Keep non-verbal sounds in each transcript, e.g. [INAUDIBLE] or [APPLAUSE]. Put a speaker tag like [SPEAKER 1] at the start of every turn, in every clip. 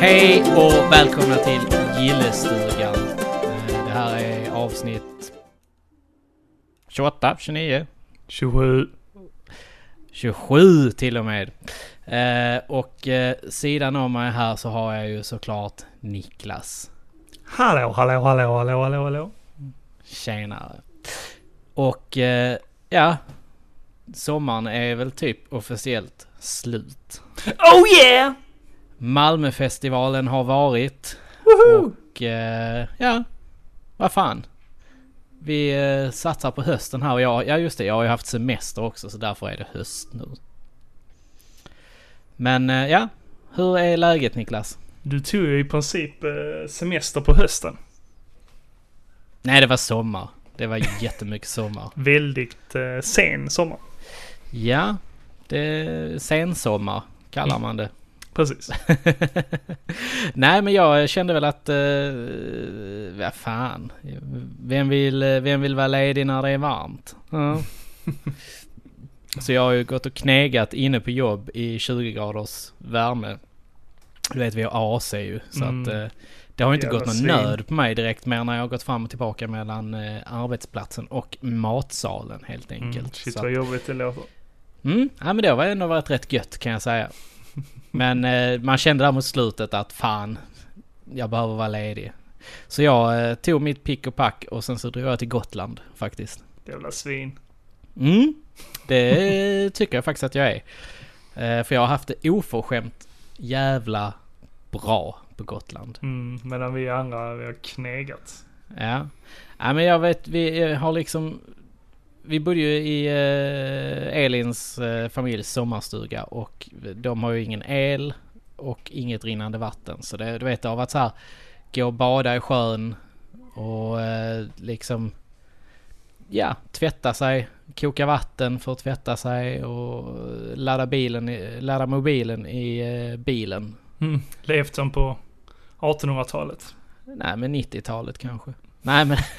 [SPEAKER 1] Hej och välkomna till Gillestugan. Eh, Det här är avsnitt 28, 29,
[SPEAKER 2] 27.
[SPEAKER 1] 27 till och med. Eh, och eh, sidan om mig här så har jag ju såklart Niklas.
[SPEAKER 2] Hallå, hallå, hallå, hallå, hallå, hallå.
[SPEAKER 1] Tjenare. Och eh, ja, sommaren är väl typ officiellt slut.
[SPEAKER 2] Oh yeah!
[SPEAKER 1] Malmöfestivalen har varit.
[SPEAKER 2] Woho!
[SPEAKER 1] Och eh, ja, vad fan. Vi eh, satsar på hösten här och jag, ja just det, jag har ju haft semester också så därför är det höst nu. Men eh, ja, hur är läget Niklas?
[SPEAKER 2] Du tog ju i princip eh, semester på hösten.
[SPEAKER 1] Nej det var sommar. Det var jättemycket sommar.
[SPEAKER 2] Väldigt eh, sen sommar.
[SPEAKER 1] Ja, det sensommar kallar man det.
[SPEAKER 2] Precis.
[SPEAKER 1] [LAUGHS] Nej men jag kände väl att, eh, vad fan. Vem vill, eh, vem vill vara ledig när det är varmt? Ja.
[SPEAKER 2] Mm,
[SPEAKER 1] Så jag har ju gått och knegat inne på jobb i 20 graders värme. Du vet vi har AC ju. Så
[SPEAKER 2] Mm.
[SPEAKER 1] att eh, det har ju inte
[SPEAKER 2] Jävla
[SPEAKER 1] gått någon
[SPEAKER 2] svin.
[SPEAKER 1] nöd på mig direkt mer när jag har gått fram och tillbaka mellan eh, arbetsplatsen och matsalen helt enkelt.
[SPEAKER 2] Mm, shit
[SPEAKER 1] Så att-
[SPEAKER 2] vad jobbigt det låter.
[SPEAKER 1] Mm, ja men det har ändå varit rätt gött kan jag säga. Men eh, man kände där mot slutet att fan, jag behöver vara ledig. Så jag eh, tog mitt pick och pack och sen så drog jag till Gotland faktiskt.
[SPEAKER 2] Jävla svin.
[SPEAKER 1] Mm, det tycker jag faktiskt att jag är. Eh, för jag har haft det oförskämt jävla bra på Gotland.
[SPEAKER 2] Mm, medan vi andra, vi har knegat.
[SPEAKER 1] Ja. ja, men jag vet, vi eh, har liksom... Vi bodde ju i eh, Elins eh, familjs sommarstuga och de har ju ingen el och inget rinnande vatten. Så det, du vet, det har varit så här, gå och bada i sjön och eh, liksom, ja, tvätta sig, koka vatten för att tvätta sig och ladda, bilen, i- ladda mobilen i eh, bilen.
[SPEAKER 2] Mm, levt som på 1800-talet.
[SPEAKER 1] Nej men 90-talet kanske. Nej men... [LAUGHS]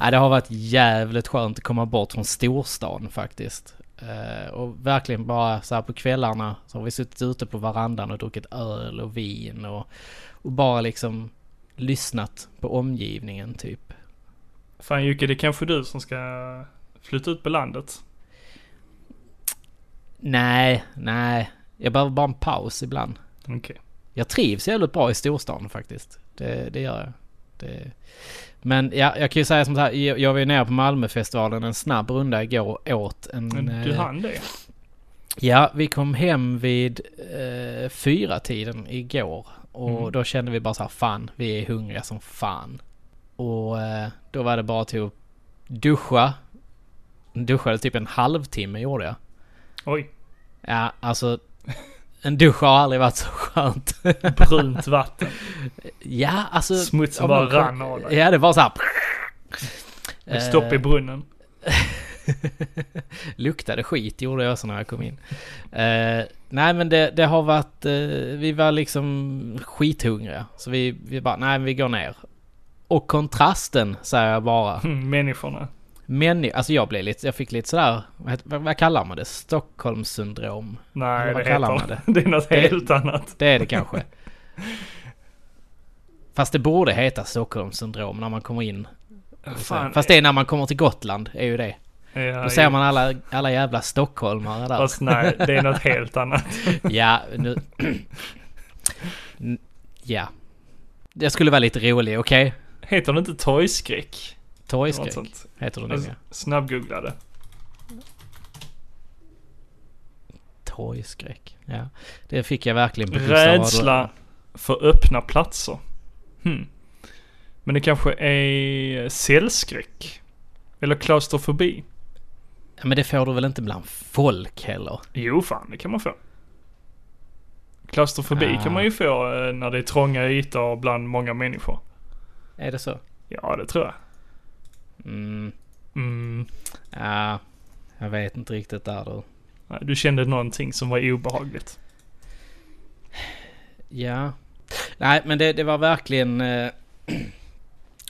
[SPEAKER 1] Nej, det har varit jävligt skönt att komma bort från storstan faktiskt. Eh, och verkligen bara så här på kvällarna så har vi suttit ute på verandan och druckit öl och vin och, och bara liksom lyssnat på omgivningen typ.
[SPEAKER 2] Fan Jocke, det är kanske du som ska flytta ut på landet.
[SPEAKER 1] Nej, nej. Jag behöver bara en paus ibland.
[SPEAKER 2] Okej.
[SPEAKER 1] Jag trivs jävligt bra i storstan faktiskt. Det, det gör jag. Det... Men ja, jag kan ju säga som så här. Jag jag var ju nere på Malmöfestivalen en snabb runda igår och åt en...
[SPEAKER 2] Men Du
[SPEAKER 1] eh,
[SPEAKER 2] hann det?
[SPEAKER 1] Ja, vi kom hem vid eh, fyra tiden igår. Och
[SPEAKER 2] Mm.
[SPEAKER 1] då kände vi bara så här, fan, vi är hungriga som fan. Och eh, då var det bara till att duscha. Duschade typ en halvtimme gjorde jag.
[SPEAKER 2] Oj.
[SPEAKER 1] Ja, alltså. En dusch har aldrig varit så skönt. [LAUGHS]
[SPEAKER 2] Brunt vatten.
[SPEAKER 1] Ja, alltså...
[SPEAKER 2] Smutsen
[SPEAKER 1] om
[SPEAKER 2] bara
[SPEAKER 1] någon-
[SPEAKER 2] rann av dig.
[SPEAKER 1] Ja, det var så här...
[SPEAKER 2] Ett stopp i
[SPEAKER 1] Eh,
[SPEAKER 2] brunnen.
[SPEAKER 1] Luktade skit gjorde jag så när jag kom in. Eh, nej men det, det har varit, eh, vi var liksom skithungriga. Så vi, vi bara, nej men vi går ner. Och kontrasten säger jag bara.
[SPEAKER 2] Mm, människorna.
[SPEAKER 1] Men, alltså jag blev lite, jag fick lite sådär, vad, heter- vad, vad kallar man det? Stockholmssyndrom. Eller
[SPEAKER 2] Nej,
[SPEAKER 1] vad
[SPEAKER 2] det
[SPEAKER 1] kallar
[SPEAKER 2] heter
[SPEAKER 1] man det?
[SPEAKER 2] [LAUGHS] Det är något
[SPEAKER 1] Det-
[SPEAKER 2] helt annat.
[SPEAKER 1] Det är det
[SPEAKER 2] [LAUGHS]
[SPEAKER 1] kanske. Fast det borde heta Stockholmssyndrom när man kommer in.
[SPEAKER 2] Fan. eh,
[SPEAKER 1] Fast det är när man kommer till Gotland, är ju det.
[SPEAKER 2] Ja,
[SPEAKER 1] Då ser
[SPEAKER 2] jo.
[SPEAKER 1] man alla, alla jävla stockholmare där.
[SPEAKER 2] Fast nej, det är något
[SPEAKER 1] [LAUGHS]
[SPEAKER 2] helt annat.
[SPEAKER 1] Ja,
[SPEAKER 2] [CLEARS THROAT]
[SPEAKER 1] nu... N- ja. Jag skulle vara lite rolig, okej?
[SPEAKER 2] Heter det inte torgskräck? Något
[SPEAKER 1] Torgskräck
[SPEAKER 2] sånt.
[SPEAKER 1] heter det nog.
[SPEAKER 2] Alltså,
[SPEAKER 1] ja.
[SPEAKER 2] Snabbgooglade.
[SPEAKER 1] Torgskräck, ja. Det fick jag verkligen på Gustav
[SPEAKER 2] Rädsla
[SPEAKER 1] Adolf.
[SPEAKER 2] för öppna platser. Hmm. Men det kanske är cellskräck? Eller klaustrofobi?
[SPEAKER 1] Ja, Men det får du väl inte bland folk heller?
[SPEAKER 2] Jo, fan det kan man få. Klaustrofobi
[SPEAKER 1] Ah.
[SPEAKER 2] kan man ju få eh, när det är trånga ytor bland många människor.
[SPEAKER 1] Är det så?
[SPEAKER 2] Ja, det tror jag.
[SPEAKER 1] Mm,
[SPEAKER 2] Mm.
[SPEAKER 1] ja. Jag vet inte riktigt där du.
[SPEAKER 2] Nej, Du kände någonting som var obehagligt.
[SPEAKER 1] Ja. Nej, men det, det var verkligen... eh, [CLEARS THROAT]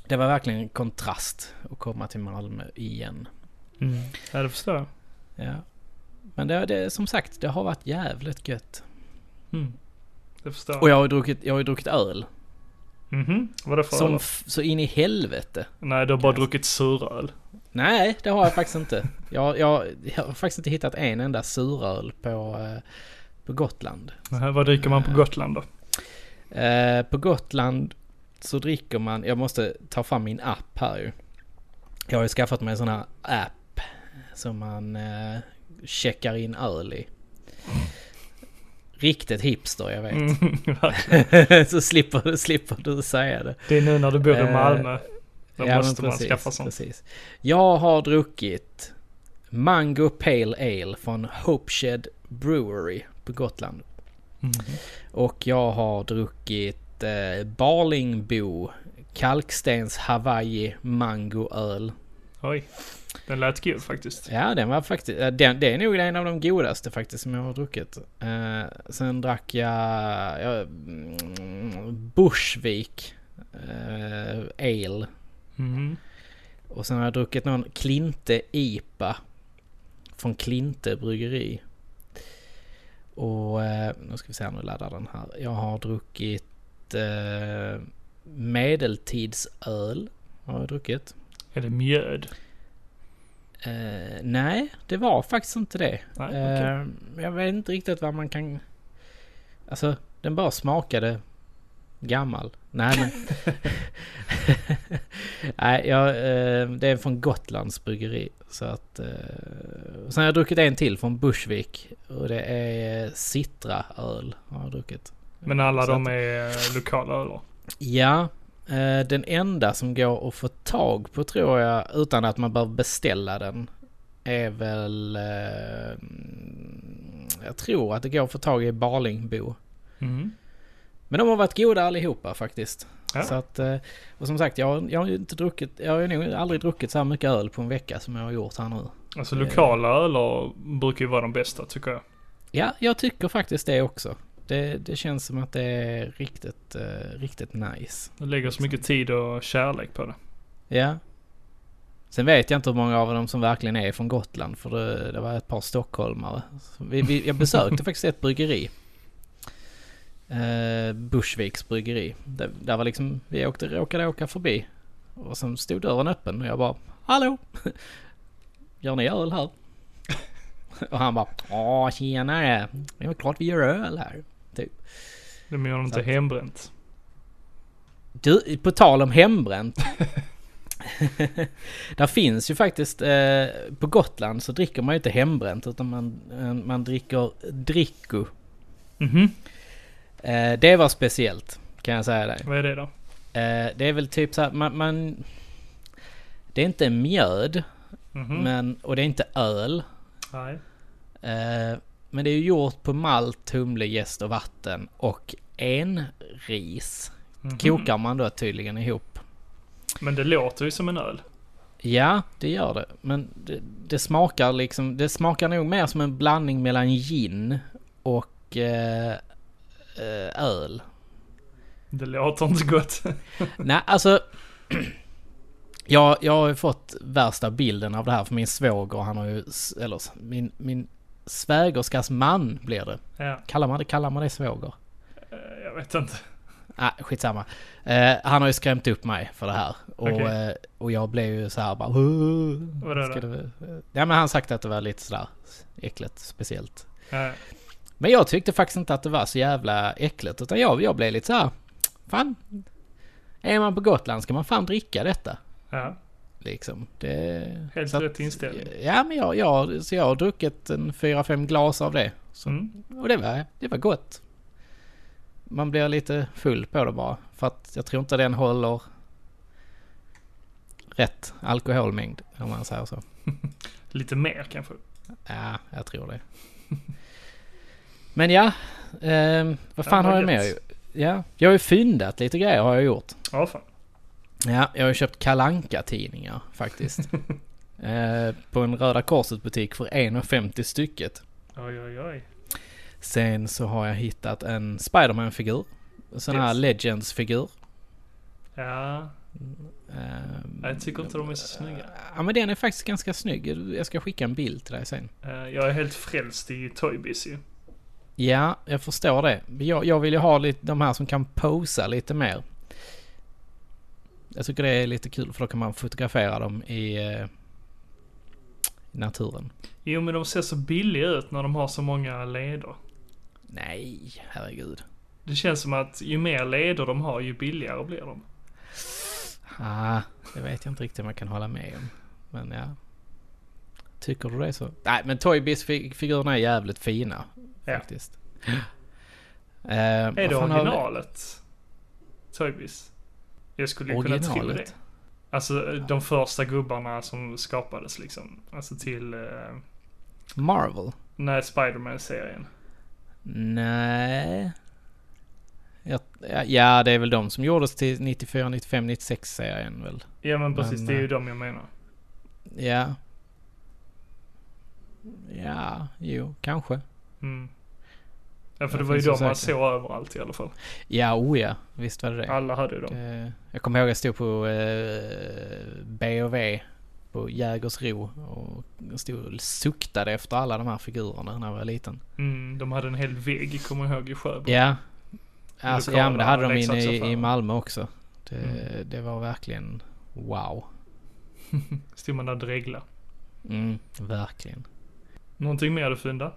[SPEAKER 1] Det var verkligen en kontrast att komma till Malmö igen.
[SPEAKER 2] Mm. Ja, det förstår jag.
[SPEAKER 1] Ja. Men det, det, som sagt, det har varit jävligt gött.
[SPEAKER 2] Mm. Det förstår
[SPEAKER 1] Och jag har ju druckit, jag har ju druckit öl.
[SPEAKER 2] Mhm, vad är det för
[SPEAKER 1] Som
[SPEAKER 2] öl?
[SPEAKER 1] f- så in i helvete.
[SPEAKER 2] Nej, du har bara
[SPEAKER 1] Yes.
[SPEAKER 2] druckit suröl.
[SPEAKER 1] Nej, det har jag faktiskt inte. Jag, jag, jag har faktiskt inte hittat en enda suröl på, eh, på Gotland.
[SPEAKER 2] Nähä, Vad dricker man på Gotland då?
[SPEAKER 1] Eh, på Gotland så dricker man, jag måste ta fram min app här ju. Jag har ju skaffat mig en sån här app som man eh, checkar in öl i. Riktigt hipster, jag vet.
[SPEAKER 2] Mm, [LAUGHS]
[SPEAKER 1] [LAUGHS]
[SPEAKER 2] verkligen.
[SPEAKER 1] så slipper, slipper du säga det.
[SPEAKER 2] det är nu när du bor i
[SPEAKER 1] Eh,
[SPEAKER 2] Malmö. Då
[SPEAKER 1] Ja,
[SPEAKER 2] måste
[SPEAKER 1] men
[SPEAKER 2] man skaffa sånt.
[SPEAKER 1] Precis. Jag har druckit Mango Pale Ale från Hopeshed Brewery på Gotland. Mm.
[SPEAKER 2] Mhm.
[SPEAKER 1] Och jag har druckit eh, Barlingbo Kalkstens Hawaii Mango Öl.
[SPEAKER 2] Oj, den lät god faktiskt.
[SPEAKER 1] Ja, den var faktiskt... eh, Den, det är nog en av de godaste faktiskt som jag har druckit. Eh, sen drack jag... jag mm, Bushvik eh, Ale.
[SPEAKER 2] Mhm.
[SPEAKER 1] Och sen har jag druckit någon Klinte IPA. Från Klinte Bryggeri. Och eh, nu ska vi se, nu laddar den här. Jag har druckit eh, medeltidsöl. Har jag druckit.
[SPEAKER 2] Är det mjöd?
[SPEAKER 1] Eh, nej, det var faktiskt inte det.
[SPEAKER 2] Nej, okej.
[SPEAKER 1] Eh, jag vet inte riktigt vad man kan... Alltså, den bara smakade gammal. Nej, men...
[SPEAKER 2] [LAUGHS]
[SPEAKER 1] [LAUGHS] Nej, jag, eh, det är från Gotlands bryggeri. Så att... Eh, och sen har jag druckit en till från Bushvik. Och det är eh, citraöl har jag druckit.
[SPEAKER 2] Men alla
[SPEAKER 1] Så
[SPEAKER 2] de
[SPEAKER 1] att-
[SPEAKER 2] är eh, lokala öler.
[SPEAKER 1] Ja. eh, Den enda som går att få tag på tror jag utan att man behöver beställa den är väl... eh, mm, Jag tror att det går att få tag i Barlingbo. Mm.
[SPEAKER 2] Mhm.
[SPEAKER 1] Men de har varit goda allihopa faktiskt.
[SPEAKER 2] Ja.
[SPEAKER 1] Så att, eh, och som sagt, jag, har- jag har ju inte druckit, jag har ju nog aldrig druckit så här mycket öl på en vecka som jag har gjort här nu.
[SPEAKER 2] Alltså
[SPEAKER 1] Eh.
[SPEAKER 2] lokala öler brukar ju vara de bästa tycker jag.
[SPEAKER 1] Ja, jag tycker faktiskt det också. Det, det känns som att det är riktigt, eh, riktigt nice.
[SPEAKER 2] De lägger så mycket tid och kärlek på det.
[SPEAKER 1] Ja. Sen vet jag inte hur många av dem som verkligen är från Gotland, för det, det var ett par stockholmare. Så Vi, vi, jag besökte [LAUGHS] faktiskt ett bryggeri. Eh, Bushviks bryggeri. Där, där var liksom, vi åkte, råkade åka förbi. Och sen stod dörren öppen och jag bara, hallå! [LAUGHS] Gör ni öl här? [LAUGHS] Och han bara, åh tjenare! Det är väl klart vi gör öl här.
[SPEAKER 2] De gör inte
[SPEAKER 1] Exakt.
[SPEAKER 2] hembränt.
[SPEAKER 1] Du, på tal om hembränt. Där finns ju faktiskt, eh, på Gotland så dricker man ju inte hembränt utan man, eh, man dricker dricko.
[SPEAKER 2] Mhm.
[SPEAKER 1] Eh, det var speciellt kan jag säga dig.
[SPEAKER 2] Vad är det då?
[SPEAKER 1] Eh, det är väl typ så här, man, man... Det är inte mjöd
[SPEAKER 2] Mhm.
[SPEAKER 1] men, och det är inte öl.
[SPEAKER 2] Nej.
[SPEAKER 1] Eh, men det är ju gjort på malt, humle, jäst och vatten och en ris.
[SPEAKER 2] Mhm.
[SPEAKER 1] Kokar man då tydligen ihop
[SPEAKER 2] Men det låter ju som en öl.
[SPEAKER 1] Ja, det gör det. Men det, det smakar liksom, det smakar nog mer som en blandning mellan gin och eh, eh, öl.
[SPEAKER 2] Det låter inte gott. [LAUGHS]
[SPEAKER 1] Nej, alltså. [CLEARS THROAT] jag, jag har ju fått värsta bilden av det här för min svåger, han har ju, s- eller s- min, min svägerskas man blir det.
[SPEAKER 2] ja,
[SPEAKER 1] Kallar man det, kallar man det svåger?
[SPEAKER 2] eh, jag vet inte.
[SPEAKER 1] Ah, skitsamma. Eh, han har ju skrämt upp mig för det här. Och,
[SPEAKER 2] Okej.
[SPEAKER 1] eh, och jag blev ju så här bara... "Åh,
[SPEAKER 2] Vadå då?
[SPEAKER 1] ska det- Ja men han sagt att det var lite sådär äckligt, speciellt.
[SPEAKER 2] Ja,
[SPEAKER 1] Men jag tyckte faktiskt inte att det var så jävla äckligt. Utan jag, jag blev lite så här... Fan. Är man på Gotland ska man fan dricka detta.
[SPEAKER 2] ja.
[SPEAKER 1] Liksom. Det,
[SPEAKER 2] Helt
[SPEAKER 1] så att- eh,
[SPEAKER 2] rätt inställning.
[SPEAKER 1] Ja men jag, jag, så jag har druckit en fyra fem glas av det. Så
[SPEAKER 2] Mm.
[SPEAKER 1] och det var, det var gott. Man blir lite full på det bara. För att jag tror inte den håller rätt alkoholmängd. Om man säger så.
[SPEAKER 2] Lite mer kanske.
[SPEAKER 1] Ja, jag tror det. [LAUGHS] Men ja, ehm, vad
[SPEAKER 2] Ja,
[SPEAKER 1] fan
[SPEAKER 2] vad
[SPEAKER 1] har jag med?
[SPEAKER 2] gött.
[SPEAKER 1] Ja, jag har ju fyndat lite grejer har jag gjort.
[SPEAKER 2] Ja, fan.
[SPEAKER 1] Ja, jag har ju köpt kalanka tidningar
[SPEAKER 2] [LAUGHS]
[SPEAKER 1] faktiskt. eh, på en Röda Korset butik för 1,50 stycket.
[SPEAKER 2] Oj, oj, oj.
[SPEAKER 1] Sen så har jag hittat en Spiderman-figur. En sån här
[SPEAKER 2] Yes.
[SPEAKER 1] Legends-figur.
[SPEAKER 2] Ja,
[SPEAKER 1] Ehm,
[SPEAKER 2] jag tycker inte de är så snygga.
[SPEAKER 1] Ja men den är faktiskt ganska snygg. Jag ska skicka en bild till dig sen.
[SPEAKER 2] Eh, Jag är helt frälst i Toy Biz ju.
[SPEAKER 1] Ja, jag förstår det. Jag, jag vill ju ha lite, de här som kan posa lite mer. Jag tycker det är lite kul för då kan man fotografera dem i, eh, i naturen.
[SPEAKER 2] Jo men de ser så billiga ut när de har så många leder.
[SPEAKER 1] Nej, herregud.
[SPEAKER 2] Det känns som att ju mer leder de har ju billigare blir de.
[SPEAKER 1] Ah, det vet jag inte riktigt om jag kan hålla med om. Men ja. Tycker du det så? Nej, men Toy Biz-figurerna är jävligt fina.
[SPEAKER 2] Ja. [GASPS]
[SPEAKER 1] Faktiskt. Eh, vad
[SPEAKER 2] Är det
[SPEAKER 1] fan har vi-
[SPEAKER 2] originalet? Toybiz? Jag skulle ju kunna tro
[SPEAKER 1] Originalet?
[SPEAKER 2] det. Alltså de första gubbarna som skapades liksom. Alltså till... Eh,
[SPEAKER 1] Marvel?
[SPEAKER 2] när Spiderman-serien.
[SPEAKER 1] Nej. Jag, ja, ja, det är väl de som gjordes till 94, 95, 96 serien väl?
[SPEAKER 2] Ja men precis,
[SPEAKER 1] Men,
[SPEAKER 2] det är ju
[SPEAKER 1] eh,
[SPEAKER 2] de jag menar.
[SPEAKER 1] Ja. Ja, jo, kanske.
[SPEAKER 2] Mm. Ja för
[SPEAKER 1] Jag
[SPEAKER 2] det var ju
[SPEAKER 1] finns
[SPEAKER 2] de
[SPEAKER 1] osäker.
[SPEAKER 2] man såg överallt i alla fall.
[SPEAKER 1] Ja, oh ja. Visst var det det.
[SPEAKER 2] Alla hade ju dem.
[SPEAKER 1] Eh, Jag kommer ihåg att jag stod på eh, B&V på Jägersro och stod och suktade efter alla de här figurerna när jag var liten.
[SPEAKER 2] Mm, de hade en hel vägg, kommer jag ihåg, i Sjöbo.
[SPEAKER 1] Ja, alltså, ja men det
[SPEAKER 2] Mm. Lokala
[SPEAKER 1] hade de inne i, i
[SPEAKER 2] leksaksaffärer.
[SPEAKER 1] Malmö också. Det,
[SPEAKER 2] Mm.
[SPEAKER 1] det var verkligen wow.
[SPEAKER 2] Stod man där och dreglade.
[SPEAKER 1] Mm, verkligen.
[SPEAKER 2] Någonting mer du fynda?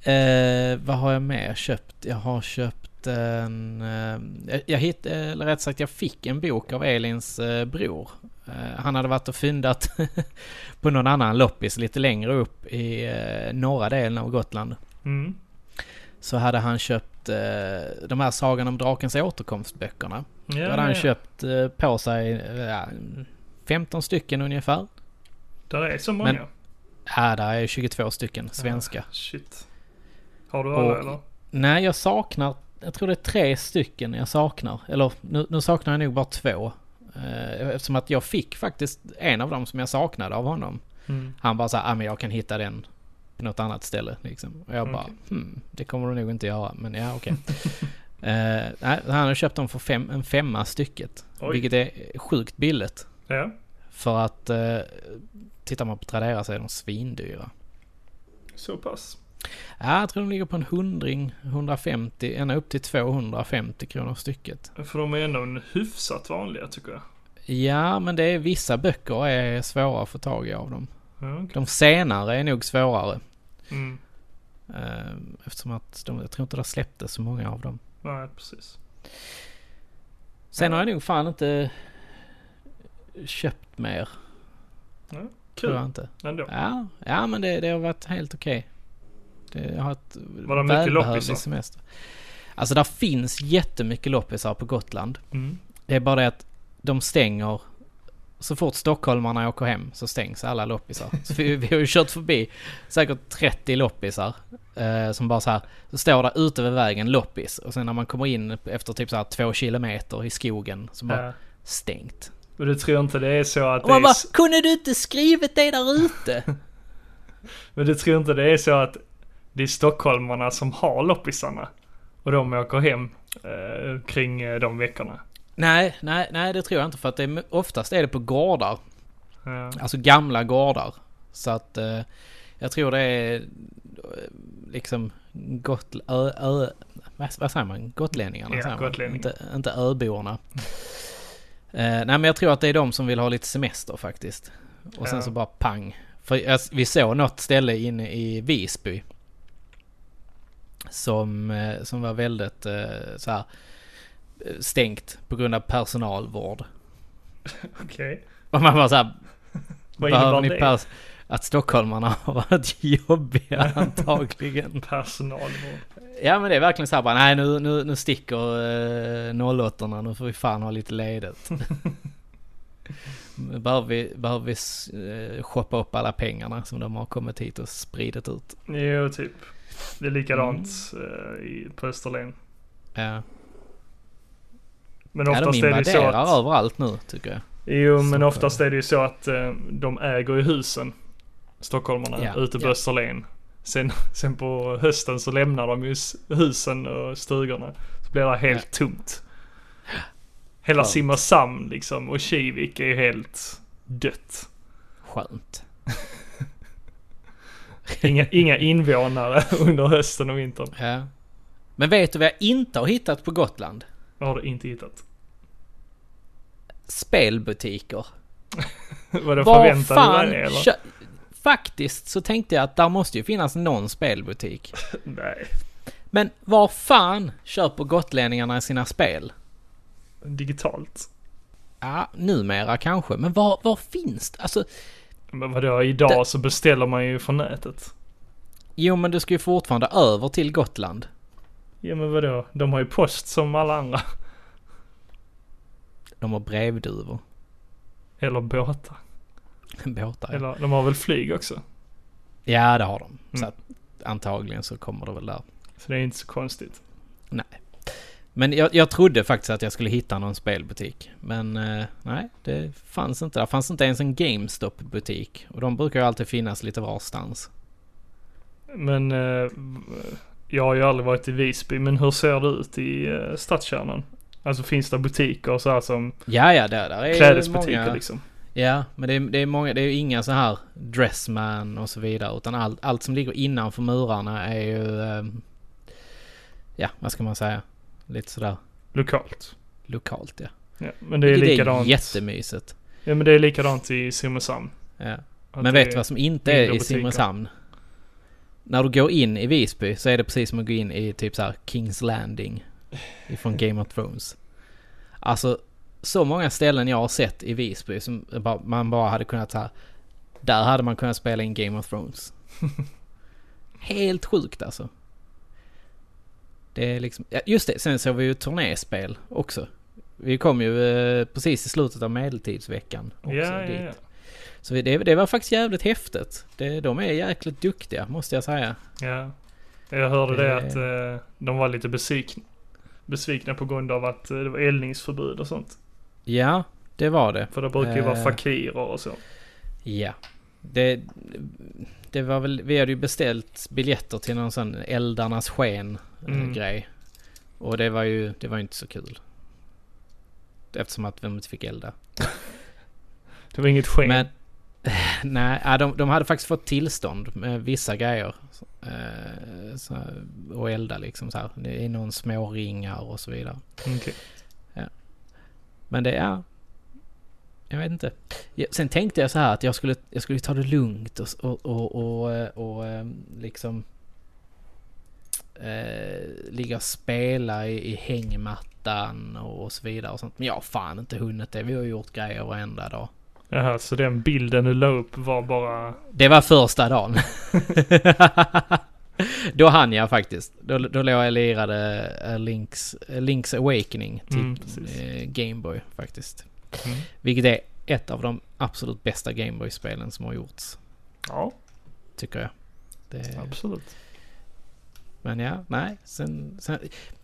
[SPEAKER 1] Eh, vad har jag mer köpt? Jag har köpt en... Eh, jag- jag hitt, eh, eller rätt sagt, jag fick en bok av Elins eh, bror. Eh, han hade varit och fyndat [LAUGHS] på någon annan loppis lite längre upp i eh, norra delen av Gotland.
[SPEAKER 2] Mm.
[SPEAKER 1] Så hade han köpt eh, de här Sagan om Drakens återkomstböckerna.
[SPEAKER 2] Ja,
[SPEAKER 1] Då hade han
[SPEAKER 2] ja.
[SPEAKER 1] köpt eh, på sig eh, ja, 15 stycken ungefär.
[SPEAKER 2] Där är så många.
[SPEAKER 1] Men- Här där är 22 stycken svenska.
[SPEAKER 2] Shit. Har du alla
[SPEAKER 1] Och-
[SPEAKER 2] eller?
[SPEAKER 1] Nej, jag saknar... Jag tror det är tre stycken jag saknar. Eller nu, nu saknar jag nog bara två. Eh, Eftersom att jag fick faktiskt en av dem som jag saknade av honom.
[SPEAKER 2] Mm.
[SPEAKER 1] Han bara såhär, ah, men jag kan hitta den på något annat ställe liksom. Och jag bara,
[SPEAKER 2] Okej.
[SPEAKER 1] hmm, det kommer du nog inte göra. Men ja, okej. [LAUGHS] Eh, nej, han har köpt dem för fem, en femma stycket.
[SPEAKER 2] Oj.
[SPEAKER 1] Vilket är sjukt billigt.
[SPEAKER 2] Ja.
[SPEAKER 1] För att eh, tittar man på Tradera så är de svindyra.
[SPEAKER 2] Så pass.
[SPEAKER 1] Ja, jag tror de ligger på en hundring, 150, ända upp till 250 kronor stycket.
[SPEAKER 2] För de är ändå en hyfsat vanliga tycker jag.
[SPEAKER 1] Ja, men det är vissa böcker är svåra att få tag i av dem.
[SPEAKER 2] Ja, okej.
[SPEAKER 1] De senare är nog svårare.
[SPEAKER 2] mm.
[SPEAKER 1] eh, Eftersom att de, jag tror inte det släpptes så många av dem.
[SPEAKER 2] Nej, precis.
[SPEAKER 1] Sen har jag nog fan inte köpt mer. Tror jag
[SPEAKER 2] Kul
[SPEAKER 1] inte.
[SPEAKER 2] ändå.
[SPEAKER 1] Ja, ja men det, det har varit helt okej. Det har ett
[SPEAKER 2] Var det mycket
[SPEAKER 1] välbehövlig
[SPEAKER 2] loppisar?
[SPEAKER 1] semester. Alltså där finns jättemycket loppisar på Gotland.
[SPEAKER 2] Mm.
[SPEAKER 1] Det är bara det att de stänger. Så fort stockholmarna åker hem så stängs alla loppisar. Så vi, vi har ju kört förbi säkert 30 loppisar. Eh, som bara så här, så står där ute vid vägen loppis. Och sen när man kommer in efter typ så här två kilometer i skogen så bara
[SPEAKER 2] Ja.
[SPEAKER 1] stängt.
[SPEAKER 2] Och du tror inte det är så att
[SPEAKER 1] Och
[SPEAKER 2] det är...
[SPEAKER 1] man bara,
[SPEAKER 2] s-
[SPEAKER 1] kunde du inte skrivit det där ute? [LAUGHS]
[SPEAKER 2] Men du tror inte det är så att det är stockholmarna som har loppisarna? Och de åker hem eh, kring eh, de veckorna?
[SPEAKER 1] nej, nej, nej det tror jag inte för att det är, oftast är det på gårdar.
[SPEAKER 2] Ja.
[SPEAKER 1] Alltså gamla gårdar. Så att eh, jag tror det är eh, liksom gotl... Ö, ö, vad, vad säger man? Gotlänningarna
[SPEAKER 2] Ja,
[SPEAKER 1] säger man.
[SPEAKER 2] gotlänningar.
[SPEAKER 1] Inte, inte öborna. Eh, nej men jag tror att det är de som vill ha lite semester faktiskt. Och sen
[SPEAKER 2] Ja.
[SPEAKER 1] så bara pang. För jag, vi såg något ställe inne i Visby. Som, eh, som var väldigt eh, så här eh, stängt på grund av personalvård.
[SPEAKER 2] Okej.
[SPEAKER 1] Och man bara så här,
[SPEAKER 2] Vad
[SPEAKER 1] Behöver
[SPEAKER 2] innebär
[SPEAKER 1] ni
[SPEAKER 2] det?
[SPEAKER 1] pers- att stockholmarna [LAUGHS] har varit jobbiga antagligen.
[SPEAKER 2] Personalvård.
[SPEAKER 1] Ja men det är verkligen så här bara, nej nu, nu, nu sticker eh, 08 nu får vi fan ha lite [LAUGHS] ledigt. behöver vi, behöver vi s- eh, shoppa upp alla pengarna som de har kommit hit och spridit ut.
[SPEAKER 2] Jo, typ. Det är likadant
[SPEAKER 1] Mm.
[SPEAKER 2] eh, i, på Österlen.
[SPEAKER 1] Ja,
[SPEAKER 2] Men
[SPEAKER 1] ja de
[SPEAKER 2] oftast är det ju så
[SPEAKER 1] invaderar
[SPEAKER 2] att...
[SPEAKER 1] överallt nu tycker jag.
[SPEAKER 2] Jo, men
[SPEAKER 1] Stockholm.
[SPEAKER 2] oftast är det ju så att eh, de äger ju husen, stockholmarna,
[SPEAKER 1] Ja,
[SPEAKER 2] ute på
[SPEAKER 1] ja.
[SPEAKER 2] Österlen. Sen, [LAUGHS] sen på hösten så lämnar de ju s- husen och stugorna. Så blir det helt tomt. Hela
[SPEAKER 1] Skönt.
[SPEAKER 2] Simrishamn liksom och
[SPEAKER 1] [LAUGHS]
[SPEAKER 2] Kivik är ju helt dött.
[SPEAKER 1] Skönt.
[SPEAKER 2] Inga, inga invånare [LAUGHS] under hösten och vintern.
[SPEAKER 1] Ja. Men vet du vad jag inte har hittat på Gotland?
[SPEAKER 2] Vad har du inte hittat? [LAUGHS]
[SPEAKER 1] Spelbutiker.
[SPEAKER 2] Vadå
[SPEAKER 1] Var
[SPEAKER 2] förväntade du dig det,
[SPEAKER 1] fan
[SPEAKER 2] eller?
[SPEAKER 1] kö- Faktiskt så tänkte jag att där måste ju finnas någon spelbutik.
[SPEAKER 2] Nej.
[SPEAKER 1] Men var fan köper gotlänningarna sina spel?
[SPEAKER 2] Digitalt.
[SPEAKER 1] Ja, numera kanske. Men var, var finns det? Alltså,
[SPEAKER 2] Men vadå, idag så beställer man ju från nätet.
[SPEAKER 1] jo men du ska ju fortfarande över till Gotland.
[SPEAKER 2] Ja men vadå, de har ju post som alla andra.
[SPEAKER 1] De har brevduvor. [LAUGHS]
[SPEAKER 2] Eller båtar.
[SPEAKER 1] Båtar. ja.
[SPEAKER 2] Eller, de har väl flyg också?
[SPEAKER 1] Ja, det har de. Så
[SPEAKER 2] Mm.
[SPEAKER 1] att, antagligen så kommer det väl där.
[SPEAKER 2] Så det är inte så konstigt.
[SPEAKER 1] Men jag, jag trodde faktiskt att jag skulle hitta någon spelbutik. Men eh, nej, det fanns inte. Där fanns inte ens en GameStop-butik. Och de brukar ju alltid finnas lite varstans.
[SPEAKER 2] Men eh, jag har ju aldrig varit i Visby, men hur ser det ut i eh, stadskärnan? Alltså finns det butiker och så här som
[SPEAKER 1] Ja, ja, där, där är ju
[SPEAKER 2] klädesbutiker
[SPEAKER 1] många.
[SPEAKER 2] liksom?
[SPEAKER 1] Ja, men det är, det är många. Det är ju inga så här Dressman och så vidare. Utan allt, allt som ligger innanför murarna är ju... eh, ja, vad ska man säga? Lite sådär
[SPEAKER 2] Lokalt.
[SPEAKER 1] lokalt ja.
[SPEAKER 2] Ja, men det är
[SPEAKER 1] Vilket
[SPEAKER 2] likadant.
[SPEAKER 1] är jättemysigt.
[SPEAKER 2] Ja men det är likadant i Simrishamn.
[SPEAKER 1] Ja.
[SPEAKER 2] Att
[SPEAKER 1] Men
[SPEAKER 2] det
[SPEAKER 1] vet du
[SPEAKER 2] är-
[SPEAKER 1] vad som inte är
[SPEAKER 2] mindre
[SPEAKER 1] i
[SPEAKER 2] butiker.
[SPEAKER 1] Simrishamn? När du går in i Visby så är det precis som att gå in i typ så här Kings Landing ifrån Game of Thrones. Alltså, så många ställen jag har sett i Visby som bara- man bara hade kunnat så här. Där hade man kunnat spela in Game of
[SPEAKER 2] [LAUGHS]
[SPEAKER 1] Thrones. Helt sjukt alltså. Det är liksom, ja, just det, sen såg vi ju turnéspel också. Vi kom ju eh, precis i slutet av medeltidsveckan också
[SPEAKER 2] ja,
[SPEAKER 1] dit.
[SPEAKER 2] ja, ja.
[SPEAKER 1] Så vi- det, det var faktiskt jävligt häftigt. Det, de är jäkligt duktiga måste jag säga.
[SPEAKER 2] ja. Jag hörde det
[SPEAKER 1] Det-
[SPEAKER 2] att eh, de var lite besvikna. Besvikna på grund av att eh, det var eldningsförbud och sånt.
[SPEAKER 1] Ja, det var det.
[SPEAKER 2] För det brukar ju vara
[SPEAKER 1] Eh.
[SPEAKER 2] fakirer och så.
[SPEAKER 1] Ja. Det, det var väl, vi hade ju beställt biljetter till någon sån eldarnas sken eh,
[SPEAKER 2] Mm.
[SPEAKER 1] grej. Och det var ju, det var ju inte så kul. Eftersom att vi inte fick elda.
[SPEAKER 2] Det var inget sken.
[SPEAKER 1] Men [LAUGHS] nej, ja, de, de hade faktiskt fått tillstånd med vissa grejer. Eh, så, och elda liksom så här. Det är någon små ringar och så vidare.
[SPEAKER 2] Okej.
[SPEAKER 1] Men det är... Jag vet inte. Ja, Sen tänkte jag så här att jag skulle, jag skulle ta det lugnt och, och, och, och, eh, och eh, liksom... Eh, ligga och spela i, i hängmattan och så vidare och sånt. Men jag har fan inte hunnit det. Vi har gjort grejer varenda dag.
[SPEAKER 2] Jaha, så den bilden du la upp var bara...
[SPEAKER 1] Det var första dagen. [LAUGHS] då hann jag faktiskt. Då, då låg jag och lirade eh, Link's, eh, Link's Awakening till
[SPEAKER 2] Mm, precis.
[SPEAKER 1] eh, Gameboy faktiskt.
[SPEAKER 2] Mm.
[SPEAKER 1] Vilket är ett av de absolut bästa Gameboy-spelen som har gjorts,
[SPEAKER 2] Ja,
[SPEAKER 1] tycker jag. Det,
[SPEAKER 2] absolut.
[SPEAKER 1] men ja, nej. Sen, sen,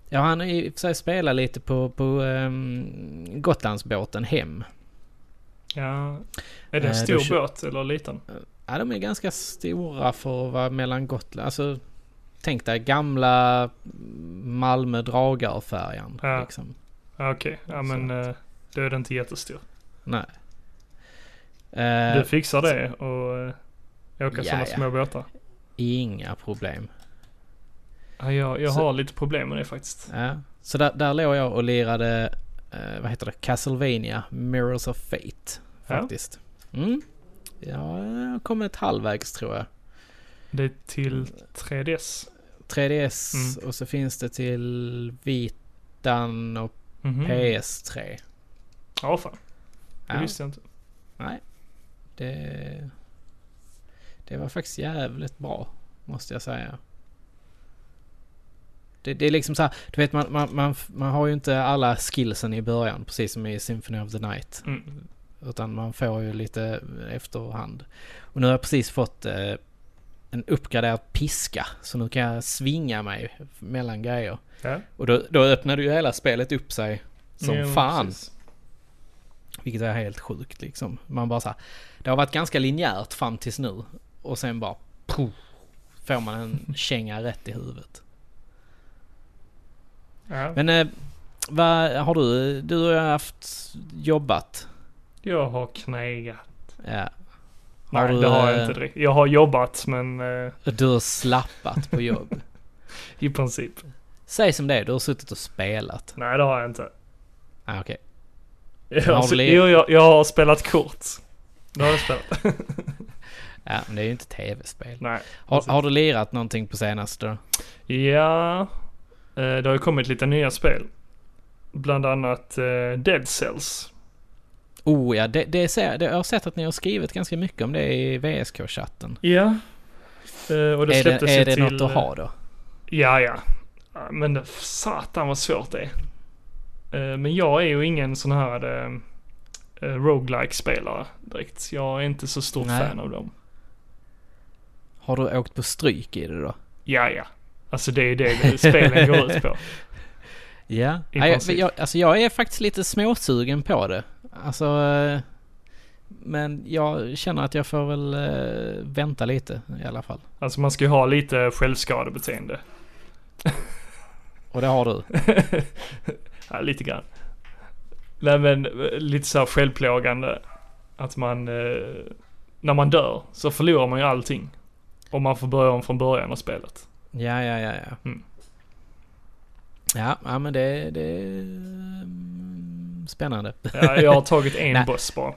[SPEAKER 1] jag hann i och för sig spela lite på, på um, Gotlandsbåten hem.
[SPEAKER 2] Ja. Är det
[SPEAKER 1] Eh,
[SPEAKER 2] en stor
[SPEAKER 1] då kö-
[SPEAKER 2] båt eller liten?
[SPEAKER 1] Ja, de är ganska stora för att vara mellan Gotland. Alltså, tänk dig gamla Malmö Dragarfärjan.
[SPEAKER 2] Ja.
[SPEAKER 1] Liksom.
[SPEAKER 2] Ja, Okej, ja men eh, då är den inte jättestor.
[SPEAKER 1] Nej. Eh,
[SPEAKER 2] Du fixar det och eh, åka
[SPEAKER 1] Ja,
[SPEAKER 2] sådana
[SPEAKER 1] ja.
[SPEAKER 2] små båtar?
[SPEAKER 1] Inga problem.
[SPEAKER 2] Ja, jag jag
[SPEAKER 1] Så-
[SPEAKER 2] har lite problem med det faktiskt.
[SPEAKER 1] Ja. Så där, där låg jag och lirade, eh, vad heter det, Castlevania Mirrors of Fate. Faktiskt. Mm. Ja, jag har kommit halvvägs tror jag.
[SPEAKER 2] Det är till 3DS.
[SPEAKER 1] 3DS och så finns det till Vitan och
[SPEAKER 2] Mhm.
[SPEAKER 1] PS3.
[SPEAKER 2] Ja, fan. Det
[SPEAKER 1] Ja.
[SPEAKER 2] visste jag inte.
[SPEAKER 1] Nej. Det, det var faktiskt jävligt bra, måste jag säga. Det, det är liksom så här, du vet man, man, man, man har ju inte alla skillsen i början, precis som i Symphony of the Night.
[SPEAKER 2] Mm.
[SPEAKER 1] Utan man får ju lite efterhand. Och nu har jag precis fått eh, en uppgraderad piska, så nu kan jag svinga mig mellan grejer.
[SPEAKER 2] Ja.
[SPEAKER 1] Och då, då öppnade ju hela spelet upp sig som
[SPEAKER 2] Jo,
[SPEAKER 1] fan.
[SPEAKER 2] precis.
[SPEAKER 1] Vilket är helt sjukt liksom. Man bara så här, Det har varit ganska linjärt fram tills nu. Och sen bara... Puff, får man
[SPEAKER 2] [LAUGHS]
[SPEAKER 1] en känga rätt i huvudet.
[SPEAKER 2] Ja.
[SPEAKER 1] Men eh, vad har du? Du har haft jobbat.
[SPEAKER 2] Jag har knegat.
[SPEAKER 1] Ja. Har
[SPEAKER 2] Nej,
[SPEAKER 1] du,
[SPEAKER 2] det har jag
[SPEAKER 1] eh,
[SPEAKER 2] inte direkt. Jag har jobbat, men eh,
[SPEAKER 1] Du har slappat på jobb.
[SPEAKER 2] i princip.
[SPEAKER 1] Säg som det är, du har suttit och spelat.
[SPEAKER 2] Nej, det har jag inte.
[SPEAKER 1] Ah, okej.
[SPEAKER 2] Jag,
[SPEAKER 1] Har du
[SPEAKER 2] alltså,
[SPEAKER 1] le-
[SPEAKER 2] jo, jag, jag har spelat kort. Det har jag spelat.
[SPEAKER 1] Ja, men det är ju inte tv-spel.
[SPEAKER 2] [LAUGHS] Nej.
[SPEAKER 1] Har, har du lirat någonting på senaste då?
[SPEAKER 2] Ja, eh, det har ju kommit lite nya spel. Bland annat eh, Dead Cells.
[SPEAKER 1] Oh ja, det, det ser, det, jag har sett att ni har skrivit ganska mycket om det i VSK-chatten.
[SPEAKER 2] Ja. Eh, och det
[SPEAKER 1] Är
[SPEAKER 2] släpptes
[SPEAKER 1] det,
[SPEAKER 2] ju
[SPEAKER 1] är det
[SPEAKER 2] till... eh,
[SPEAKER 1] något att ha då?
[SPEAKER 2] Ja, ja. Ja, Men det, satan vad svårt det är. Eh, Men jag är ju ingen sån här eh, eh, roguelike spelare direkt. Jag är inte så stor
[SPEAKER 1] Nej.
[SPEAKER 2] fan av dem.
[SPEAKER 1] Har du åkt på stryk i det då?
[SPEAKER 2] Ja, ja. Alltså det är ju det spelen går [LAUGHS] ut på.
[SPEAKER 1] Ja.
[SPEAKER 2] I
[SPEAKER 1] Nej, jag,
[SPEAKER 2] princip.
[SPEAKER 1] jag, alltså jag är faktiskt lite småsugen på det. Alltså... eh, Men jag känner att jag får väl eh, vänta lite i alla fall.
[SPEAKER 2] Alltså man ska ju ha lite självskadebeteende.
[SPEAKER 1] Och det har du?
[SPEAKER 2] [LAUGHS] ja, lite grann. Nej men eh, lite så här självplågande. Att man, eh, när man dör så förlorar man ju allting. Och man får börja om från början av spelet.
[SPEAKER 1] Ja, ja, ja, ja.
[SPEAKER 2] Mm.
[SPEAKER 1] Ja, ja men det, det är mm, spännande.
[SPEAKER 2] Ja, jag har tagit en
[SPEAKER 1] Nej.
[SPEAKER 2] boss bara.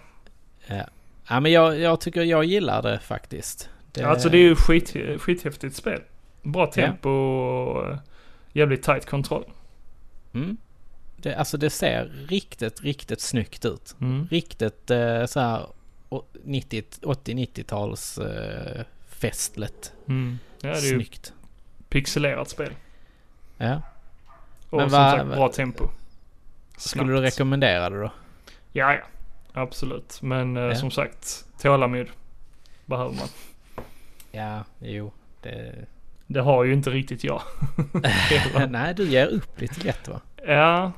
[SPEAKER 1] Ja, [LAUGHS] ja men jag, jag tycker jag gillar det faktiskt. Det,
[SPEAKER 2] Alltså det är ju skit, skithäftigt spel. Bra tempo och eh, jävligt tight kontroll.
[SPEAKER 1] Mm, det, alltså det ser riktigt, riktigt snyggt ut. Riktigt eh, så här å- 90 80-90-tals eh, festligt.
[SPEAKER 2] Mm. Ja, det är ju
[SPEAKER 1] Snyggt.
[SPEAKER 2] pixelerat spel.
[SPEAKER 1] Ja.
[SPEAKER 2] Och
[SPEAKER 1] Men
[SPEAKER 2] som
[SPEAKER 1] vad-
[SPEAKER 2] sagt, bra tempo.
[SPEAKER 1] Skulle
[SPEAKER 2] Snabbt.
[SPEAKER 1] du rekommendera det då?
[SPEAKER 2] Ja, ja. Absolut. Men eh,
[SPEAKER 1] Ja.
[SPEAKER 2] som sagt, tålamod behöver man.
[SPEAKER 1] Ja, jo. Det...
[SPEAKER 2] Det har ju inte riktigt jag. Hela.
[SPEAKER 1] [LAUGHS] Nej, du ger upp lite lätt va?
[SPEAKER 2] ja.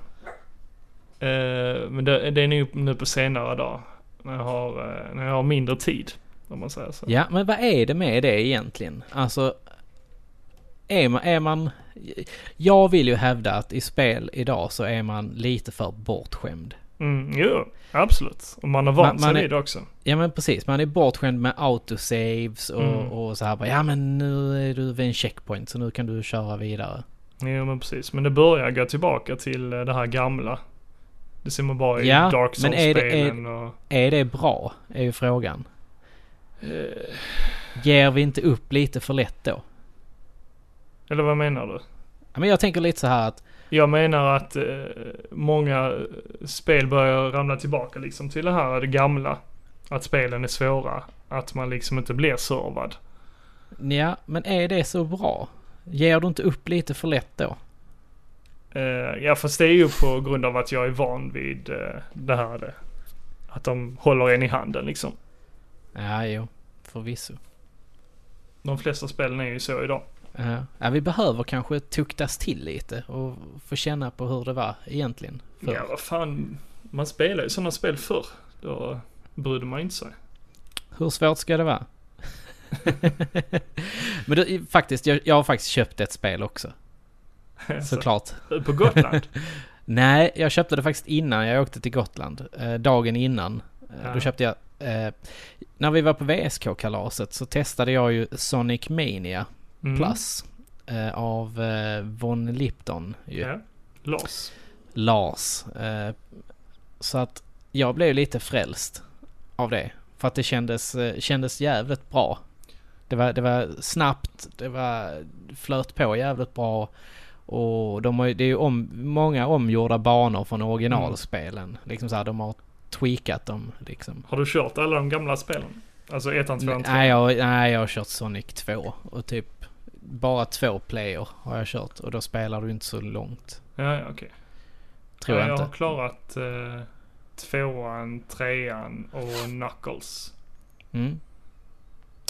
[SPEAKER 2] Eh, men det, det är nu, nu på senare dag. När jag, har, eh, när jag har mindre tid. Om man säger så.
[SPEAKER 1] Ja, men vad är det med det egentligen? Alltså, är man, är man... Jag vill ju hävda att i spel idag så är man lite för bortskämd.
[SPEAKER 2] Mm, jo, absolut. Och man har
[SPEAKER 1] Man-
[SPEAKER 2] vant sig
[SPEAKER 1] man är-
[SPEAKER 2] vid det också.
[SPEAKER 1] Ja men precis, man är bortskämd med autosaves och,
[SPEAKER 2] Mm.
[SPEAKER 1] och så här bara, ja men nu är du vid en checkpoint så nu kan du köra vidare.
[SPEAKER 2] Jo men precis, men det börjar gå tillbaka till eh, det här gamla. Det ser man bara i
[SPEAKER 1] Ja,
[SPEAKER 2] Dark
[SPEAKER 1] men är det-
[SPEAKER 2] Souls-spelen och...
[SPEAKER 1] Är det bra? Är ju frågan. Ger vi inte upp lite för lätt då?
[SPEAKER 2] Eller vad menar du?
[SPEAKER 1] Ja, men jag tänker lite så här att,
[SPEAKER 2] Jag menar att eh, många eh, spel börjar ramla tillbaka liksom till det här det gamla. Att spelen är svåra. Att man liksom inte blir servad.
[SPEAKER 1] ja men är det så bra? Ger du inte upp lite för lätt då?
[SPEAKER 2] Eh, ja fast det är ju på grund av att jag är van vid eh, det här. Det. Att de håller en i handen liksom.
[SPEAKER 1] Ja, jo. Förvisso.
[SPEAKER 2] De flesta spelen är ju så idag.
[SPEAKER 1] Ja. ja, vi behöver kanske tuktas till lite och få känna på hur det var egentligen. För,
[SPEAKER 2] Ja vad fan. Man spelar ju sådana spel förr. Då brydde man inte sig. [LAUGHS]
[SPEAKER 1] Hur svårt ska det vara? [LAUGHS] Men du, faktiskt, jag, jag har faktiskt köpt ett spel också. Såklart.
[SPEAKER 2] eh, På Gotland?
[SPEAKER 1] Nej, jag köpte det faktiskt innan jag åkte till Gotland. Eh, dagen innan. Eh,
[SPEAKER 2] Ja.
[SPEAKER 1] Då köpte jag... Eh, när vi var på VSK-kalaset så testade jag ju Sonic Mania [LAUGHS]
[SPEAKER 2] Mm.
[SPEAKER 1] Plus. Eh, av eh, Von Lipton ju.
[SPEAKER 2] Ja. Lars.
[SPEAKER 1] Lars. Eh, så att jag blev lite frälst av det. För att det kändes, eh, kändes jävligt bra. Det var, det var snabbt, det var flöt på jävligt bra. Och de har, ju- det är ju om, många omgjorda banor från originalspelen.
[SPEAKER 2] Mm.
[SPEAKER 1] Liksom så här, de har tweakat dem liksom.
[SPEAKER 2] Har du kört alla de gamla spelen? Alltså ettan, tvåan, trean?
[SPEAKER 1] Nej jag, nej, jag har kört Sonic 2 och typ bara två player har jag kört och då spelar du inte så långt.
[SPEAKER 2] Ja, ja, okej.
[SPEAKER 1] Tror
[SPEAKER 2] ja,
[SPEAKER 1] jag
[SPEAKER 2] jag har
[SPEAKER 1] inte.
[SPEAKER 2] klarat eh, tvåan, trean och Knuckles.
[SPEAKER 1] Mm.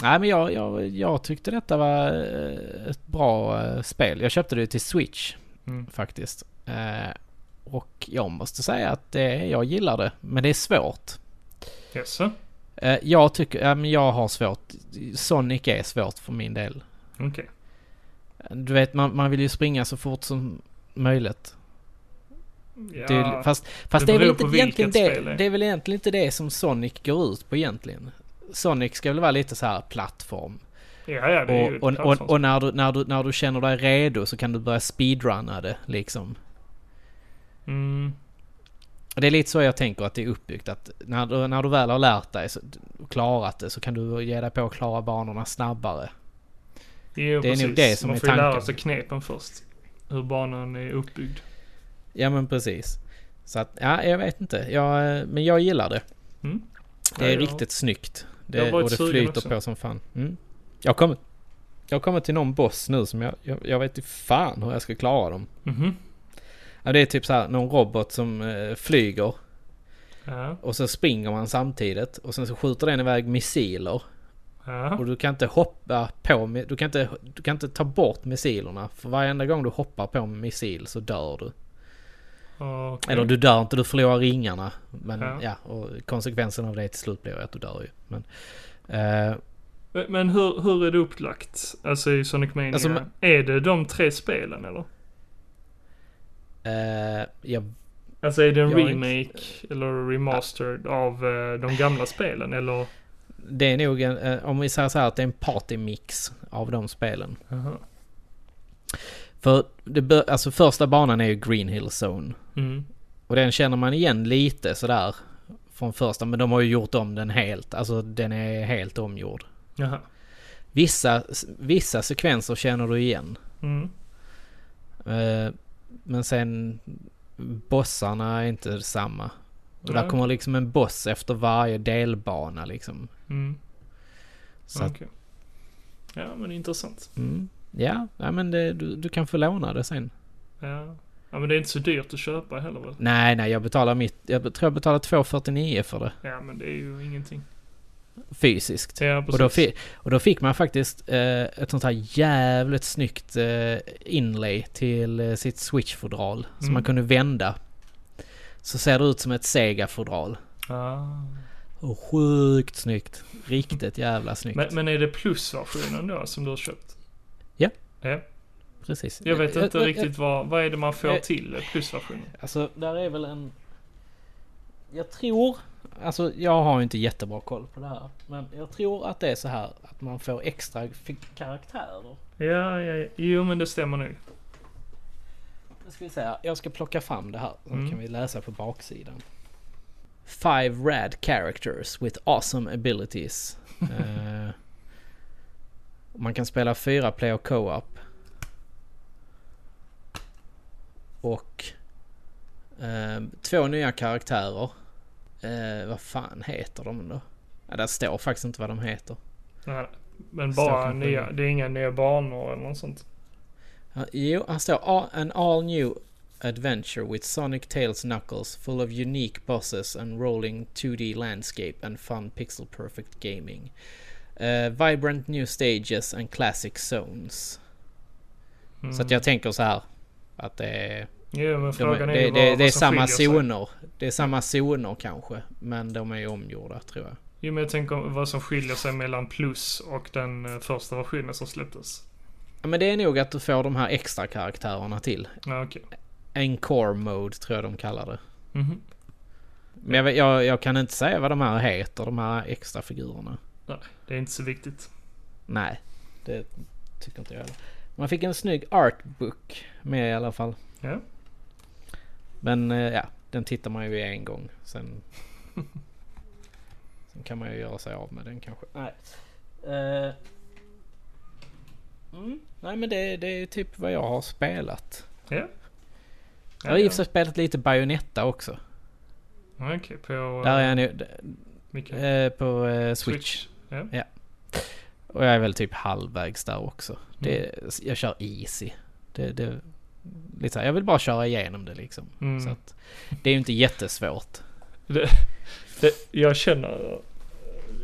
[SPEAKER 1] Nej men jag, jag, jag tyckte detta var eh, ett bra eh, spel. Jag köpte det till Switch
[SPEAKER 2] Mm.
[SPEAKER 1] faktiskt. Eh, Och jag måste säga att det, jag gillar det. Men det är svårt.
[SPEAKER 2] Jaså?
[SPEAKER 1] Eh, Jag tycker, ja men jag har svårt. Sonic är svårt för min del.
[SPEAKER 2] Okej.
[SPEAKER 1] Du vet man, man vill ju springa så fort som möjligt.
[SPEAKER 2] Ja,
[SPEAKER 1] Det är, ju- fast fast
[SPEAKER 2] det
[SPEAKER 1] det, är väl
[SPEAKER 2] beror
[SPEAKER 1] inte
[SPEAKER 2] på
[SPEAKER 1] egentligen
[SPEAKER 2] vilket
[SPEAKER 1] det,
[SPEAKER 2] spel det är.
[SPEAKER 1] det är väl egentligen inte det som Sonic går ut på egentligen. Sonic ska väl vara lite så här plattform.
[SPEAKER 2] Ja, ja, det är ju
[SPEAKER 1] Och, och,
[SPEAKER 2] ett
[SPEAKER 1] och, och när, du, när, du, när du känner dig redo så kan du börja speedrunna det liksom.
[SPEAKER 2] Mm.
[SPEAKER 1] Det är lite så jag tänker att det är uppbyggt. Att när du, när du väl har lärt dig så, och klarat det så kan du ge dig på att klara banorna snabbare.
[SPEAKER 2] Jo,
[SPEAKER 1] Det är nog
[SPEAKER 2] precis.
[SPEAKER 1] det som
[SPEAKER 2] Man
[SPEAKER 1] är
[SPEAKER 2] får ju lära
[SPEAKER 1] tanken.
[SPEAKER 2] sig knepen först. Hur banan är uppbyggd.
[SPEAKER 1] Ja men precis. Så att, ja jag vet inte. Jag, eh, men jag gillar det.
[SPEAKER 2] Mm.
[SPEAKER 1] Det är
[SPEAKER 2] Ja, jag-
[SPEAKER 1] riktigt snyggt.
[SPEAKER 2] jag
[SPEAKER 1] Det,
[SPEAKER 2] har varit
[SPEAKER 1] och det
[SPEAKER 2] sugen
[SPEAKER 1] flyter
[SPEAKER 2] också.
[SPEAKER 1] på som fan. Mm. Jag kommer jag kommer till någon boss nu som jag, jag, jag vet inte fan hur jag ska klara dem.
[SPEAKER 2] Mhm.
[SPEAKER 1] Ja, det är typ så här någon robot som eh, flyger
[SPEAKER 2] Ja,
[SPEAKER 1] och så springer man samtidigt och sen så skjuter den iväg missiler.
[SPEAKER 2] ja.
[SPEAKER 1] Och du kan inte hoppa på, mi- du kan inte, du kan inte ta bort missilerna. För varenda gång du hoppar på en missil så dör du.
[SPEAKER 2] Okej.
[SPEAKER 1] Eller du dör inte, du förlorar ringarna. Men ja,
[SPEAKER 2] Mm. Ja.
[SPEAKER 1] och konsekvensen av det till slut blir ju att du dör ju. Men, eh,
[SPEAKER 2] Men hur, hur är det upplagt? Alltså i Sonic Mania?
[SPEAKER 1] Alltså, men-
[SPEAKER 2] Är det de tre spelen eller?
[SPEAKER 1] eh, jag
[SPEAKER 2] Alltså är det en
[SPEAKER 1] Jag har
[SPEAKER 2] remake eller remastered av eh, de gamla spelen eller?
[SPEAKER 1] Det är nog en, eh, om vi säger så här att det är en partymix av de spelen.
[SPEAKER 2] Aha.
[SPEAKER 1] För det bör, alltså första banan är ju Green Hill Zone.
[SPEAKER 2] Mm.
[SPEAKER 1] Och den känner man igen lite sådär från första. Men de har ju gjort om den helt. Alltså den är helt omgjord.
[SPEAKER 2] Jaha.
[SPEAKER 1] Vissa, vissa sekvenser känner du igen.
[SPEAKER 2] Mm.
[SPEAKER 1] Eh, Men sen bossarna är inte samma. Och där
[SPEAKER 2] Nej.
[SPEAKER 1] kommer liksom en boss efter varje delbana liksom.
[SPEAKER 2] Mm.
[SPEAKER 1] Så att,
[SPEAKER 2] Okej. Ja men intressant.
[SPEAKER 1] mm, ja, ja, men det, du, du kan få låna det sen.
[SPEAKER 2] Ja. ja men det är inte så dyrt att köpa heller väl?
[SPEAKER 1] Nej, nej, jag betalar mitt. Jag be- tror jag betalar 2,49 för det
[SPEAKER 2] Ja men det är ju ingenting.
[SPEAKER 1] fysiskt.
[SPEAKER 2] Ja precis.
[SPEAKER 1] Och då, fi- och då fick man faktiskt eh, ett sånt här jävligt snyggt eh, inlay till eh, sitt switch-fodral. Som
[SPEAKER 2] Mm.
[SPEAKER 1] man kunde vända. Så ser det ut som ett Sega-fodral.
[SPEAKER 2] Ah.
[SPEAKER 1] Och Sjukt snyggt. Riktigt jävla snyggt.
[SPEAKER 2] Men, men är det plusversionen då som du har köpt?
[SPEAKER 1] Ja.
[SPEAKER 2] ja.
[SPEAKER 1] Precis. Eh,
[SPEAKER 2] Jag vet inte
[SPEAKER 1] Ä- ä- ä-
[SPEAKER 2] riktigt vad, vad är det man får
[SPEAKER 1] jag-
[SPEAKER 2] till eh, plusversionen?
[SPEAKER 1] Alltså, där är väl en... Jag tror... Alltså, jag har ju inte jättebra koll på det här. Men jag tror att det är så här att man får extra fi- karaktärer.
[SPEAKER 2] Ja, ja, ja. Jo men det stämmer nog.
[SPEAKER 1] Nu ska vi se här. Jag ska plocka fram det här. Så
[SPEAKER 2] Mm.
[SPEAKER 1] kan vi läsa på baksidan. Five rad characters with awesome abilities. Eh, man kan spela fyra player co-op. Och eh, två nya karaktärer. Eh, vad fan heter de då? Ja, där står faktiskt inte vad de heter.
[SPEAKER 2] Nej, men
[SPEAKER 1] Så
[SPEAKER 2] bara
[SPEAKER 1] kanske
[SPEAKER 2] nya, det är inga nya banor eller något sånt.
[SPEAKER 1] Ja, Jo, han står "A- An all new adventure with Sonic, Tails, Knuckles full of unique bosses and rolling 2D landscape and fun pixel perfect gaming. Eh, vibrant new stages and classic zones.
[SPEAKER 2] Mm.
[SPEAKER 1] Så att jag tänker så här. Att det är,
[SPEAKER 2] Jo men
[SPEAKER 1] de,
[SPEAKER 2] frågan
[SPEAKER 1] är-
[SPEAKER 2] är ju
[SPEAKER 1] det,
[SPEAKER 2] vad,
[SPEAKER 1] det,
[SPEAKER 2] vad
[SPEAKER 1] det är
[SPEAKER 2] som
[SPEAKER 1] samma
[SPEAKER 2] skiljer sig.
[SPEAKER 1] zoner. Det är samma zoner kanske. Men de är ju omgjorda tror jag.
[SPEAKER 2] Jo men jag tänker vad som skiljer sig mellan plus och den eh, första versionen som släpptes.
[SPEAKER 1] Ja, men det är nog att du får de här extra karaktärerna till.
[SPEAKER 2] Ja okej.
[SPEAKER 1] Encore mode tror jag de kallar det.
[SPEAKER 2] Mhm.
[SPEAKER 1] Men jag, vet- jag, jag kan inte säga vad de här heter, de här extra figurerna.
[SPEAKER 2] Det är inte så viktigt.
[SPEAKER 1] Nej, det tycker inte jag heller. Man fick en snygg artbook med i alla fall.
[SPEAKER 2] Ja.
[SPEAKER 1] Men eh, ja, den tittar man ju i en gång. Sen, [LAUGHS] sen kan man ju göra sig av med den kanske. Nej, Eh, mm, nej men det, det är typ vad jag har spelat. Jag har i och för sig spelat lite Bayonetta också.
[SPEAKER 2] Okej, på...
[SPEAKER 1] Där är
[SPEAKER 2] eh,
[SPEAKER 1] jag nu,
[SPEAKER 2] vilken?
[SPEAKER 1] eh, på eh, Switch.
[SPEAKER 2] Ja.
[SPEAKER 1] Och jag är väl typ halvvägs där också. Det, jag kör easy. Det, det, lite så här, jag vill bara köra igenom det liksom.
[SPEAKER 2] Mm.
[SPEAKER 1] Så att, det är ju inte jättesvårt.
[SPEAKER 2] Det, jag känner,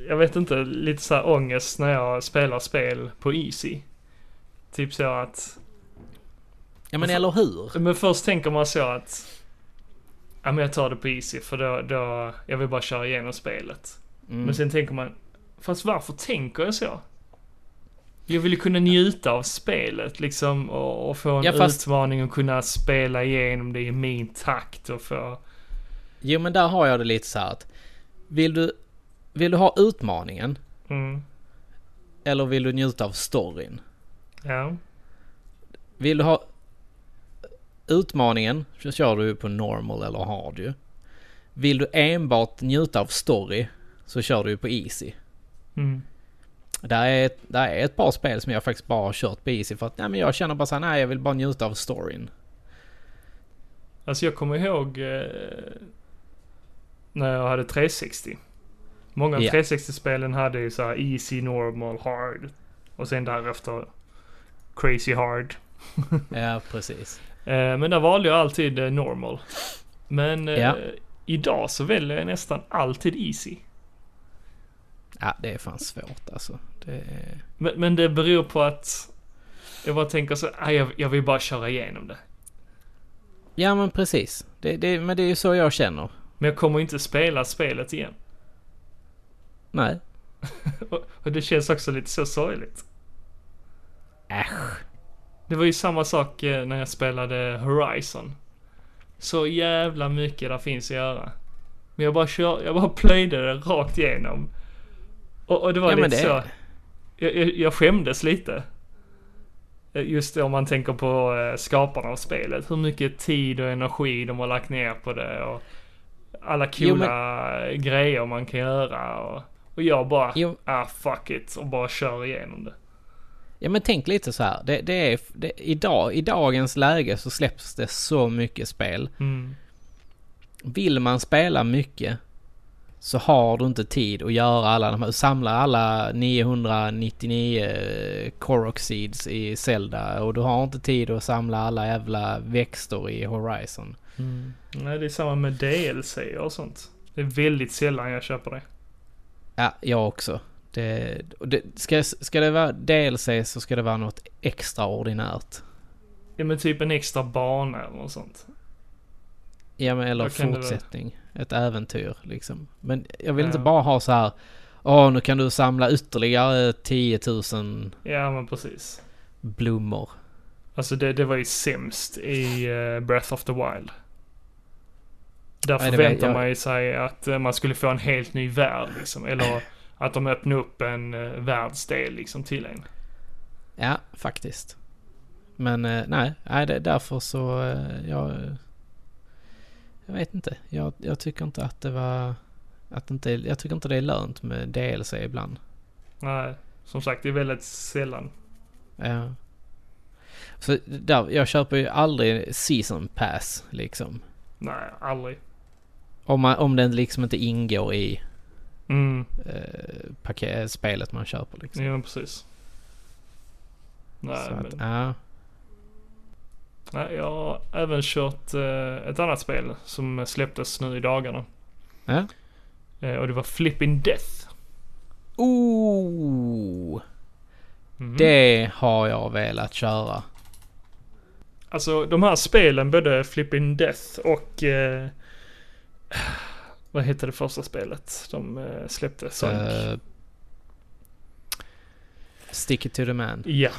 [SPEAKER 2] jag vet inte, lite så här ångest när jag spelar spel på Easy. Typ så att,
[SPEAKER 1] Ja men eller hur?
[SPEAKER 2] men först tänker man så att, ja men jag tar det på Easy för då, då jag vill bara köra igenom spelet.
[SPEAKER 1] Mm.
[SPEAKER 2] Men sen tänker man, fast varför tänker jag så? Jag vill ju kunna njuta av spelet liksom och, och få en
[SPEAKER 1] Ja, fast-
[SPEAKER 2] utmaning och kunna spela igenom det i min takt och få...
[SPEAKER 1] Jo men där har jag det lite så här att vill du Vill du ha utmaningen?
[SPEAKER 2] Mm.
[SPEAKER 1] Eller vill du njuta av storyn?
[SPEAKER 2] Ja.
[SPEAKER 1] Vill du ha utmaningen så kör du på normal eller hard ju. Vill du enbart njuta av story så kör du på easy.
[SPEAKER 2] Mm.
[SPEAKER 1] Där är, ett- där är ett par spel som jag faktiskt bara har kört på easy för att nej, men jag känner bara så här, nej jag vill bara njuta av storyn.
[SPEAKER 2] Alltså jag kommer ihåg eh, när jag hade 360. Många av
[SPEAKER 1] Ja.
[SPEAKER 2] 360-spelen hade ju så här easy, normal, hard. Och sen därefter crazy hard.
[SPEAKER 1] Ja precis.
[SPEAKER 2] Eh, men där valde jag alltid eh, normal. Men eh,
[SPEAKER 1] Ja.
[SPEAKER 2] idag så väljer jag nästan alltid easy.
[SPEAKER 1] Ja det är fan svårt alltså. Det är...
[SPEAKER 2] Men, men det beror på att jag bara tänker så, "Aj, jag, jag vill bara köra igenom det.
[SPEAKER 1] Ja men precis. Det, det, men det är ju så jag känner.
[SPEAKER 2] Men jag kommer inte spela spelet igen.
[SPEAKER 1] Nej.
[SPEAKER 2] Och, och det känns också lite så sorgligt.
[SPEAKER 1] Äsch.
[SPEAKER 2] Det var ju samma sak eh, när jag spelade Horizon. Så jävla mycket där finns att göra. Men jag bara kör, jag bara [LAUGHS] plöjde det rakt igenom. Och, och det var
[SPEAKER 1] Ja, men
[SPEAKER 2] lite
[SPEAKER 1] det-
[SPEAKER 2] så. Jag, jag, jag skämdes lite. Eh, Just om man tänker på eh, skaparna av spelet. Hur mycket tid och energi de har lagt ner på det och alla
[SPEAKER 1] Jo, men-
[SPEAKER 2] coola grejer man kan göra. Och, och jag bara,
[SPEAKER 1] Jo.
[SPEAKER 2] ah fuck it, och bara kör igenom det.
[SPEAKER 1] Ja men tänk lite så här. Det, det är, det, idag, I dagens läge så släpps det så mycket spel.
[SPEAKER 2] Mm.
[SPEAKER 1] Vill man spela mycket så har du inte tid att göra alla de här, samla alla 999 Korok Seeds i Zelda och du har inte tid att samla alla jävla växter i Horizon. Mm.
[SPEAKER 2] Nej, det är samma med DLC och sånt. Det är väldigt sällan jag köper det.
[SPEAKER 1] Ja, jag också. Det, och det, ska, ska det vara DLC så ska det vara något extraordinärt.
[SPEAKER 2] Ja, men typ en extra bana eller något sånt.
[SPEAKER 1] Ja, men, eller
[SPEAKER 2] Vad kan det vara?
[SPEAKER 1] fortsättning. Ett äventyr liksom. Men jag vill inte
[SPEAKER 2] Ja.
[SPEAKER 1] bara ha så här. Åh, nu kan du samla ytterligare 10 000
[SPEAKER 2] Ja, men precis.
[SPEAKER 1] blommor.
[SPEAKER 2] Alltså det, det var ju sämst i eh, Breath of the Wild. Där
[SPEAKER 1] Nej, det var-
[SPEAKER 2] förväntar
[SPEAKER 1] jag-
[SPEAKER 2] man ju sig att eh, man skulle få en helt ny värld liksom. Eller att de öppnar upp en uh, världsdel liksom till en.
[SPEAKER 1] Ja, faktiskt. Men eh, nej, nej det, därför så... eh, Jag, jag vet inte. Jag, jag tycker inte att det var... Att det inte, jag tycker inte det är lönt med DLC ibland.
[SPEAKER 2] Nej, som sagt det är väldigt sällan.
[SPEAKER 1] Ja. Eh, Så där, jag köper ju aldrig season pass liksom.
[SPEAKER 2] Nej, aldrig.
[SPEAKER 1] Om, man, om den liksom inte ingår i
[SPEAKER 2] Mm,
[SPEAKER 1] eh, paket, spelet man köper liksom.
[SPEAKER 2] ja men precis. Mm, Nej,
[SPEAKER 1] Så att,
[SPEAKER 2] men...
[SPEAKER 1] ja.
[SPEAKER 2] Nej, jag har även kört eh, ett annat spel som släpptes nu i dagarna.
[SPEAKER 1] ja.
[SPEAKER 2] Eh, och det var Flipping Death.
[SPEAKER 1] Oh,
[SPEAKER 2] Mhm.
[SPEAKER 1] det har jag velat köra.
[SPEAKER 2] Alltså de här spelen, både Flipping Death och... Eh, vad hette det första spelet de eh, släppte? Sonic?
[SPEAKER 1] Eh, stick it to the man.
[SPEAKER 2] Ja.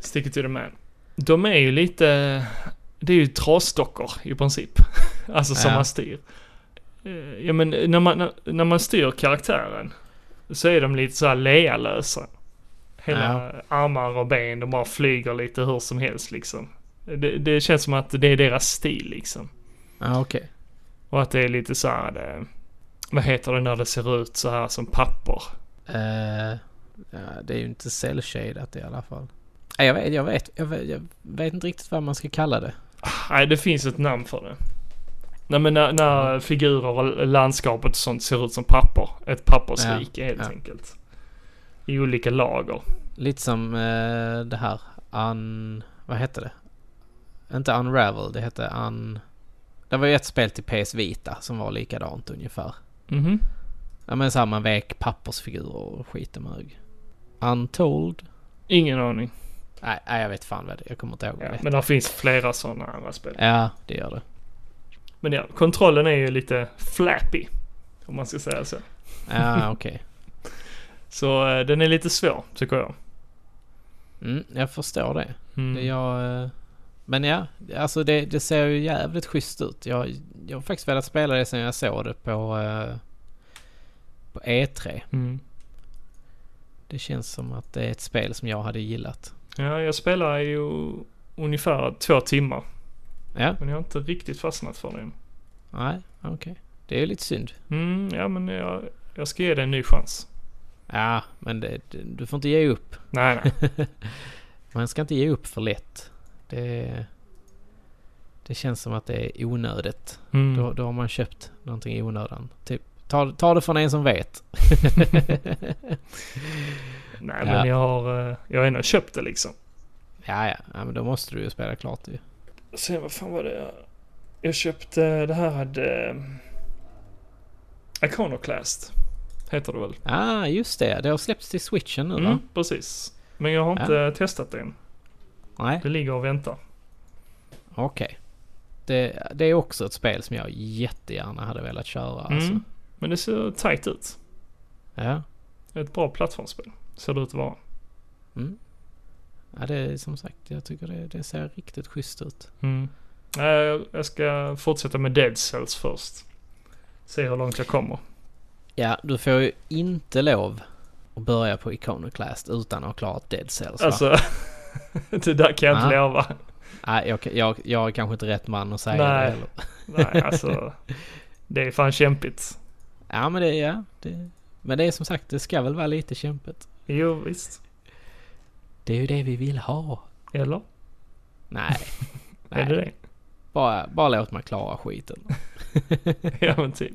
[SPEAKER 2] Stick it to the man. De är ju lite... Det är ju trasdockor i princip. [LAUGHS] Alltså som
[SPEAKER 1] Ja.
[SPEAKER 2] man styr. Eh, Ja men när man, när- när man styr karaktären så är de lite så här lealösa. Hela armar och ben, de bara flyger lite hur som helst liksom. Det, det känns som att det är deras stil liksom.
[SPEAKER 1] Ja, okej.
[SPEAKER 2] Och att det är lite så här, det, vad heter det när det ser ut så här som papper?
[SPEAKER 1] Eh, ja, det är ju inte cell-shadat i alla fall. Nej, Jag vet, jag, vet, jag, vet, jag vet inte riktigt vad man ska kalla det.
[SPEAKER 2] Nej, det finns ett namn för det. Nej men när, när figurer och landskapet och sånt ser ut som papper. Ett pappersrike helt
[SPEAKER 1] ja.
[SPEAKER 2] enkelt. I olika lager.
[SPEAKER 1] Lite som eh, det här Un... Vad hette det? Inte Unravel, det hette Un... Det var ju ett spel till PS Vita som var likadant ungefär.
[SPEAKER 2] Mhm.
[SPEAKER 1] Ja men såhär man vek pappersfigurer och skit om hög. Untold?
[SPEAKER 2] Ingen aning.
[SPEAKER 1] Nej, nej jag vet fan vad det är. Jag kommer inte ihåg vad
[SPEAKER 2] Ja,
[SPEAKER 1] det
[SPEAKER 2] men där finns flera sådana andra spel.
[SPEAKER 1] Ja, det gör det.
[SPEAKER 2] Men ja, kontrollen är ju lite flappy. Om man ska säga så.
[SPEAKER 1] Ja, Ah, okej.
[SPEAKER 2] Så eh, den är lite svår, tycker jag.
[SPEAKER 1] Mm, jag förstår det.
[SPEAKER 2] Mm.
[SPEAKER 1] det jag, eh, men ja, alltså det, det ser ju jävligt schysst ut. Jag, jag har faktiskt velat spela det sen jag såg det på... eh, på E3.
[SPEAKER 2] Mm.
[SPEAKER 1] Det känns som att det är ett spel som jag hade gillat.
[SPEAKER 2] Ja, jag spelar ju ungefär två timmar.
[SPEAKER 1] Ja,
[SPEAKER 2] Men jag har inte riktigt fastnat för det än.
[SPEAKER 1] nej, okej. Det är ju lite synd.
[SPEAKER 2] Mm, ja men jag, jag ska ge det en ny chans.
[SPEAKER 1] Ja, men det, du får inte ge upp. [LAUGHS]
[SPEAKER 2] Nej, nej.
[SPEAKER 1] Man ska inte ge upp för lätt. Det, det känns som att det är onödigt.
[SPEAKER 2] Mm.
[SPEAKER 1] Då, då har man köpt någonting i onödan. Typ, ta, ta det från en som
[SPEAKER 2] [LAUGHS]
[SPEAKER 1] vet.
[SPEAKER 2] nej
[SPEAKER 1] Ja.
[SPEAKER 2] men jag har, eh, jag har ändå köpt det liksom.
[SPEAKER 1] ja, ja, ja, men då måste du ju spela klart ju.
[SPEAKER 2] Sen vad fan var det jag... Jag köpte, det här hade... eh, Iconoclast. Heter det väl?
[SPEAKER 1] Ah, just det. Det har släppts till switchen nu va?
[SPEAKER 2] Mm, precis. Men jag har inte testat det än.
[SPEAKER 1] Nej,
[SPEAKER 2] Det ligger och väntar.
[SPEAKER 1] okej. Det, det är också ett spel som jag jättegärna hade velat köra. Alltså.
[SPEAKER 2] Mm. Men det ser tight ut.
[SPEAKER 1] Ja.
[SPEAKER 2] Ett bra plattformsspel. Ser det ut att vara.
[SPEAKER 1] Mm. ja, det är som sagt, jag tycker det, det ser riktigt schysst ut.
[SPEAKER 2] Mm. Eh, Jag ska fortsätta med Dead Cells först. Se hur långt jag kommer.
[SPEAKER 1] Ja, du får ju inte lov att börja på Iconoclast utan att ha klarat Dead Cells va?
[SPEAKER 2] Alltså, [LAUGHS] det där kan jag inte
[SPEAKER 1] Ah.
[SPEAKER 2] lova.
[SPEAKER 1] Nej, jag, jag, jag är kanske inte rätt man att säga
[SPEAKER 2] Nej.
[SPEAKER 1] det heller.
[SPEAKER 2] Nej, alltså. Det är fan kämpigt.
[SPEAKER 1] Ja, men det, ja, det, men det är som sagt, det ska väl vara lite kämpigt.
[SPEAKER 2] Jo, visst.
[SPEAKER 1] Det är ju det vi vill ha.
[SPEAKER 2] Eller?
[SPEAKER 1] [LAUGHS] Nej.
[SPEAKER 2] Är det
[SPEAKER 1] Nej,
[SPEAKER 2] det?
[SPEAKER 1] bara, bara låt mig klara [LAUGHS] skiten. [LAUGHS]
[SPEAKER 2] Ja, men typ.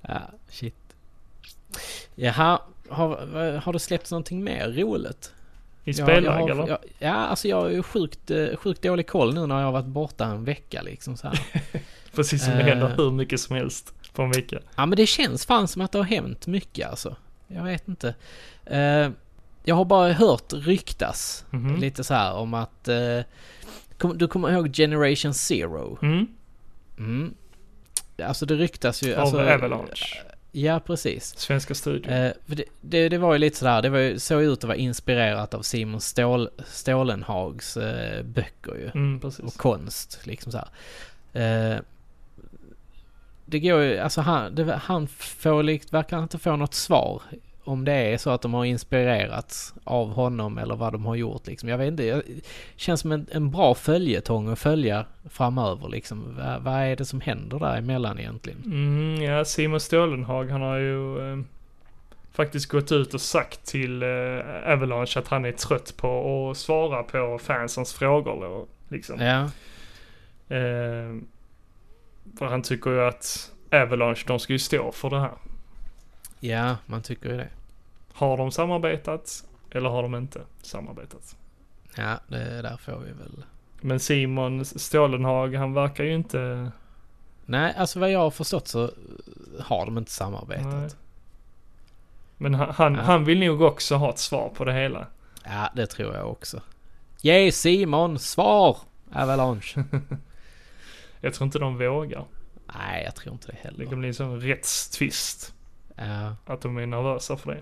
[SPEAKER 1] Ja, shit. Jaha, har, har det släppts någonting mer roligt?
[SPEAKER 2] I
[SPEAKER 1] Ja,
[SPEAKER 2] spellag,
[SPEAKER 1] jag har-
[SPEAKER 2] eller?
[SPEAKER 1] jag- ja, alltså jag har ju sjukt, eh, sjukt dålig koll nu när jag har varit borta en vecka liksom så här. [LAUGHS]
[SPEAKER 2] Precis som det
[SPEAKER 1] Eh.
[SPEAKER 2] händer hur mycket som helst på en vecka.
[SPEAKER 1] Ja men det känns fan som att det har hänt mycket alltså. Jag vet inte. Eh, jag har bara hört ryktas
[SPEAKER 2] Mhm.
[SPEAKER 1] lite så här om att... eh, kom, du kommer ihåg Generation Zero?
[SPEAKER 2] Mm.
[SPEAKER 1] Mm. Alltså det ryktas ju...
[SPEAKER 2] Av
[SPEAKER 1] alltså,
[SPEAKER 2] Avalanche.
[SPEAKER 1] Ja precis.
[SPEAKER 2] Svenska studion.
[SPEAKER 1] Eh, för det, det, det var ju lite sådär, det var ju, såg ut att vara inspirerat av Simon Stål, Stålenhags eh, böcker ju.
[SPEAKER 2] Mm,
[SPEAKER 1] Och
[SPEAKER 2] precis.
[SPEAKER 1] konst, liksom så här. Eh, det går ju, alltså han, det, han får, likt- verkar inte få något svar. Om det är så att de har inspirerats av honom eller vad de har gjort liksom. Jag vet inte, jag, känns som en, en bra följetong att följa framöver liksom. Va, vad är det som händer däremellan egentligen?
[SPEAKER 2] Mm, ja, Simon Stålenhag, han har ju eh, faktiskt gått ut och sagt till eh, Avalanche att han är trött på att svara på fansens frågor. Då, liksom.
[SPEAKER 1] Ja,
[SPEAKER 2] Eh, för han tycker ju att Avalanche, de ska ju stå för det här.
[SPEAKER 1] ja man tycker ju det.
[SPEAKER 2] Har de samarbetat eller har de inte samarbetat?
[SPEAKER 1] Ja, det där får vi väl.
[SPEAKER 2] Men Simon Stålenhag, han verkar ju inte...
[SPEAKER 1] Nej, alltså vad jag har förstått så har de inte samarbetat.
[SPEAKER 2] Nej. Men han, han,
[SPEAKER 1] Ja.
[SPEAKER 2] han vill nog också ha ett svar på det hela.
[SPEAKER 1] Ja, det tror jag också. Ge Simon svar!
[SPEAKER 2] [LAUGHS]
[SPEAKER 1] Avalanche.
[SPEAKER 2] Jag tror inte de vågar.
[SPEAKER 1] Nej, jag tror inte det heller.
[SPEAKER 2] Det kan bli en sån rättstvist.
[SPEAKER 1] Ja,
[SPEAKER 2] Att de är nervösa för det.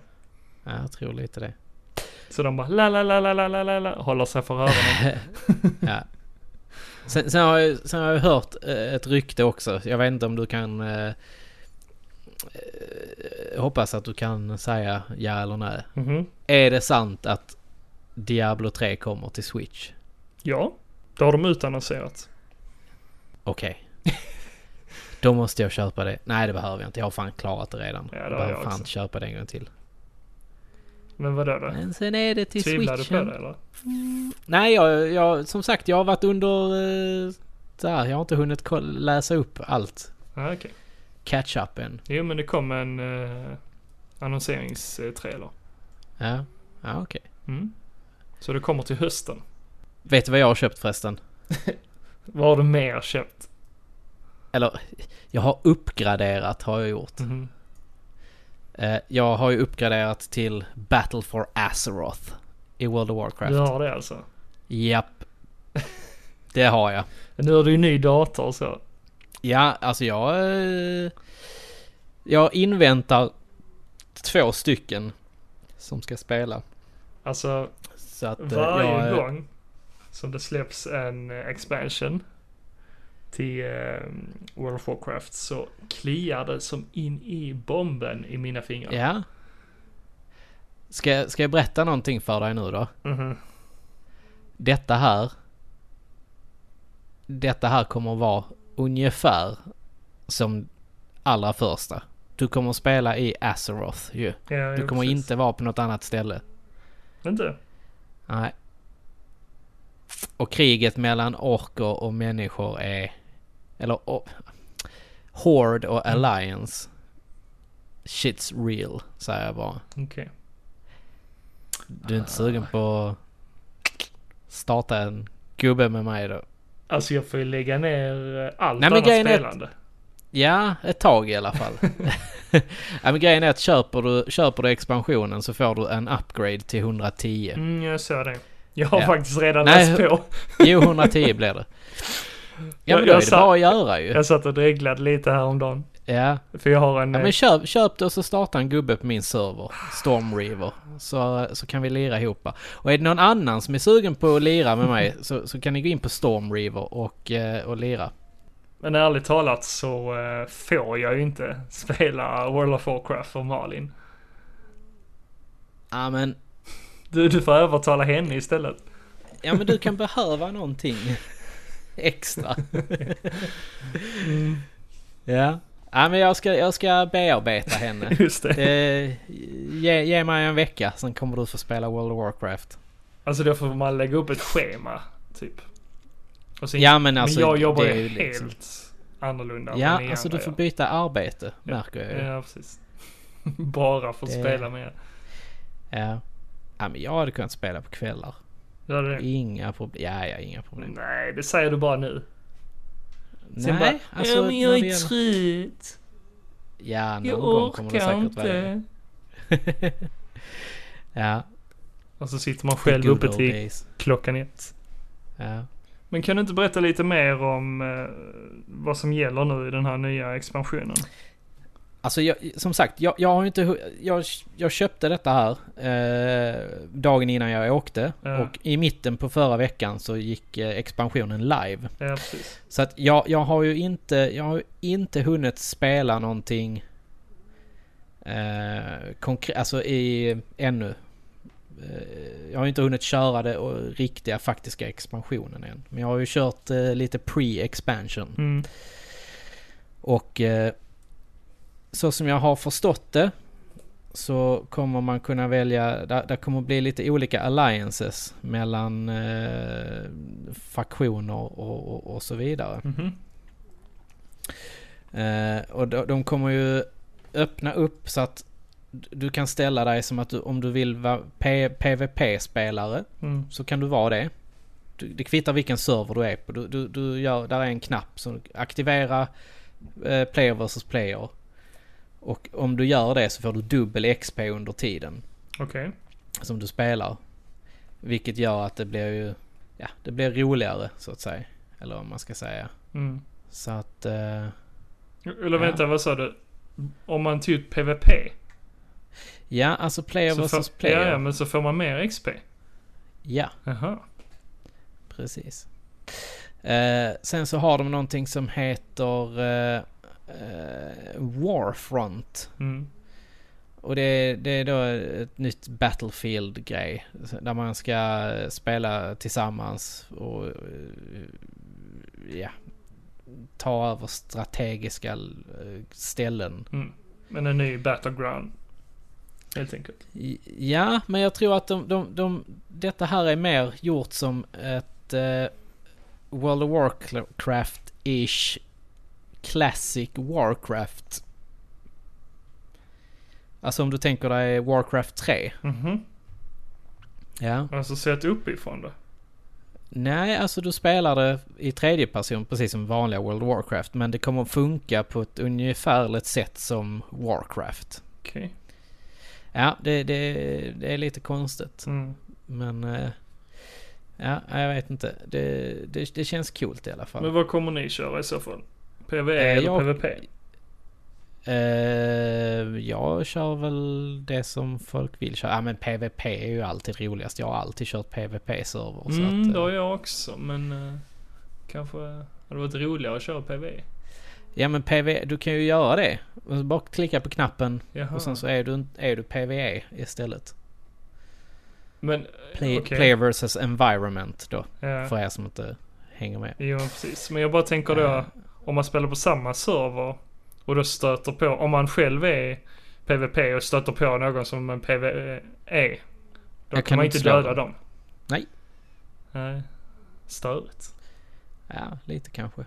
[SPEAKER 1] ja, jag tror lite det.
[SPEAKER 2] Så de bara la la la la la la la la håller sig för öronen.
[SPEAKER 1] Ja. Sen, sen, har jag, sen har jag hört eh, ett rykte också. Jag vet inte om du kan... Eh, eh, hoppas att du kan säga ja eller nej.
[SPEAKER 2] Mhm.
[SPEAKER 1] Är det sant att Diablo 3 kommer till Switch?
[SPEAKER 2] Ja, det har de utannonserat.
[SPEAKER 1] Okej.
[SPEAKER 2] [LAUGHS]
[SPEAKER 1] Då måste jag köpa det. Nej, det behöver jag inte. Jag har fan klarat det redan.
[SPEAKER 2] Ja, det har
[SPEAKER 1] jag behöver
[SPEAKER 2] jag
[SPEAKER 1] fan
[SPEAKER 2] också.
[SPEAKER 1] köpa det en gång till.
[SPEAKER 2] Men vadå då?
[SPEAKER 1] Men sen är det till
[SPEAKER 2] Tvivlar du på
[SPEAKER 1] switchen.
[SPEAKER 2] det eller?
[SPEAKER 1] Nej, jag, jag, som sagt, jag har varit under... Eh, där, jag har inte hunnit koll- läsa upp allt.
[SPEAKER 2] Ja, okej.
[SPEAKER 1] Catch up än.
[SPEAKER 2] Jo, men det kom en eh, annonseringstrailer.
[SPEAKER 1] Ja, ja okej.
[SPEAKER 2] Mm. Så det kommer till hösten.
[SPEAKER 1] Vet du vad jag har köpt förresten?
[SPEAKER 2] Vad har du mer köpt?
[SPEAKER 1] Eller, jag har uppgraderat har jag gjort.
[SPEAKER 2] Mhm.
[SPEAKER 1] Eh, jag har ju uppgraderat till Battle for Azeroth i World of Warcraft.
[SPEAKER 2] Du har det alltså?
[SPEAKER 1] Japp. Det har jag.
[SPEAKER 2] Nu har du ju ny dator och så.
[SPEAKER 1] Ja, alltså jag... eh, Jag inväntar två stycken som ska spela.
[SPEAKER 2] Alltså,
[SPEAKER 1] Så att eh,
[SPEAKER 2] varje
[SPEAKER 1] jag... eh,
[SPEAKER 2] gång som det släpps en eh, expansion till eh, World of Warcraft så kliar det som in i bomben i mina fingrar.
[SPEAKER 1] Ja. Ska, ska jag berätta någonting för dig nu då?
[SPEAKER 2] Mhm.
[SPEAKER 1] Detta här. Detta här kommer att vara ungefär som allra första. Du kommer att spela i Azeroth ju.
[SPEAKER 2] Ja, ja,
[SPEAKER 1] Du kommer
[SPEAKER 2] precis.
[SPEAKER 1] inte vara på något annat ställe.
[SPEAKER 2] Inte?
[SPEAKER 1] Nej. Och kriget mellan orker och människor är... Eller... o- Horde och
[SPEAKER 2] Mm.
[SPEAKER 1] Alliance. Shit's real, säger jag bara.
[SPEAKER 2] Okej.
[SPEAKER 1] Du är inte sugen på att starta en gubbe med mig då?
[SPEAKER 2] Alltså jag får ju lägga ner eh, allt
[SPEAKER 1] Nej, men
[SPEAKER 2] annat
[SPEAKER 1] grejen är att-
[SPEAKER 2] spelande.
[SPEAKER 1] Ja, ett tag i alla
[SPEAKER 2] [LAUGHS]
[SPEAKER 1] fall. ja, men grejen är att köper du, köper du expansionen så får du en upgrade till 110.
[SPEAKER 2] Mm, jag såg det. Jag har
[SPEAKER 1] Ja.
[SPEAKER 2] faktiskt redan
[SPEAKER 1] Nej,
[SPEAKER 2] läst på.
[SPEAKER 1] Jo, 110 blir det. Ja,
[SPEAKER 2] Jag-
[SPEAKER 1] men då
[SPEAKER 2] jag
[SPEAKER 1] är det
[SPEAKER 2] sa-
[SPEAKER 1] bara att göra ju.
[SPEAKER 2] Jag satt och dreglade lite häromdagen.
[SPEAKER 1] Ja.
[SPEAKER 2] För jag har en...
[SPEAKER 1] Ja
[SPEAKER 2] eh,
[SPEAKER 1] men köp, köp det och så starta en gubbe på min server, Storm Reaver. Så, så kan vi lira ihop. Och är det någon annan som är sugen på att lira med mig så, så kan ni gå in på Storm Reaver och, eh, och lira.
[SPEAKER 2] Men ärligt talat så eh, får jag ju inte spela World of Warcraft för Malin.
[SPEAKER 1] Ja men,
[SPEAKER 2] Du, du får övertala henne istället.
[SPEAKER 1] ja men du kan behöva någonting extra. Ja. Ja men jag ska, jag ska bearbeta henne.
[SPEAKER 2] Just det.
[SPEAKER 1] Det, ge, ge mig en vecka, sen kommer du få spela World of Warcraft.
[SPEAKER 2] Alltså då får man lägga upp ett schema, typ. Och sen,
[SPEAKER 1] Ja men alltså
[SPEAKER 2] men jag jobbar
[SPEAKER 1] det är
[SPEAKER 2] ju helt
[SPEAKER 1] liksom-
[SPEAKER 2] annorlunda. än vad ni
[SPEAKER 1] Ja, alltså
[SPEAKER 2] andra
[SPEAKER 1] du får
[SPEAKER 2] gör.
[SPEAKER 1] byta arbete, märker jag ju.
[SPEAKER 2] Ja, precis. [LAUGHS] Bara för att
[SPEAKER 1] Det-
[SPEAKER 2] spela med.
[SPEAKER 1] Ja. ja, men jag hade kunnat spela på kvällar.
[SPEAKER 2] Gör du det?
[SPEAKER 1] Inga problem. Ja, ja, inga problem.
[SPEAKER 2] Nej, det säger du bara nu. Mm. Sen
[SPEAKER 1] Nej,
[SPEAKER 2] bara,
[SPEAKER 1] alltså...
[SPEAKER 2] ja, men jag
[SPEAKER 1] när det
[SPEAKER 2] är
[SPEAKER 1] gäller-
[SPEAKER 2] trött.
[SPEAKER 1] Ja, någon
[SPEAKER 2] Jag
[SPEAKER 1] gång kommer det
[SPEAKER 2] orkar
[SPEAKER 1] säkert vara det.
[SPEAKER 2] inte.
[SPEAKER 1] [LAUGHS] Ja.
[SPEAKER 2] Och så sitter man själv
[SPEAKER 1] the good
[SPEAKER 2] uppe
[SPEAKER 1] old
[SPEAKER 2] till
[SPEAKER 1] days.
[SPEAKER 2] klockan ett.
[SPEAKER 1] Ja.
[SPEAKER 2] Men kan du inte berätta lite mer om eh, vad som gäller nu i den här nya expansionen?
[SPEAKER 1] Alltså jag, som sagt, jag, jag har ju inte... hu- Jag, jag köpte detta här eh, dagen innan jag åkte.
[SPEAKER 2] Ja.
[SPEAKER 1] Och i mitten på förra veckan så gick eh, expansionen live.
[SPEAKER 2] Ja, precis.
[SPEAKER 1] Så att jag, jag har ju inte, jag har ju inte hunnit spela någonting eh, konkret, alltså i, ännu. Eh, jag har ju inte hunnit köra det och riktiga faktiska expansionen än. Men jag har ju kört eh, lite pre-expansion.
[SPEAKER 2] Mm.
[SPEAKER 1] Och eh, så som jag har förstått det så kommer man kunna välja, där, där kommer bli lite olika alliances mellan eh, faktioner och, och, och så vidare.
[SPEAKER 2] Mhm.
[SPEAKER 1] Eh, och de, de kommer ju öppna upp så att d- du kan ställa dig som att du, om du vill vara P- PVP-spelare
[SPEAKER 2] Mm.
[SPEAKER 1] så kan du vara det. Du, det kvittar vilken server du är på. Du, du, du gör, där är en knapp som aktivera eh, player versus player. Och om du gör det så får du dubbel XP under tiden
[SPEAKER 2] Okej.
[SPEAKER 1] som du spelar. Vilket gör att det blir ju, ja, det blir roligare så att säga. Eller vad man ska säga.
[SPEAKER 2] Mm.
[SPEAKER 1] Så att... Eh,
[SPEAKER 2] Eller vänta, vad sa du? Om man tog ut PVP?
[SPEAKER 1] Ja, alltså player
[SPEAKER 2] så
[SPEAKER 1] versus
[SPEAKER 2] får,
[SPEAKER 1] player.
[SPEAKER 2] Ja, ja, men så får man mer XP?
[SPEAKER 1] Ja,
[SPEAKER 2] Jaha.
[SPEAKER 1] precis. Eh, sen så har de någonting som heter eh, eh, Warfront.
[SPEAKER 2] Mm.
[SPEAKER 1] Och det är, det är då ett nytt Battlefield-grej. Där man ska spela tillsammans och eh, ja, ta över strategiska eh, ställen.
[SPEAKER 2] Mm. Men en ny Battleground. Helt enkelt.
[SPEAKER 1] I- Ja, men jag tror att de, de, de, detta här är mer gjort som ett eh, World of Warcraft-ish Classic Warcraft. Alltså om du tänker dig Warcraft 3.
[SPEAKER 2] Mhm.
[SPEAKER 1] Ja.
[SPEAKER 2] Alltså sett uppifrån då?
[SPEAKER 1] Nej, alltså du spelar det i tredje person precis som vanliga World of Warcraft. Men det kommer att funka på ett ungefärligt sätt som Warcraft.
[SPEAKER 2] Okej.
[SPEAKER 1] Ja, det, det, det är lite konstigt.
[SPEAKER 2] Mm.
[SPEAKER 1] Men... eh, Ja, jag vet inte. Det, det, det känns coolt i alla fall.
[SPEAKER 2] Men vad kommer ni köra i så fall? PVE
[SPEAKER 1] Eh,
[SPEAKER 2] eller
[SPEAKER 1] jag-
[SPEAKER 2] PVP?
[SPEAKER 1] Eh, jag kör väl det som folk vill köra. Ja, men PVP är ju alltid roligast. Jag har alltid kört PVP-server. så
[SPEAKER 2] Mm,
[SPEAKER 1] att,
[SPEAKER 2] det har
[SPEAKER 1] eh,
[SPEAKER 2] jag också, men eh, kanske... Hade varit roligare att köra PV.
[SPEAKER 1] Ja men PV, du kan ju göra det. Och så Bara klicka på knappen
[SPEAKER 2] Jaha.
[SPEAKER 1] och sen så är du, inte- är du PVE istället.
[SPEAKER 2] Men,
[SPEAKER 1] Play,
[SPEAKER 2] Okej.
[SPEAKER 1] Player versus environment då.
[SPEAKER 2] ja.
[SPEAKER 1] För er som inte hänger med.
[SPEAKER 2] Jo, men precis. Men jag bara tänker då,
[SPEAKER 1] Eh.
[SPEAKER 2] om man spelar på samma server och då stöter på, om man själv är PVP och stöter på någon som en PVE, då
[SPEAKER 1] Jag
[SPEAKER 2] kan
[SPEAKER 1] kan
[SPEAKER 2] man
[SPEAKER 1] inte
[SPEAKER 2] inte
[SPEAKER 1] slå
[SPEAKER 2] döda
[SPEAKER 1] dem.
[SPEAKER 2] dem.
[SPEAKER 1] Nej.
[SPEAKER 2] Nej. Störigt.
[SPEAKER 1] Ja, lite kanske.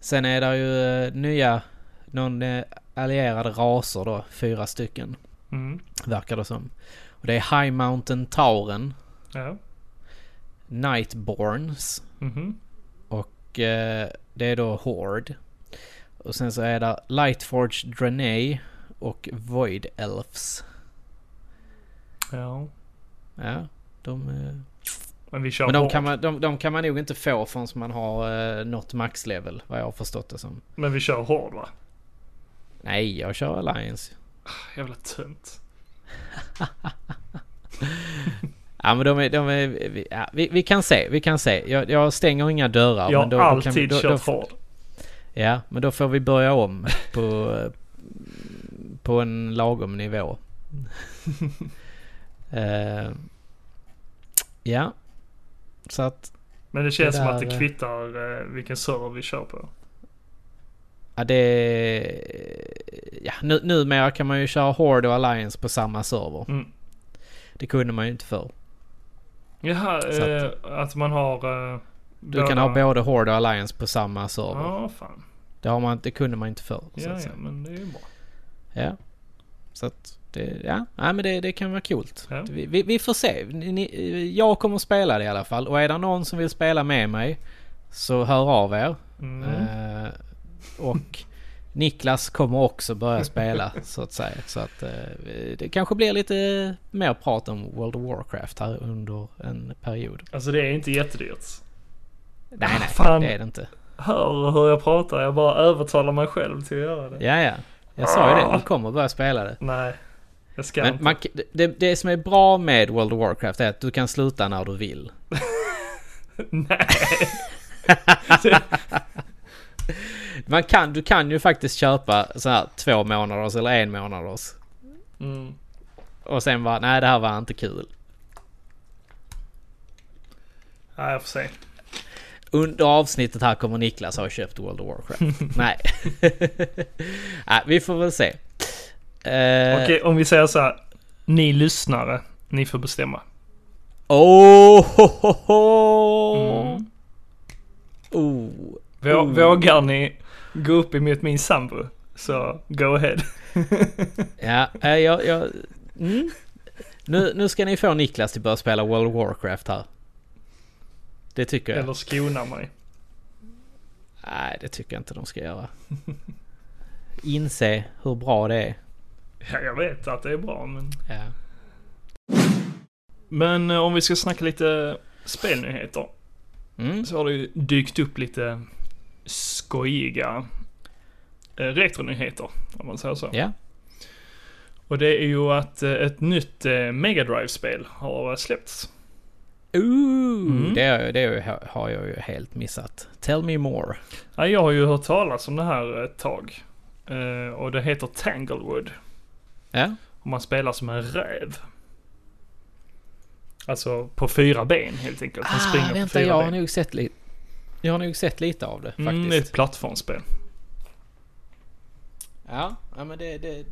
[SPEAKER 1] Sen är det ju eh, nya, någon eh, allierade raser då, fyra stycken
[SPEAKER 2] Mm.
[SPEAKER 1] verkar det som. Och det är High Mountain Tauren,
[SPEAKER 2] Ja.
[SPEAKER 1] Nightborns
[SPEAKER 2] Mhm.
[SPEAKER 1] och eh, det är då Horde. Och sen så är det Lightforge Draenei och Void Elves.
[SPEAKER 2] Ja.
[SPEAKER 1] Ja, de... eh,
[SPEAKER 2] Men vi kör
[SPEAKER 1] Men de
[SPEAKER 2] hårt.
[SPEAKER 1] kan, man, de, de kan man nog inte få förrän man har eh, nått maxlevel, vad jag har förstått det som.
[SPEAKER 2] Men vi kör hård va?
[SPEAKER 1] Nej, jag kör Alliance.
[SPEAKER 2] Jävla tönt.
[SPEAKER 1] Ja men de är, de är vi, ja, vi, vi kan se, vi kan se. Jag, jag stänger inga dörrar.
[SPEAKER 2] jag har
[SPEAKER 1] men då, då kan vi-
[SPEAKER 2] alltid
[SPEAKER 1] då, då,
[SPEAKER 2] kört hård.
[SPEAKER 1] Ja, men då får vi börja om på, eh, på en lagom
[SPEAKER 2] [LAUGHS]
[SPEAKER 1] nivå. Eh, ja, så att
[SPEAKER 2] Men det känns
[SPEAKER 1] Det
[SPEAKER 2] som att
[SPEAKER 1] där,
[SPEAKER 2] det
[SPEAKER 1] eh,
[SPEAKER 2] kvittar eh, vilken server vi kör på.
[SPEAKER 1] ja, det... Ja, nu, numera kan man ju köra Horde och Alliance på samma server.
[SPEAKER 2] Mm.
[SPEAKER 1] Det kunde man ju inte förr.
[SPEAKER 2] Jaha,
[SPEAKER 1] Så att-
[SPEAKER 2] eh, att man har... Eh,
[SPEAKER 1] Du kan ha både Horde och Alliance på samma server.
[SPEAKER 2] Ja, fan.
[SPEAKER 1] Det, har man, det kunde man inte förr. så
[SPEAKER 2] Ja,
[SPEAKER 1] att
[SPEAKER 2] ja,
[SPEAKER 1] säga.
[SPEAKER 2] men det är ju bra.
[SPEAKER 1] Ja. Så att det, ja, nej, men det, det kan vara kul.
[SPEAKER 2] Ja.
[SPEAKER 1] Vi, vi, vi får se. Ni, ni, jag kommer att spela det i alla fall. Och är det någon som vill spela med mig så hör av er.
[SPEAKER 2] Mm.
[SPEAKER 1] Eh, och [LAUGHS] Niklas kommer också börja spela så att säga. Så att eh, det kanske blir lite mer prat om World of Warcraft här under en period.
[SPEAKER 2] Alltså det är inte jättedyrt.
[SPEAKER 1] Nej, nej,
[SPEAKER 2] fan.
[SPEAKER 1] det är det inte.
[SPEAKER 2] Hör hur jag pratar, jag bara övertalar mig själv till att göra det.
[SPEAKER 1] Ja, ja. Jag sa ju det. Du kommer börja spela det.
[SPEAKER 2] Nej, jag Ah. ska
[SPEAKER 1] Men
[SPEAKER 2] inte.
[SPEAKER 1] man, k- det, det som är bra med World of Warcraft är att du kan sluta när du vill. [LAUGHS]
[SPEAKER 2] Nej,
[SPEAKER 1] Man kan, du kan ju faktiskt köpa så här två månaders eller en månaders.
[SPEAKER 2] mm.
[SPEAKER 1] Och sen bara, nej det här var inte kul.
[SPEAKER 2] Nej, jag får se.
[SPEAKER 1] Under avsnittet här kommer Niklas ha köpt World of
[SPEAKER 2] [LAUGHS]
[SPEAKER 1] Warcraft. nej. [LAUGHS] nej, vi får väl se. Eh,
[SPEAKER 2] Okej, om vi säger så här. Ni lyssnare, ni får bestämma.
[SPEAKER 1] Oh, ho, ho, ho.
[SPEAKER 2] Mm.
[SPEAKER 1] Oh.
[SPEAKER 2] Vå- Vågar ni gå upp emot min sambo, så go ahead.
[SPEAKER 1] Ja, eh, jag... jag mm. nu, nu ska ni få Niklas till att börja spela World of Warcraft här. Det tycker jag.
[SPEAKER 2] Eller skona mig.
[SPEAKER 1] Nej, det tycker jag inte de ska göra. Inse hur bra det är.
[SPEAKER 2] Ja, jag vet att det är bra, men...
[SPEAKER 1] Ja.
[SPEAKER 2] Men eh, om vi ska snacka lite spelnyheter.
[SPEAKER 1] Mm.
[SPEAKER 2] så har det ju dykt upp lite skojiga eh, retronyheter, om man säger så.
[SPEAKER 1] ja.
[SPEAKER 2] Och det är ju att eh, ett nytt eh, Mega drive spel har eh, släppts.
[SPEAKER 1] Ooh,
[SPEAKER 2] Mm.
[SPEAKER 1] det, har jag- det har jag- har jag ju helt missat. Tell me more.
[SPEAKER 2] Ja, jag har ju hört talas om det här ett tag. Eh, Och det heter Tanglewood.
[SPEAKER 1] Ja.
[SPEAKER 2] Och man spelar som en räv. Alltså på fyra ben helt enkelt. Man springer
[SPEAKER 1] Ah,
[SPEAKER 2] på
[SPEAKER 1] vänta,
[SPEAKER 2] fyra
[SPEAKER 1] jag har
[SPEAKER 2] ben.
[SPEAKER 1] nog sett lite. Jag har nog sett lite av det faktiskt.
[SPEAKER 2] Mm, det är ett plattformsspel.
[SPEAKER 1] Ja, ja men det, det...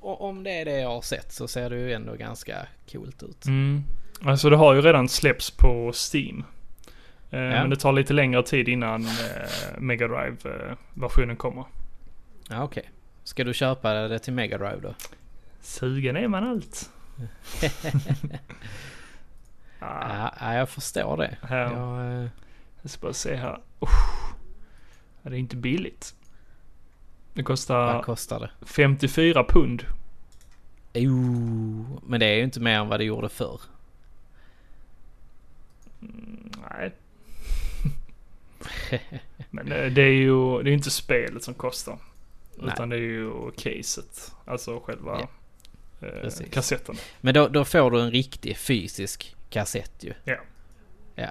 [SPEAKER 1] o- Om det är det jag har sett så ser det ju ändå ganska coolt ut.
[SPEAKER 2] Mm. Alltså det har ju redan släppts på Steam. Eh, Men det tar lite längre tid innan eh, Mega drive eh, versionen kommer.
[SPEAKER 1] Ja, okej. Ska du köpa det till Mega Drive då?
[SPEAKER 2] Sugen är man allt. ah,
[SPEAKER 1] Ja, ja, jag förstår det.
[SPEAKER 2] här.
[SPEAKER 1] Jag, eh,
[SPEAKER 2] Jag ska bara se här. Uff. Ja, Det är inte billigt. Det
[SPEAKER 1] Vad
[SPEAKER 2] kostar
[SPEAKER 1] kostar det?
[SPEAKER 2] 54 pund.
[SPEAKER 1] Jo, men det är ju inte mer än vad det gjorde förr.
[SPEAKER 2] Nej. Men eh, det är ju det är inte spelet som kostar.
[SPEAKER 1] Nej.
[SPEAKER 2] Utan det är ju caset. Alltså själva eh,
[SPEAKER 1] precis.
[SPEAKER 2] kassetten.
[SPEAKER 1] Men då, då får du en riktig fysisk kassett ju.
[SPEAKER 2] Ja.
[SPEAKER 1] Ja.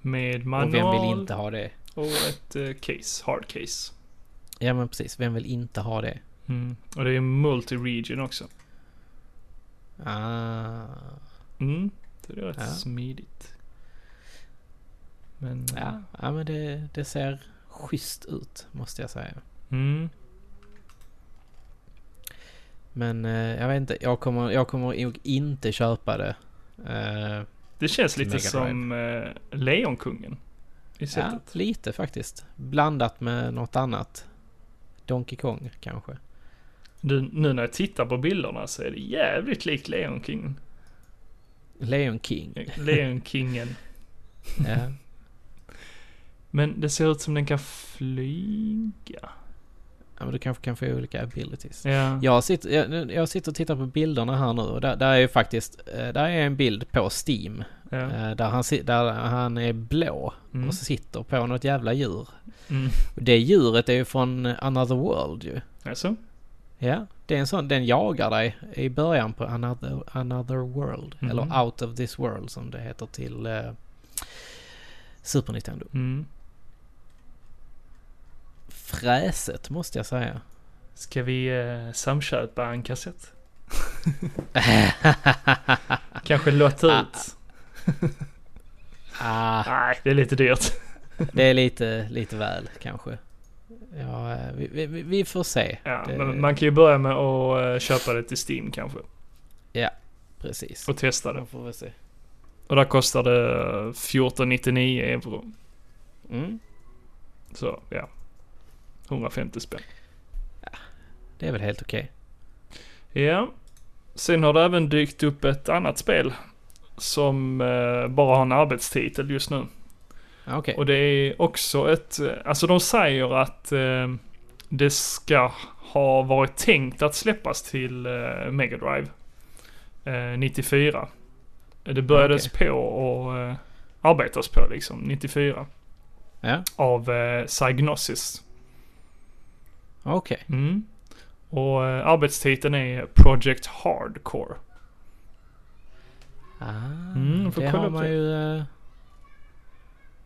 [SPEAKER 2] Med
[SPEAKER 1] Och vem
[SPEAKER 2] manual.
[SPEAKER 1] vill inte ha det?
[SPEAKER 2] Och ett eh, case, hard case.
[SPEAKER 1] Ja men precis, vem vill inte ha det?
[SPEAKER 2] Mm. Och det är multi-region också.
[SPEAKER 1] Ah,
[SPEAKER 2] Mm. Så det är rätt
[SPEAKER 1] Ja.
[SPEAKER 2] smidigt. Men... eh,
[SPEAKER 1] ja, ja men det, det ser schysst ut måste jag säga.
[SPEAKER 2] Mm.
[SPEAKER 1] Men eh, jag vet inte, jag kommer, jag kommer nog inte köpa det. Eh,
[SPEAKER 2] Det känns lite
[SPEAKER 1] Mega Drive.
[SPEAKER 2] som eh, Lejonkungen. I
[SPEAKER 1] ja,
[SPEAKER 2] sättet.
[SPEAKER 1] lite faktiskt. Blandat med något annat. Donkey Kong kanske.
[SPEAKER 2] Du, nu när jag tittar på bilderna så är det jävligt likt Lejonkungen.
[SPEAKER 1] Leon
[SPEAKER 2] [LAUGHS]
[SPEAKER 1] King. Eh,
[SPEAKER 2] Lejonkingen.
[SPEAKER 1] Ja.
[SPEAKER 2] Men det ser ut som den kan flyga.
[SPEAKER 1] ja, men du kanske kan få olika abilities.
[SPEAKER 2] Ja.
[SPEAKER 1] Jag sitter, jag, jag sitter och tittar på bilderna här nu och där, där är ju faktiskt, eh, där är en bild på Steam.
[SPEAKER 2] ja.
[SPEAKER 1] eh, Där, han, si- där han är blå
[SPEAKER 2] Mm.
[SPEAKER 1] och så sitter på något jävla djur.
[SPEAKER 2] Mm.
[SPEAKER 1] Och det djuret är ju från Another World ju.
[SPEAKER 2] Alltså?
[SPEAKER 1] Ja, det är en sån, den jagar dig i början på Another, another World.
[SPEAKER 2] Mhm.
[SPEAKER 1] Eller Out of This World som det heter till eh, Super Nintendo.
[SPEAKER 2] Mm.
[SPEAKER 1] Fräset måste jag säga.
[SPEAKER 2] Ska vi eh, samköpa
[SPEAKER 1] [LAUGHS]
[SPEAKER 2] en kassett? Kanske lotta ut?
[SPEAKER 1] ah,
[SPEAKER 2] Nej, det är lite dyrt.
[SPEAKER 1] det är lite, lite väl kanske. Ja, eh, vi, vi- vi, vi får se.
[SPEAKER 2] Ja,
[SPEAKER 1] Det-
[SPEAKER 2] men man kan ju börja med att eh, köpa det till Steam kanske.
[SPEAKER 1] Precis.
[SPEAKER 2] Och testa det.
[SPEAKER 1] Då får vi se.
[SPEAKER 2] Och där kostar det eh, 14,99 euro.
[SPEAKER 1] Mm.
[SPEAKER 2] Så ja. 150 spänn.
[SPEAKER 1] Det är väl helt okej.
[SPEAKER 2] Ja. Sen har det även dykt upp ett annat spel. Som eh, bara har en arbetstitel just nu.
[SPEAKER 1] Ja, Ah, Okej.
[SPEAKER 2] Och det är också ett... eh, Alltså de säger att eh, det ska ha varit tänkt att släppas till eh, Mega Drive. Eh, 94. Det börjades på och eh, arbetas på liksom 94.
[SPEAKER 1] Ja,
[SPEAKER 2] Av eh, Psygnosis.
[SPEAKER 1] okej.
[SPEAKER 2] Mm. Och eh, arbetstiteln är Project Hardcore.
[SPEAKER 1] Ah,
[SPEAKER 2] Mm, får
[SPEAKER 1] det
[SPEAKER 2] kolla
[SPEAKER 1] har
[SPEAKER 2] upp
[SPEAKER 1] man
[SPEAKER 2] det.
[SPEAKER 1] ju eh,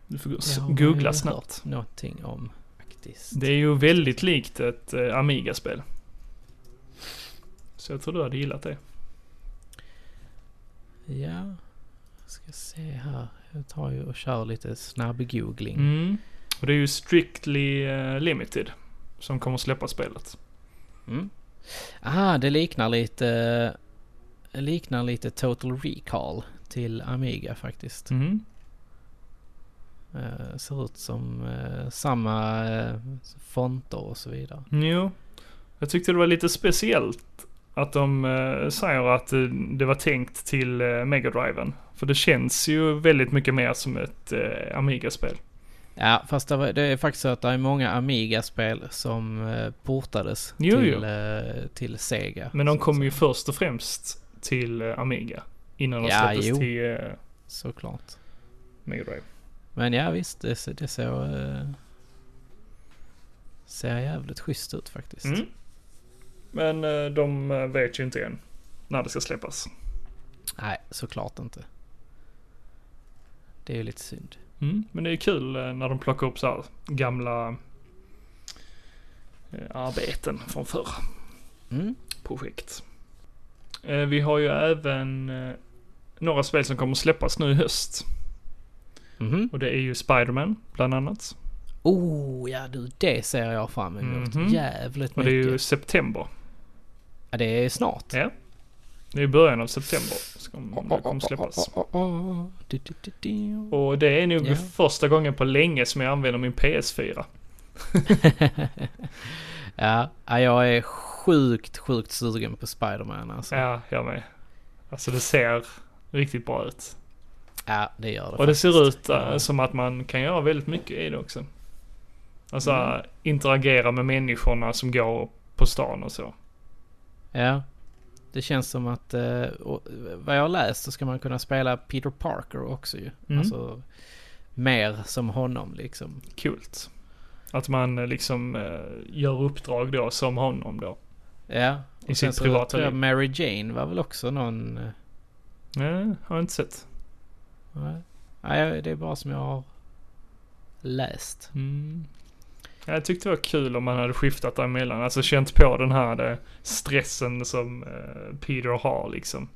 [SPEAKER 2] Du får s-
[SPEAKER 1] Det har man
[SPEAKER 2] googla
[SPEAKER 1] ju
[SPEAKER 2] snabbt.
[SPEAKER 1] någonting om faktiskt.
[SPEAKER 2] Det är ju väldigt likt ett eh, Amiga-spel. Så jag tror du hade gillat det.
[SPEAKER 1] Ja, ska se här. Jag tar ju och kör lite snabb-googling.
[SPEAKER 2] Mm. Och det är ju Strictly eh, Limited som kommer släppa spelet.
[SPEAKER 1] Mm. Ah, det liknar lite... Det liknar lite Total Recall till Amiga faktiskt.
[SPEAKER 2] Mm.
[SPEAKER 1] Eh, ser ut som eh, samma eh, fonter och så vidare.
[SPEAKER 2] Jo. Jag tyckte det var lite speciellt att de eh, säger att eh, det var tänkt till eh, Mega Driven. För det känns ju väldigt mycket mer som ett eh, Amiga-spel.
[SPEAKER 1] Ja, fast det, var, det är faktiskt så att det är många Amiga-spel som eh, portades
[SPEAKER 2] Jo,
[SPEAKER 1] till,
[SPEAKER 2] jo.
[SPEAKER 1] eh, till Sega.
[SPEAKER 2] Men de
[SPEAKER 1] så-
[SPEAKER 2] kom ju först och främst till eh, Amiga. Innan de
[SPEAKER 1] Ja,
[SPEAKER 2] släpptes
[SPEAKER 1] jo.
[SPEAKER 2] till eh,
[SPEAKER 1] Såklart.
[SPEAKER 2] Mega Drive.
[SPEAKER 1] Men ja, visst. Det, ser- det ser... eh, Ser jävligt schysst ut faktiskt.
[SPEAKER 2] Mm. Men eh, de eh, vet ju inte än när det ska släppas.
[SPEAKER 1] Nej, såklart inte. Det är ju lite synd.
[SPEAKER 2] Mm. Men det är kul eh, när de plockar upp så här gamla eh, arbeten från förr.
[SPEAKER 1] Mm.
[SPEAKER 2] Projekt. Eh, vi har ju även eh, några spel som kommer släppas nu i höst.
[SPEAKER 1] Mhm.
[SPEAKER 2] Och det är ju Spider-Man bland annat.
[SPEAKER 1] Oh, ja du, det ser jag fram emot.
[SPEAKER 2] Mhm.
[SPEAKER 1] Jävligt
[SPEAKER 2] Och
[SPEAKER 1] mycket.
[SPEAKER 2] det är ju september.
[SPEAKER 1] ja, det är snart.
[SPEAKER 2] Ja. Det är i början av september som det kommer släppas.
[SPEAKER 1] Du, du, du, du.
[SPEAKER 2] Och det är nog
[SPEAKER 1] Ja.
[SPEAKER 2] första gången på länge som jag använder min PS4.
[SPEAKER 1] [LAUGHS] ja, ja, jag är sjukt, sjukt sugen på Spider-Man alltså. Ja,
[SPEAKER 2] Ja, jag med. Alltså det ser riktigt bra ut.
[SPEAKER 1] det gör det
[SPEAKER 2] Och det ser
[SPEAKER 1] faktiskt.
[SPEAKER 2] ut eh,
[SPEAKER 1] Ja.
[SPEAKER 2] som att man kan göra väldigt mycket i det också. Alltså
[SPEAKER 1] Mm.
[SPEAKER 2] eh, interagera med människorna som går på stan och så.
[SPEAKER 1] Ja. Det känns som att, eh, och, vad jag har läst så ska man kunna spela Peter Parker också ju.
[SPEAKER 2] Mm.
[SPEAKER 1] Alltså mer som honom liksom.
[SPEAKER 2] Coolt. Att man eh, liksom eh, gör uppdrag då som honom då.
[SPEAKER 1] Ja. sen
[SPEAKER 2] I sitt
[SPEAKER 1] så
[SPEAKER 2] privata
[SPEAKER 1] tror jag
[SPEAKER 2] liv.
[SPEAKER 1] Mary Jane var väl också någon... eh,
[SPEAKER 2] Nej, har jag inte sett.
[SPEAKER 1] Nej, Nej, det är bara som jag har läst.
[SPEAKER 2] Mm. Jag tyckte det var kul om man hade skiftat däremellan. Alltså känt på den här eh, stressen som eh, Peter har liksom.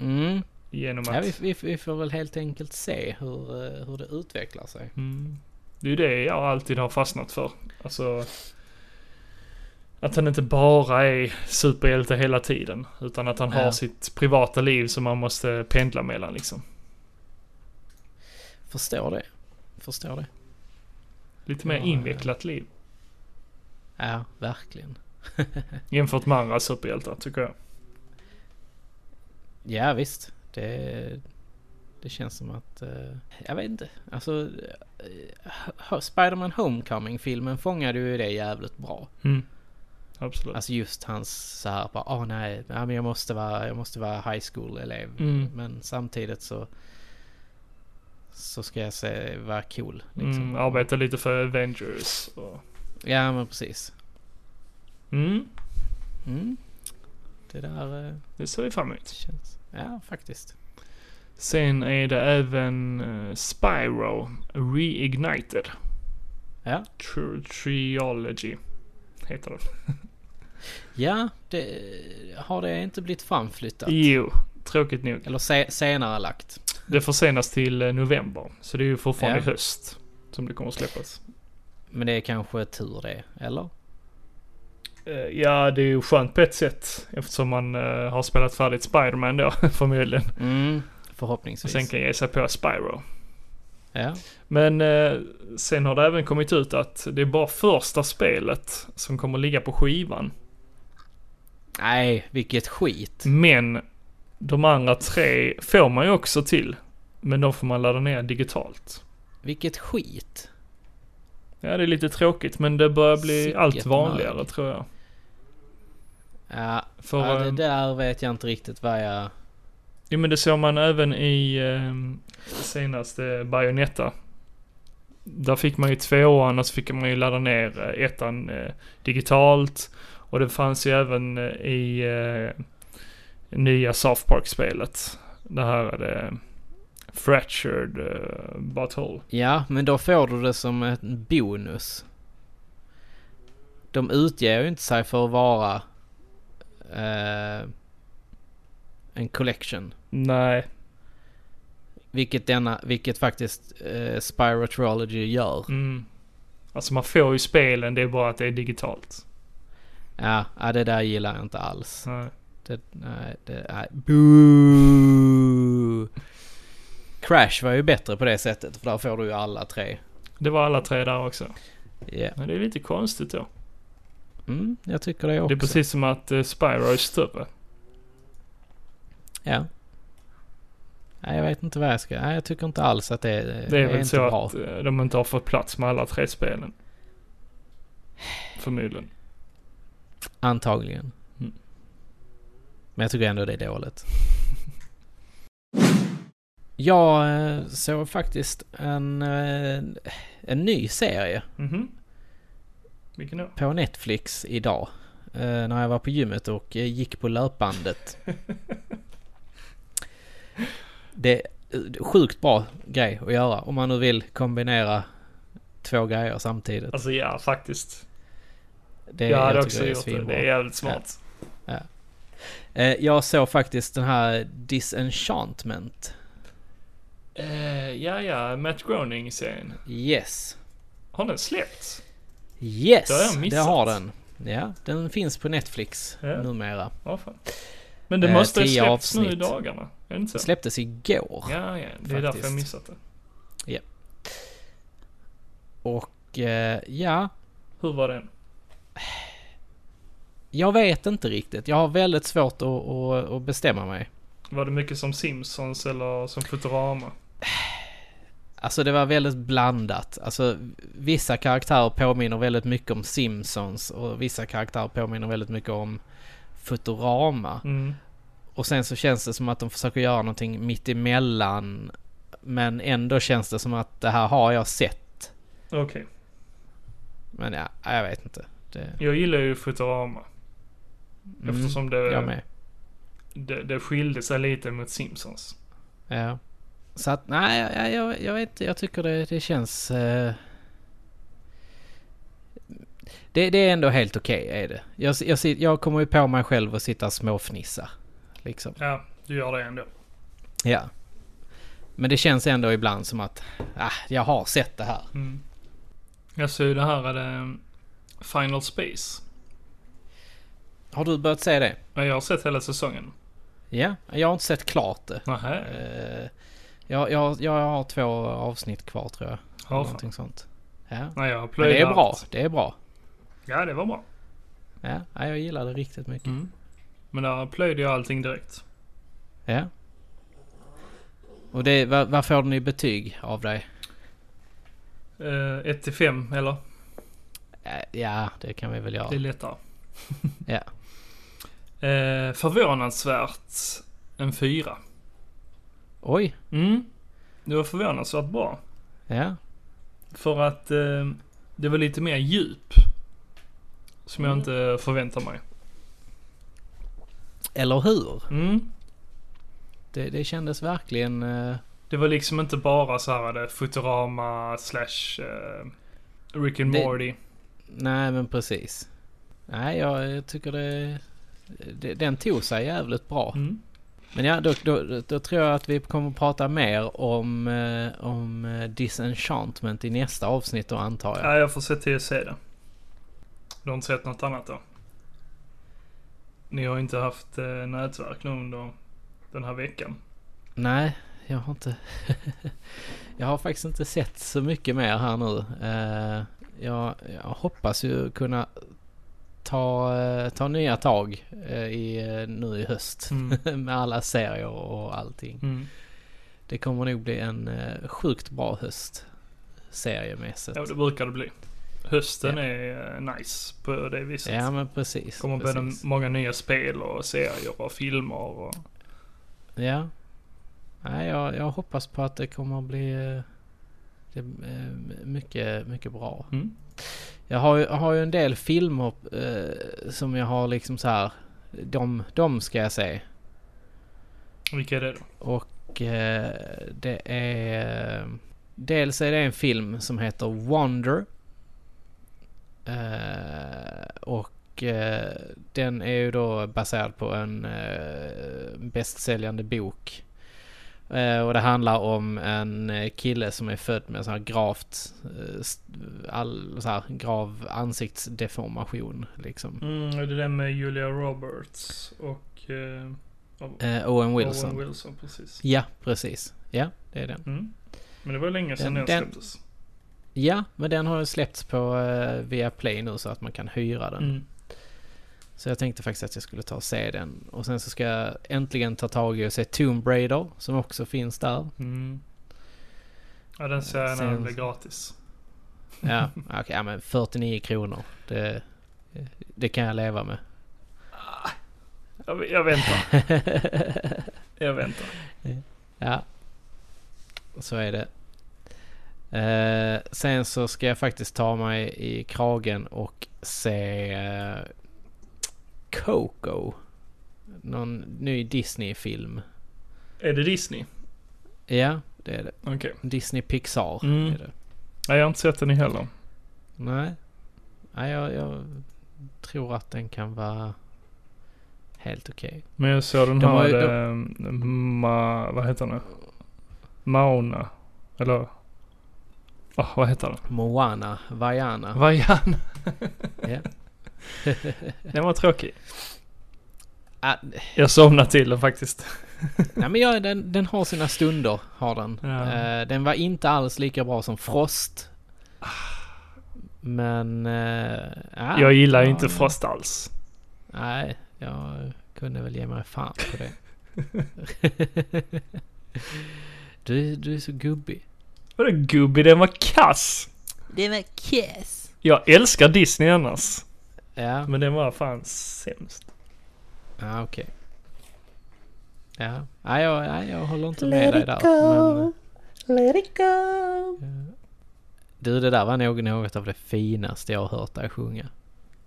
[SPEAKER 1] Mm.
[SPEAKER 2] Genom
[SPEAKER 1] Ja, vi,
[SPEAKER 2] att...
[SPEAKER 1] vi, vi får väl helt enkelt se hur, eh, hur det utvecklar sig.
[SPEAKER 2] Mm. Det är ju det jag alltid har fastnat för. Alltså... Att han inte bara är superhjälte hela tiden. Utan att han
[SPEAKER 1] Ja.
[SPEAKER 2] har sitt privata liv som man måste pendla mellan liksom.
[SPEAKER 1] Förstår det. Förstår det.
[SPEAKER 2] Lite mer
[SPEAKER 1] Ja, ja.
[SPEAKER 2] invecklat liv.
[SPEAKER 1] Ja, verkligen.
[SPEAKER 2] Jämfört med andra superhjältar tycker jag.
[SPEAKER 1] Ja, visst. Det, det känns som att... eh, jag vet inte. Alltså... eh, Ho- Spider-Man Homecoming-filmen fångade ju det jävligt bra.
[SPEAKER 2] Mm. Absolut.
[SPEAKER 1] Alltså just hans så här bara, åh nej, nej men jag måste vara, jag måste vara high school-elev.
[SPEAKER 2] Mm.
[SPEAKER 1] Men samtidigt så... Så ska jag se, vara cool. Liksom.
[SPEAKER 2] Mm, arbeta lite för Avengers och...
[SPEAKER 1] Ja, men precis.
[SPEAKER 2] Mm,
[SPEAKER 1] Mm. Det där eh,
[SPEAKER 2] det ser vi fram emot.
[SPEAKER 1] känns... Ja, faktiskt.
[SPEAKER 2] Sen är det även eh, Spyro Reignited.
[SPEAKER 1] Ja.
[SPEAKER 2] Tr- Trilogy heter den.
[SPEAKER 1] Ja, det, har det inte blivit framflyttat?
[SPEAKER 2] Jo, tråkigt nog.
[SPEAKER 1] Eller se, senare lagt?
[SPEAKER 2] Det försenas till eh, november. Så det är ju fortfarande
[SPEAKER 1] Ja.
[SPEAKER 2] höst som det kommer att släppas.
[SPEAKER 1] Men det är kanske tur det, eller?
[SPEAKER 2] Eh, Ja, det är ju skönt på ett sätt. Eftersom man eh, har spelat färdigt Spider-Man då, [LAUGHS] förmodligen.
[SPEAKER 1] Mm,
[SPEAKER 2] Och
[SPEAKER 1] förhoppningsvis.
[SPEAKER 2] sen kan ge sig på Spyro.
[SPEAKER 1] Ja.
[SPEAKER 2] Men eh, sen har det även kommit ut att det är bara första spelet som kommer ligga på skivan.
[SPEAKER 1] Nej, vilket skit.
[SPEAKER 2] Men de andra tre får man ju också till. Men de får man ladda ner digitalt.
[SPEAKER 1] Vilket skit.
[SPEAKER 2] Ja, det är lite tråkigt men det börjar bli
[SPEAKER 1] Sicket
[SPEAKER 2] allt vanligare
[SPEAKER 1] nörd.
[SPEAKER 2] tror jag.
[SPEAKER 1] Ja,
[SPEAKER 2] För,
[SPEAKER 1] ja, det
[SPEAKER 2] eh,
[SPEAKER 1] där vet jag inte riktigt vad jag...
[SPEAKER 2] Jo men det såg man även i eh, senaste Bayonetta. Där fick man ju tvåan och så fick man ju ladda ner eh, ettan eh, digitalt. Och det fanns ju även eh, i eh, nya South Park-spelet. Det här är det eh, Fractured eh, Butthole.
[SPEAKER 1] Ja, men då får du det som en bonus. De utger ju inte sig för att vara eh, en collection.
[SPEAKER 2] Nej.
[SPEAKER 1] Vilket, denna, vilket faktiskt eh, Spyro Trilogy gör.
[SPEAKER 2] Mm. Alltså man får ju spelen, det är bara att det är digitalt.
[SPEAKER 1] Ja, ja, det där gillar jag inte alls.
[SPEAKER 2] Nej.
[SPEAKER 1] Det, nej, det, nej. Boo! Crash var ju bättre på det sättet, för där får du ju alla tre.
[SPEAKER 2] Det var alla tre där också.
[SPEAKER 1] Ja,
[SPEAKER 2] Men det är lite konstigt då.
[SPEAKER 1] Mm, jag tycker det också.
[SPEAKER 2] Det är precis som att eh, Spyro är större.
[SPEAKER 1] Ja. Nej, jag vet inte vad jag ska... Nej, jag tycker inte alls att det, det
[SPEAKER 2] Det är väl
[SPEAKER 1] inte
[SPEAKER 2] så
[SPEAKER 1] bra.
[SPEAKER 2] att eh, de inte har fått plats med alla tre spelen. Förmodligen.
[SPEAKER 1] Antagligen.
[SPEAKER 2] Mm.
[SPEAKER 1] Men jag tycker ändå det är dåligt. [LAUGHS] Jag eh, såg faktiskt en, eh, en ny serie
[SPEAKER 2] Mhm. Vilken då?
[SPEAKER 1] på Netflix idag. eh, När jag var på gymmet och eh, gick på löpbandet. Det är eh, sjukt bra grej att göra om man nu vill kombinera två grejer samtidigt.
[SPEAKER 2] Alltså ja, faktiskt.
[SPEAKER 1] Det,
[SPEAKER 2] jag hade
[SPEAKER 1] tycker
[SPEAKER 2] också
[SPEAKER 1] är
[SPEAKER 2] gjort det.
[SPEAKER 1] svinbra.
[SPEAKER 2] Det är jävligt smart.
[SPEAKER 1] Eh, Jag såg faktiskt den här Disenchantment.
[SPEAKER 2] Ja, Eh, ja, ja Matt Groening-serien.
[SPEAKER 1] Yes.
[SPEAKER 2] Har den släppts?
[SPEAKER 1] Yes!
[SPEAKER 2] Det har jag
[SPEAKER 1] det
[SPEAKER 2] missat.
[SPEAKER 1] har den. Ja, den finns på Netflix
[SPEAKER 2] Ja.
[SPEAKER 1] numera.
[SPEAKER 2] Ja, fan. Men det
[SPEAKER 1] Eh,
[SPEAKER 2] måste ha
[SPEAKER 1] tio
[SPEAKER 2] släppts nu i
[SPEAKER 1] avsnitt.
[SPEAKER 2] dagarna. Är det inte så?
[SPEAKER 1] Släpptes igår.
[SPEAKER 2] Ja, ja. Det är därför
[SPEAKER 1] Faktiskt.
[SPEAKER 2] jag missat det.
[SPEAKER 1] Och eh, ja,
[SPEAKER 2] Hur var den?
[SPEAKER 1] jag vet inte riktigt. Jag har väldigt svårt att, att, att bestämma mig.
[SPEAKER 2] Var det mycket som Simpsons eller som Futurama?
[SPEAKER 1] Alltså det var väldigt blandat. Alltså vissa karaktärer påminner väldigt mycket om Simpsons och vissa karaktärer påminner väldigt mycket om Futurama.
[SPEAKER 2] Mm.
[SPEAKER 1] Och sen så känns det som att de försöker göra någonting mitt emellan. Men ändå känns det som att det här har jag sett.
[SPEAKER 2] Okej.
[SPEAKER 1] Men ja, jag vet inte. Det,
[SPEAKER 2] Jag gillar ju Futurama.
[SPEAKER 1] mm,
[SPEAKER 2] Eftersom
[SPEAKER 1] Jag
[SPEAKER 2] det,
[SPEAKER 1] med.
[SPEAKER 2] det, det skilde sig lite mot Simpsons.
[SPEAKER 1] Ja. Så att nej, jag, jag, jag vet inte. Jag tycker det, det känns... eh, det, det är ändå helt okej är det. Jag, jag, sit- jag kommer ju på mig själv och sitta och småfnissa. Liksom.
[SPEAKER 2] Ja, du gör det ändå.
[SPEAKER 1] Ja. Men det känns ändå ibland som att ah, jag har sett det här.
[SPEAKER 2] Mm. Jag såg ju det här är det um, Final Space.
[SPEAKER 1] Har du börjat se det?
[SPEAKER 2] Ja, Jag har sett hela säsongen.
[SPEAKER 1] Ja, jag har inte sett klart det.
[SPEAKER 2] Nähä.
[SPEAKER 1] Eh, jag, jag, jag har två avsnitt kvar tror jag.
[SPEAKER 2] Ja,
[SPEAKER 1] eller
[SPEAKER 2] fan.
[SPEAKER 1] någonting sånt. Ja.
[SPEAKER 2] Nej,
[SPEAKER 1] Men
[SPEAKER 2] jag
[SPEAKER 1] det är
[SPEAKER 2] plöjde
[SPEAKER 1] bra.
[SPEAKER 2] allt.
[SPEAKER 1] Det är bra.
[SPEAKER 2] Ja, det var bra.
[SPEAKER 1] Ja, ja, jag gillar det riktigt mycket.
[SPEAKER 2] Mm. Men där plöjde jag allting direkt.
[SPEAKER 1] Ja. Och det, vad, vad får den i betyg av dig?
[SPEAKER 2] 1 Eh, till 5, eller?
[SPEAKER 1] Eh, Ja, det kan vi väl göra.
[SPEAKER 2] Det är [LAUGHS] lättare.
[SPEAKER 1] Ja.
[SPEAKER 2] Eh, förvånansvärt en 4.
[SPEAKER 1] Oj!
[SPEAKER 2] Mm. Det var förvånansvärt bra.
[SPEAKER 1] Ja.
[SPEAKER 2] För att eh, det var lite mer djup. Som jag
[SPEAKER 1] Mm.
[SPEAKER 2] inte förväntar mig.
[SPEAKER 1] Eller hur?
[SPEAKER 2] Mm.
[SPEAKER 1] Det, det kändes verkligen... eh,
[SPEAKER 2] Det var liksom inte bara så här det, Futurama slash eh, Rick and
[SPEAKER 1] Det-
[SPEAKER 2] Morty.
[SPEAKER 1] nej, men precis. Nej, jag, jag tycker det, det... Den tog sig jävligt bra.
[SPEAKER 2] Mm.
[SPEAKER 1] Men ja, då, då, då tror jag att vi kommer att prata mer om, eh, om eh, disenchantment i nästa avsnitt då antar jag.
[SPEAKER 2] Ja, jag får se till att se det. Du har inte sett något annat då? Ni har inte haft eh, nätverk nu under den här veckan.
[SPEAKER 1] Nej, jag har inte... [LAUGHS] jag har faktiskt inte sett så mycket mer här nu. Eh, jag, jag hoppas ju kunna ta, eh, ta nya tag eh, i, eh, nu i höst. [LAUGHS]
[SPEAKER 2] Mm.
[SPEAKER 1] Med alla serier och allting.
[SPEAKER 2] Mm.
[SPEAKER 1] Det kommer nog bli en eh, sjukt bra höst. Seriemässigt.
[SPEAKER 2] Ja, det brukar det bli. Hösten
[SPEAKER 1] Ja.
[SPEAKER 2] är eh, nice på det viset.
[SPEAKER 1] Ja men precis.
[SPEAKER 2] det kommer både
[SPEAKER 1] precis.
[SPEAKER 2] många nya spel och serier och filmer och...
[SPEAKER 1] Ja. Nej, jag, jag hoppas på att det kommer att bli eh, det, eh, mycket, mycket bra.
[SPEAKER 2] Mm.
[SPEAKER 1] Jag har, ju- jag har ju en del filmer eh, som jag har liksom så här. De, de ska jag se.
[SPEAKER 2] Vilka är det då?
[SPEAKER 1] Och eh, det är... Dels är det en film som heter Wonder. Eh, och eh, den är ju då baserad på en eh, bästsäljande bok. Eh, och det handlar om en eh, kille som är född med så här gravt... Eh, st- all, så här, grav ansiktsdeformation liksom.
[SPEAKER 2] Mm, är det den med Julia Roberts och... Eh, och-
[SPEAKER 1] Eh, Owen Wilson.
[SPEAKER 2] Owen Wilson, precis.
[SPEAKER 1] Ja, precis. Ja, det är den.
[SPEAKER 2] Mm. Men det var länge sedan
[SPEAKER 1] Den-
[SPEAKER 2] den,
[SPEAKER 1] den-
[SPEAKER 2] släpptes.
[SPEAKER 1] Ja, men den har ju släppts på eh, Viaplay nu så att man kan hyra den.
[SPEAKER 2] Mm.
[SPEAKER 1] Så jag tänkte faktiskt att jag skulle ta och se den. Och sen så ska jag äntligen ta tag i och se Tomb Raider som också finns där.
[SPEAKER 2] Mm. Ja, den ser jag när den
[SPEAKER 1] Sen-
[SPEAKER 2] blir gratis.
[SPEAKER 1] Ja, okej, ja, men 49 kronor. Det, eh, det kan jag leva med.
[SPEAKER 2] Jag, jag väntar. jag väntar.
[SPEAKER 1] Ja, så är det. Eh, sen så ska jag faktiskt ta mig i kragen och se eh, Coco. Någon ny Disney-film.
[SPEAKER 2] Är det Disney?
[SPEAKER 1] Ja, det är det.
[SPEAKER 2] Okej.
[SPEAKER 1] Disney Pixar
[SPEAKER 2] Mm.
[SPEAKER 1] är det.
[SPEAKER 2] Nej, jag har inte sett den heller.
[SPEAKER 1] Nej. Nej, jag, jag tror att den kan vara helt okej.
[SPEAKER 2] Men jag såg den
[SPEAKER 1] De har
[SPEAKER 2] här...
[SPEAKER 1] ju- de-
[SPEAKER 2] eh, ma, vad heter den? Mauna. Eller... Oh, vad heter den?
[SPEAKER 1] Moana, Vaiana.
[SPEAKER 2] Vaiana.
[SPEAKER 1] Ja.
[SPEAKER 2] Den var tråkig.
[SPEAKER 1] Ah,
[SPEAKER 2] Jag somnade till den faktiskt.
[SPEAKER 1] nej men ja, den, den har sina stunder, har den.
[SPEAKER 2] Ja.
[SPEAKER 1] Eh, den var inte alls lika bra som Frost. Men... eh, ja,
[SPEAKER 2] jag gillar ju
[SPEAKER 1] ja,
[SPEAKER 2] inte Frost alls.
[SPEAKER 1] Nej, jag kunde väl ge mig fan på
[SPEAKER 2] [LAUGHS]
[SPEAKER 1] det. du, är- du är så gubbig.
[SPEAKER 2] Vadå gubbig? Den var kass!
[SPEAKER 3] Det var kiss.
[SPEAKER 2] Jag älskar Disney annars.
[SPEAKER 1] Ja,
[SPEAKER 2] Men den var fan sämst.
[SPEAKER 1] Ja, okej. Ja, nej jag, nej, jag håller inte med
[SPEAKER 3] Let
[SPEAKER 1] dig
[SPEAKER 3] it
[SPEAKER 1] där.
[SPEAKER 3] go.
[SPEAKER 1] Men, eh,
[SPEAKER 3] Let it go.
[SPEAKER 1] du, det där var nog något av det finaste jag har hört dig sjunga.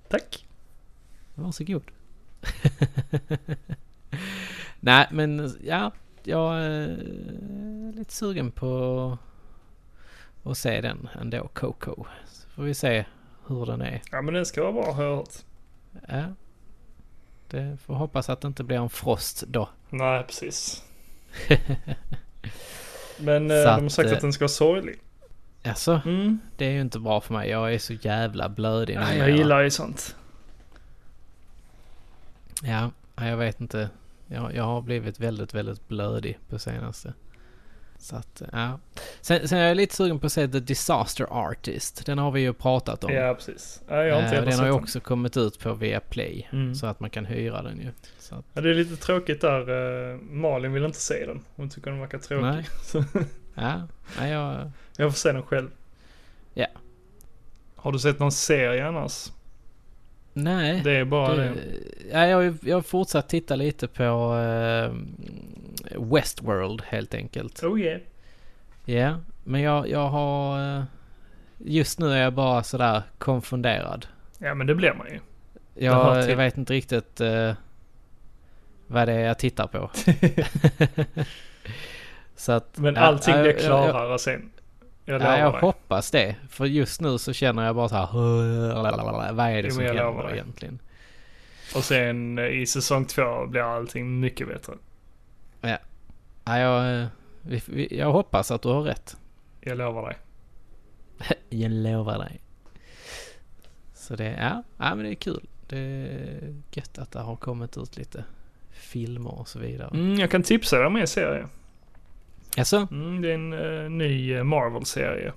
[SPEAKER 2] Tack.
[SPEAKER 1] Varsågod. [LAUGHS] nej, men ja, jag eh, lite sugen på att se den ändå, Coco. Så får vi se hur den är.
[SPEAKER 2] Ja men den ska vara bra har jag hört.
[SPEAKER 1] Ja. Det får hoppas att det inte blir en frost då.
[SPEAKER 2] Nej
[SPEAKER 1] [LAUGHS]
[SPEAKER 2] precis. Men eh,
[SPEAKER 1] Så
[SPEAKER 2] de har
[SPEAKER 1] att,
[SPEAKER 2] sagt
[SPEAKER 1] eh,
[SPEAKER 2] att den ska vara sorglig.
[SPEAKER 1] Alltså,
[SPEAKER 2] Mm.
[SPEAKER 1] det är ju inte bra för mig. Jag är så jävla blödig.
[SPEAKER 2] Ja,
[SPEAKER 1] numera.
[SPEAKER 2] jag gillar ju sånt.
[SPEAKER 1] Ja, nej, jag vet inte. Jag, jag har blivit väldigt, väldigt blödig på senaste. Så att, ja. Sen, sen är jag lite sugen på att se The Disaster Artist. Den har vi ju pratat om.
[SPEAKER 2] Ja precis. Ja, jag har inte
[SPEAKER 1] Eh, och
[SPEAKER 2] heller
[SPEAKER 1] den
[SPEAKER 2] sett
[SPEAKER 1] har ju
[SPEAKER 2] den.
[SPEAKER 1] också kommit ut på Viaplay.
[SPEAKER 2] Mm.
[SPEAKER 1] Så att man kan hyra den ju. Så att,
[SPEAKER 2] Ja, det är lite tråkigt där. eh, Malin vill inte se den. Hon tycker den verkar tråkig.
[SPEAKER 1] Nej.
[SPEAKER 2] Så
[SPEAKER 1] ja, nej, jag,
[SPEAKER 2] jag får se den själv.
[SPEAKER 1] Ja.
[SPEAKER 2] Har du sett någon serie annars?
[SPEAKER 1] nej.
[SPEAKER 2] Det är bara det.
[SPEAKER 1] eh, ja, jag, har ju- jag har fortsatt titta lite på eh, Westworld helt enkelt.
[SPEAKER 2] Oh yeah.
[SPEAKER 1] Ja, men jag, jag har... eh, Just nu är jag bara sådär konfunderad.
[SPEAKER 2] Ja men det blir man ju. hör
[SPEAKER 1] Jag,
[SPEAKER 2] till.
[SPEAKER 1] jag vet inte riktigt eh, vad det är jag tittar
[SPEAKER 2] [LAUGHS]
[SPEAKER 1] på. så att,
[SPEAKER 2] Men
[SPEAKER 1] ja,
[SPEAKER 2] allting
[SPEAKER 1] ja,
[SPEAKER 2] blir
[SPEAKER 1] jag-
[SPEAKER 2] klarare sen. Jag
[SPEAKER 1] Jag,
[SPEAKER 2] lovar
[SPEAKER 1] ja, jag
[SPEAKER 2] dig.
[SPEAKER 1] hoppas det. För just nu så känner jag bara så här... "Lalalala, Vad är det
[SPEAKER 2] Jo,
[SPEAKER 1] som
[SPEAKER 2] men jag lovar
[SPEAKER 1] händer
[SPEAKER 2] dig.
[SPEAKER 1] egentligen?
[SPEAKER 2] Och sen eh, i säsong två blir allting mycket bättre.
[SPEAKER 1] Ja, jag, eh, vi, vi, jag hoppas att du har rätt.
[SPEAKER 2] Jag lovar dig.
[SPEAKER 1] [LAUGHS] Jag lovar dig. Så det, ja, ja men det är kul. Det är gött att det har kommit ut lite filmer och så vidare. Mm.
[SPEAKER 2] Mm, jag kan tipsa dig om en serie.
[SPEAKER 1] Alltså,
[SPEAKER 2] Mm, det är en eh, ny eh, Marvel-serie.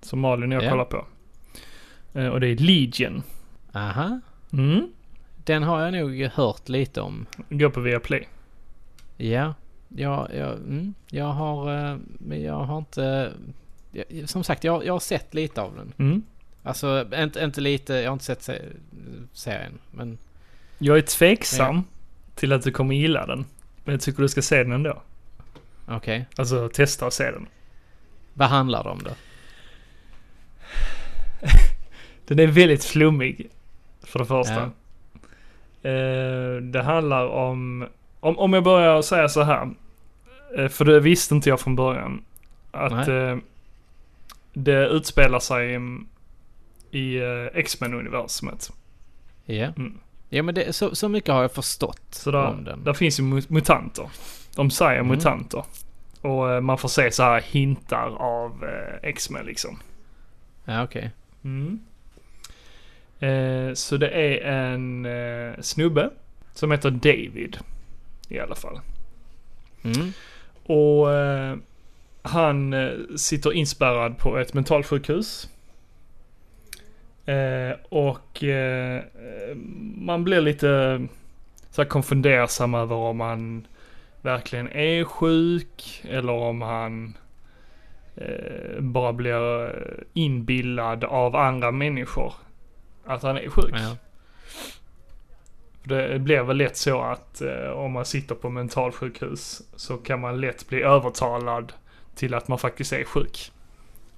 [SPEAKER 2] Som Malin och jag
[SPEAKER 1] Ja.
[SPEAKER 2] kollar på. Eh, och det är Legion.
[SPEAKER 1] aha.
[SPEAKER 2] Mm.
[SPEAKER 1] Den har jag nog hört lite om.
[SPEAKER 2] Gå på Viaplay.
[SPEAKER 1] Ja, jag, jag, mm, jag har... eh, Men jag har inte... jag- Som sagt, jag, jag har sett lite av den.
[SPEAKER 2] Mm.
[SPEAKER 1] Alltså, inte, inte lite... Jag har inte sett se- serien, men...
[SPEAKER 2] Jag är tveksam till att du kommer gilla den. Men jag tycker du ska se den ändå.
[SPEAKER 1] Okej.
[SPEAKER 2] Alltså testa att se den.
[SPEAKER 1] Vad handlar det om då?
[SPEAKER 2] Den är väldigt flummig. För det första.
[SPEAKER 1] Ja.
[SPEAKER 2] Eh, det handlar om, om... Om jag börjar säga så här. eh, För det visste inte jag från början. Att
[SPEAKER 1] Nej.
[SPEAKER 2] eh, det utspelar sig i, i eh, X-Men-universumet.
[SPEAKER 1] Ja.
[SPEAKER 2] Mm.
[SPEAKER 1] Ja, men det, så, så mycket har jag förstått
[SPEAKER 2] Så
[SPEAKER 1] om
[SPEAKER 2] där,
[SPEAKER 1] den.
[SPEAKER 2] där finns ju mu- mutanter. De säger
[SPEAKER 1] Mm.
[SPEAKER 2] mutanter. Och eh, man får se så här hintar av eh, X-Men liksom.
[SPEAKER 1] Ja, okej.
[SPEAKER 2] Mm. Eh, så det är en eh, snubbe som heter David i alla fall.
[SPEAKER 1] Mm.
[SPEAKER 2] Och eh, han eh, sitter inspärrad på ett mentalsjukhus. Eh, och eh, eh, man blir lite så här konfundersam över om han verkligen är sjuk eller om han eh, bara blir eh, inbillad av andra människor att han är sjuk.
[SPEAKER 1] Ja.
[SPEAKER 2] Det blir väl lätt så att eh, om man sitter på mentalsjukhus så kan man lätt bli övertalad till att man faktiskt är sjuk.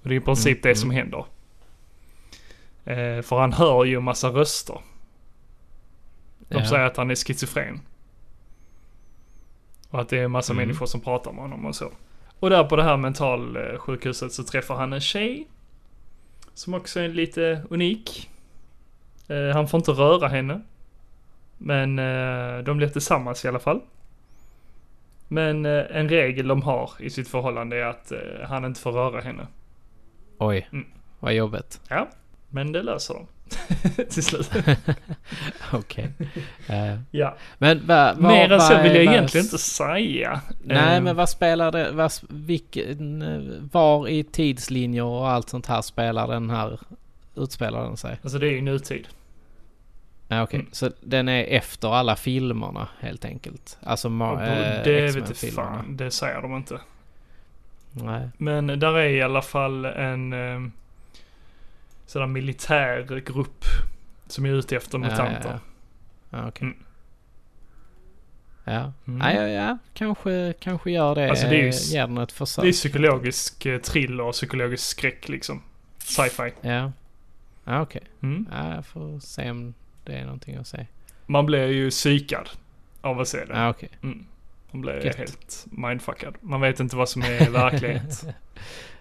[SPEAKER 2] Och det är i princip
[SPEAKER 1] Mm,
[SPEAKER 2] det
[SPEAKER 1] mm.
[SPEAKER 2] som händer. Eh, för han hör ju en massa röster. De
[SPEAKER 1] Ja.
[SPEAKER 2] säger att han är schizofren. Och att det är en massa
[SPEAKER 1] Mm.
[SPEAKER 2] människor som pratar med honom och så. Och där på det här mentalsjukhuset så träffar han en tjej. Som också är lite unik. Eh, han får inte röra henne. Men eh, de blir tillsammans i alla fall. Men eh, en regel de har i sitt förhållande är att eh, han inte får röra henne.
[SPEAKER 1] Oj,
[SPEAKER 2] Mm.
[SPEAKER 1] vad
[SPEAKER 2] [LAUGHS]
[SPEAKER 1] jobbigt.
[SPEAKER 2] Men det löser de. [LAUGHS] till slut.
[SPEAKER 1] Okej. Eh,
[SPEAKER 2] Ja.
[SPEAKER 1] men vad... vad-
[SPEAKER 2] Mer än så
[SPEAKER 1] vad
[SPEAKER 2] vill
[SPEAKER 1] är-
[SPEAKER 2] jag
[SPEAKER 1] vad-
[SPEAKER 2] egentligen inte säga.
[SPEAKER 1] Nej,
[SPEAKER 2] Eh,
[SPEAKER 1] men vad spelar det... Vad, s- vilken, eh, var i tidslinjer och allt sånt här spelar den här... Utspelar den sig?
[SPEAKER 2] Alltså det är ju nutid.
[SPEAKER 1] Ja, okej.
[SPEAKER 2] Mm.
[SPEAKER 1] Så den är efter alla filmerna helt enkelt? Alltså
[SPEAKER 2] Och
[SPEAKER 1] Mar- eh,
[SPEAKER 2] det vet inte
[SPEAKER 1] X-Men-filmerna?
[SPEAKER 2] fan, det säger de inte.
[SPEAKER 1] Nej.
[SPEAKER 2] Men där är i alla fall en eh, sådan militär grupp som är ute efter
[SPEAKER 1] Ja,
[SPEAKER 2] mutanter.
[SPEAKER 1] Ja, ja. ja okej.
[SPEAKER 2] Mm.
[SPEAKER 1] Ja.
[SPEAKER 2] Mm.
[SPEAKER 1] Nej, ja, ja, kanske, kanske gör det.
[SPEAKER 2] Alltså, det är ju
[SPEAKER 1] eh,
[SPEAKER 2] s-
[SPEAKER 1] Ger den ett försök.
[SPEAKER 2] Det är psykologisk eh, thriller och psykologisk skräck liksom. Sci-fi.
[SPEAKER 1] Ja. Ja, okej.
[SPEAKER 2] Mm.
[SPEAKER 1] Ja, jag får se om det är någonting att se.
[SPEAKER 2] Man blir ju psykad av att se det.
[SPEAKER 1] Ja, okej.
[SPEAKER 2] Mm. Man blir
[SPEAKER 1] Gött.
[SPEAKER 2] helt mindfuckad. Man vet inte vad som
[SPEAKER 1] [LAUGHS]
[SPEAKER 2] är verklighet.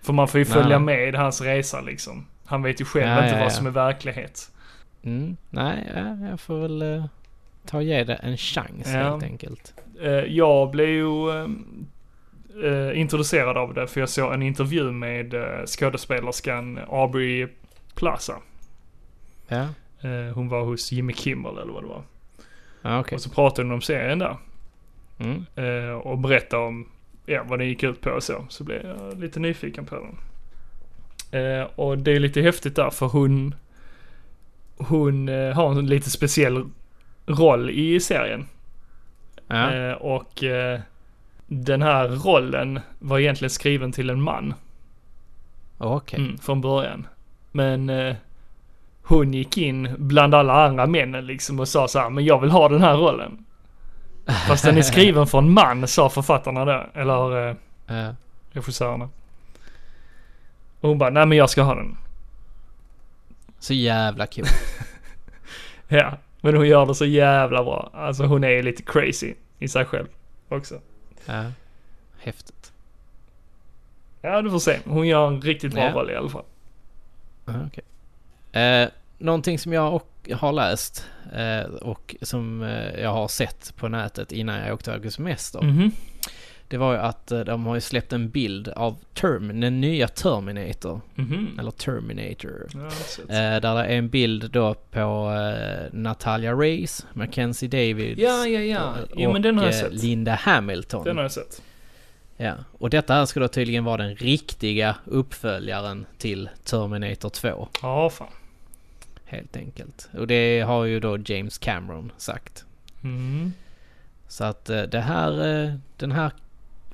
[SPEAKER 2] För man får ju följa med hans resa liksom. Han vet ju själv
[SPEAKER 1] Ja,
[SPEAKER 2] inte
[SPEAKER 1] ja, ja.
[SPEAKER 2] vad som är verklighet.
[SPEAKER 1] Mm. Nej, ja, jag får väl eh, ta och ge det en chans
[SPEAKER 2] Ja.
[SPEAKER 1] helt enkelt.
[SPEAKER 2] Eh, jag blev ju eh, eh, introducerad av det för jag såg en intervju med eh, skådespelerskan Aubrey Plaza.
[SPEAKER 1] Ja,
[SPEAKER 2] Eh, hon var hos Jimmy Kimmel eller vad det var.
[SPEAKER 1] ja okej.
[SPEAKER 2] Och så pratade hon om serien där.
[SPEAKER 1] Mm.
[SPEAKER 2] eh, och berätta om ja, vad den gick ut på och så. Så blev jag lite nyfiken på den. Eh, och det är lite häftigt där för hon hon eh, har en lite speciell roll i serien.
[SPEAKER 1] Ja,
[SPEAKER 2] Eh, och eh, den här rollen var egentligen skriven till en man
[SPEAKER 1] okej.
[SPEAKER 2] mm, från början. Men eh, hon gick in bland alla andra männen liksom och sa så här, men jag vill ha den här rollen. Fast den
[SPEAKER 1] [LAUGHS]
[SPEAKER 2] är skriven för en man, sa författarna då. Eller eh,
[SPEAKER 1] Ja.
[SPEAKER 2] regissörerna. Och hon bara, nej men jag ska ha den.
[SPEAKER 1] Så jävla
[SPEAKER 2] [LAUGHS]
[SPEAKER 1] kul.
[SPEAKER 2] Ja, men hon gör det så jävla bra. Alltså hon är ju lite crazy i sig själv också.
[SPEAKER 1] Ja. Häftigt.
[SPEAKER 2] Ja, du får se. Hon gör en riktigt bra
[SPEAKER 1] Ja.
[SPEAKER 2] roll i alla fall.
[SPEAKER 1] Ja, okej. Eh, någonting som jag och, har läst eh, och som eh, jag har sett på nätet innan jag åkte iväg på semester.
[SPEAKER 2] Mhm.
[SPEAKER 1] Det var ju att eh, de har ju släppt en bild av Term, den nya Terminator.
[SPEAKER 2] Mhm.
[SPEAKER 1] Eller Terminator.
[SPEAKER 2] Ja, så-
[SPEAKER 1] Eh, där det är en bild då på eh, Natalia Reyes, Mackenzie Davids
[SPEAKER 2] ja, ja. ja.
[SPEAKER 1] och,
[SPEAKER 2] Jo, men den har jag
[SPEAKER 1] eh,
[SPEAKER 2] sett.
[SPEAKER 1] Linda Hamilton.
[SPEAKER 2] Den har jag sett.
[SPEAKER 1] Ja. Och detta här ska då tydligen vara den riktiga uppföljaren till Terminator 2.
[SPEAKER 2] Ja, fan.
[SPEAKER 1] Helt enkelt. Och det har ju då James Cameron sagt.
[SPEAKER 2] Mm.
[SPEAKER 1] Så att eh, det här, eh, den här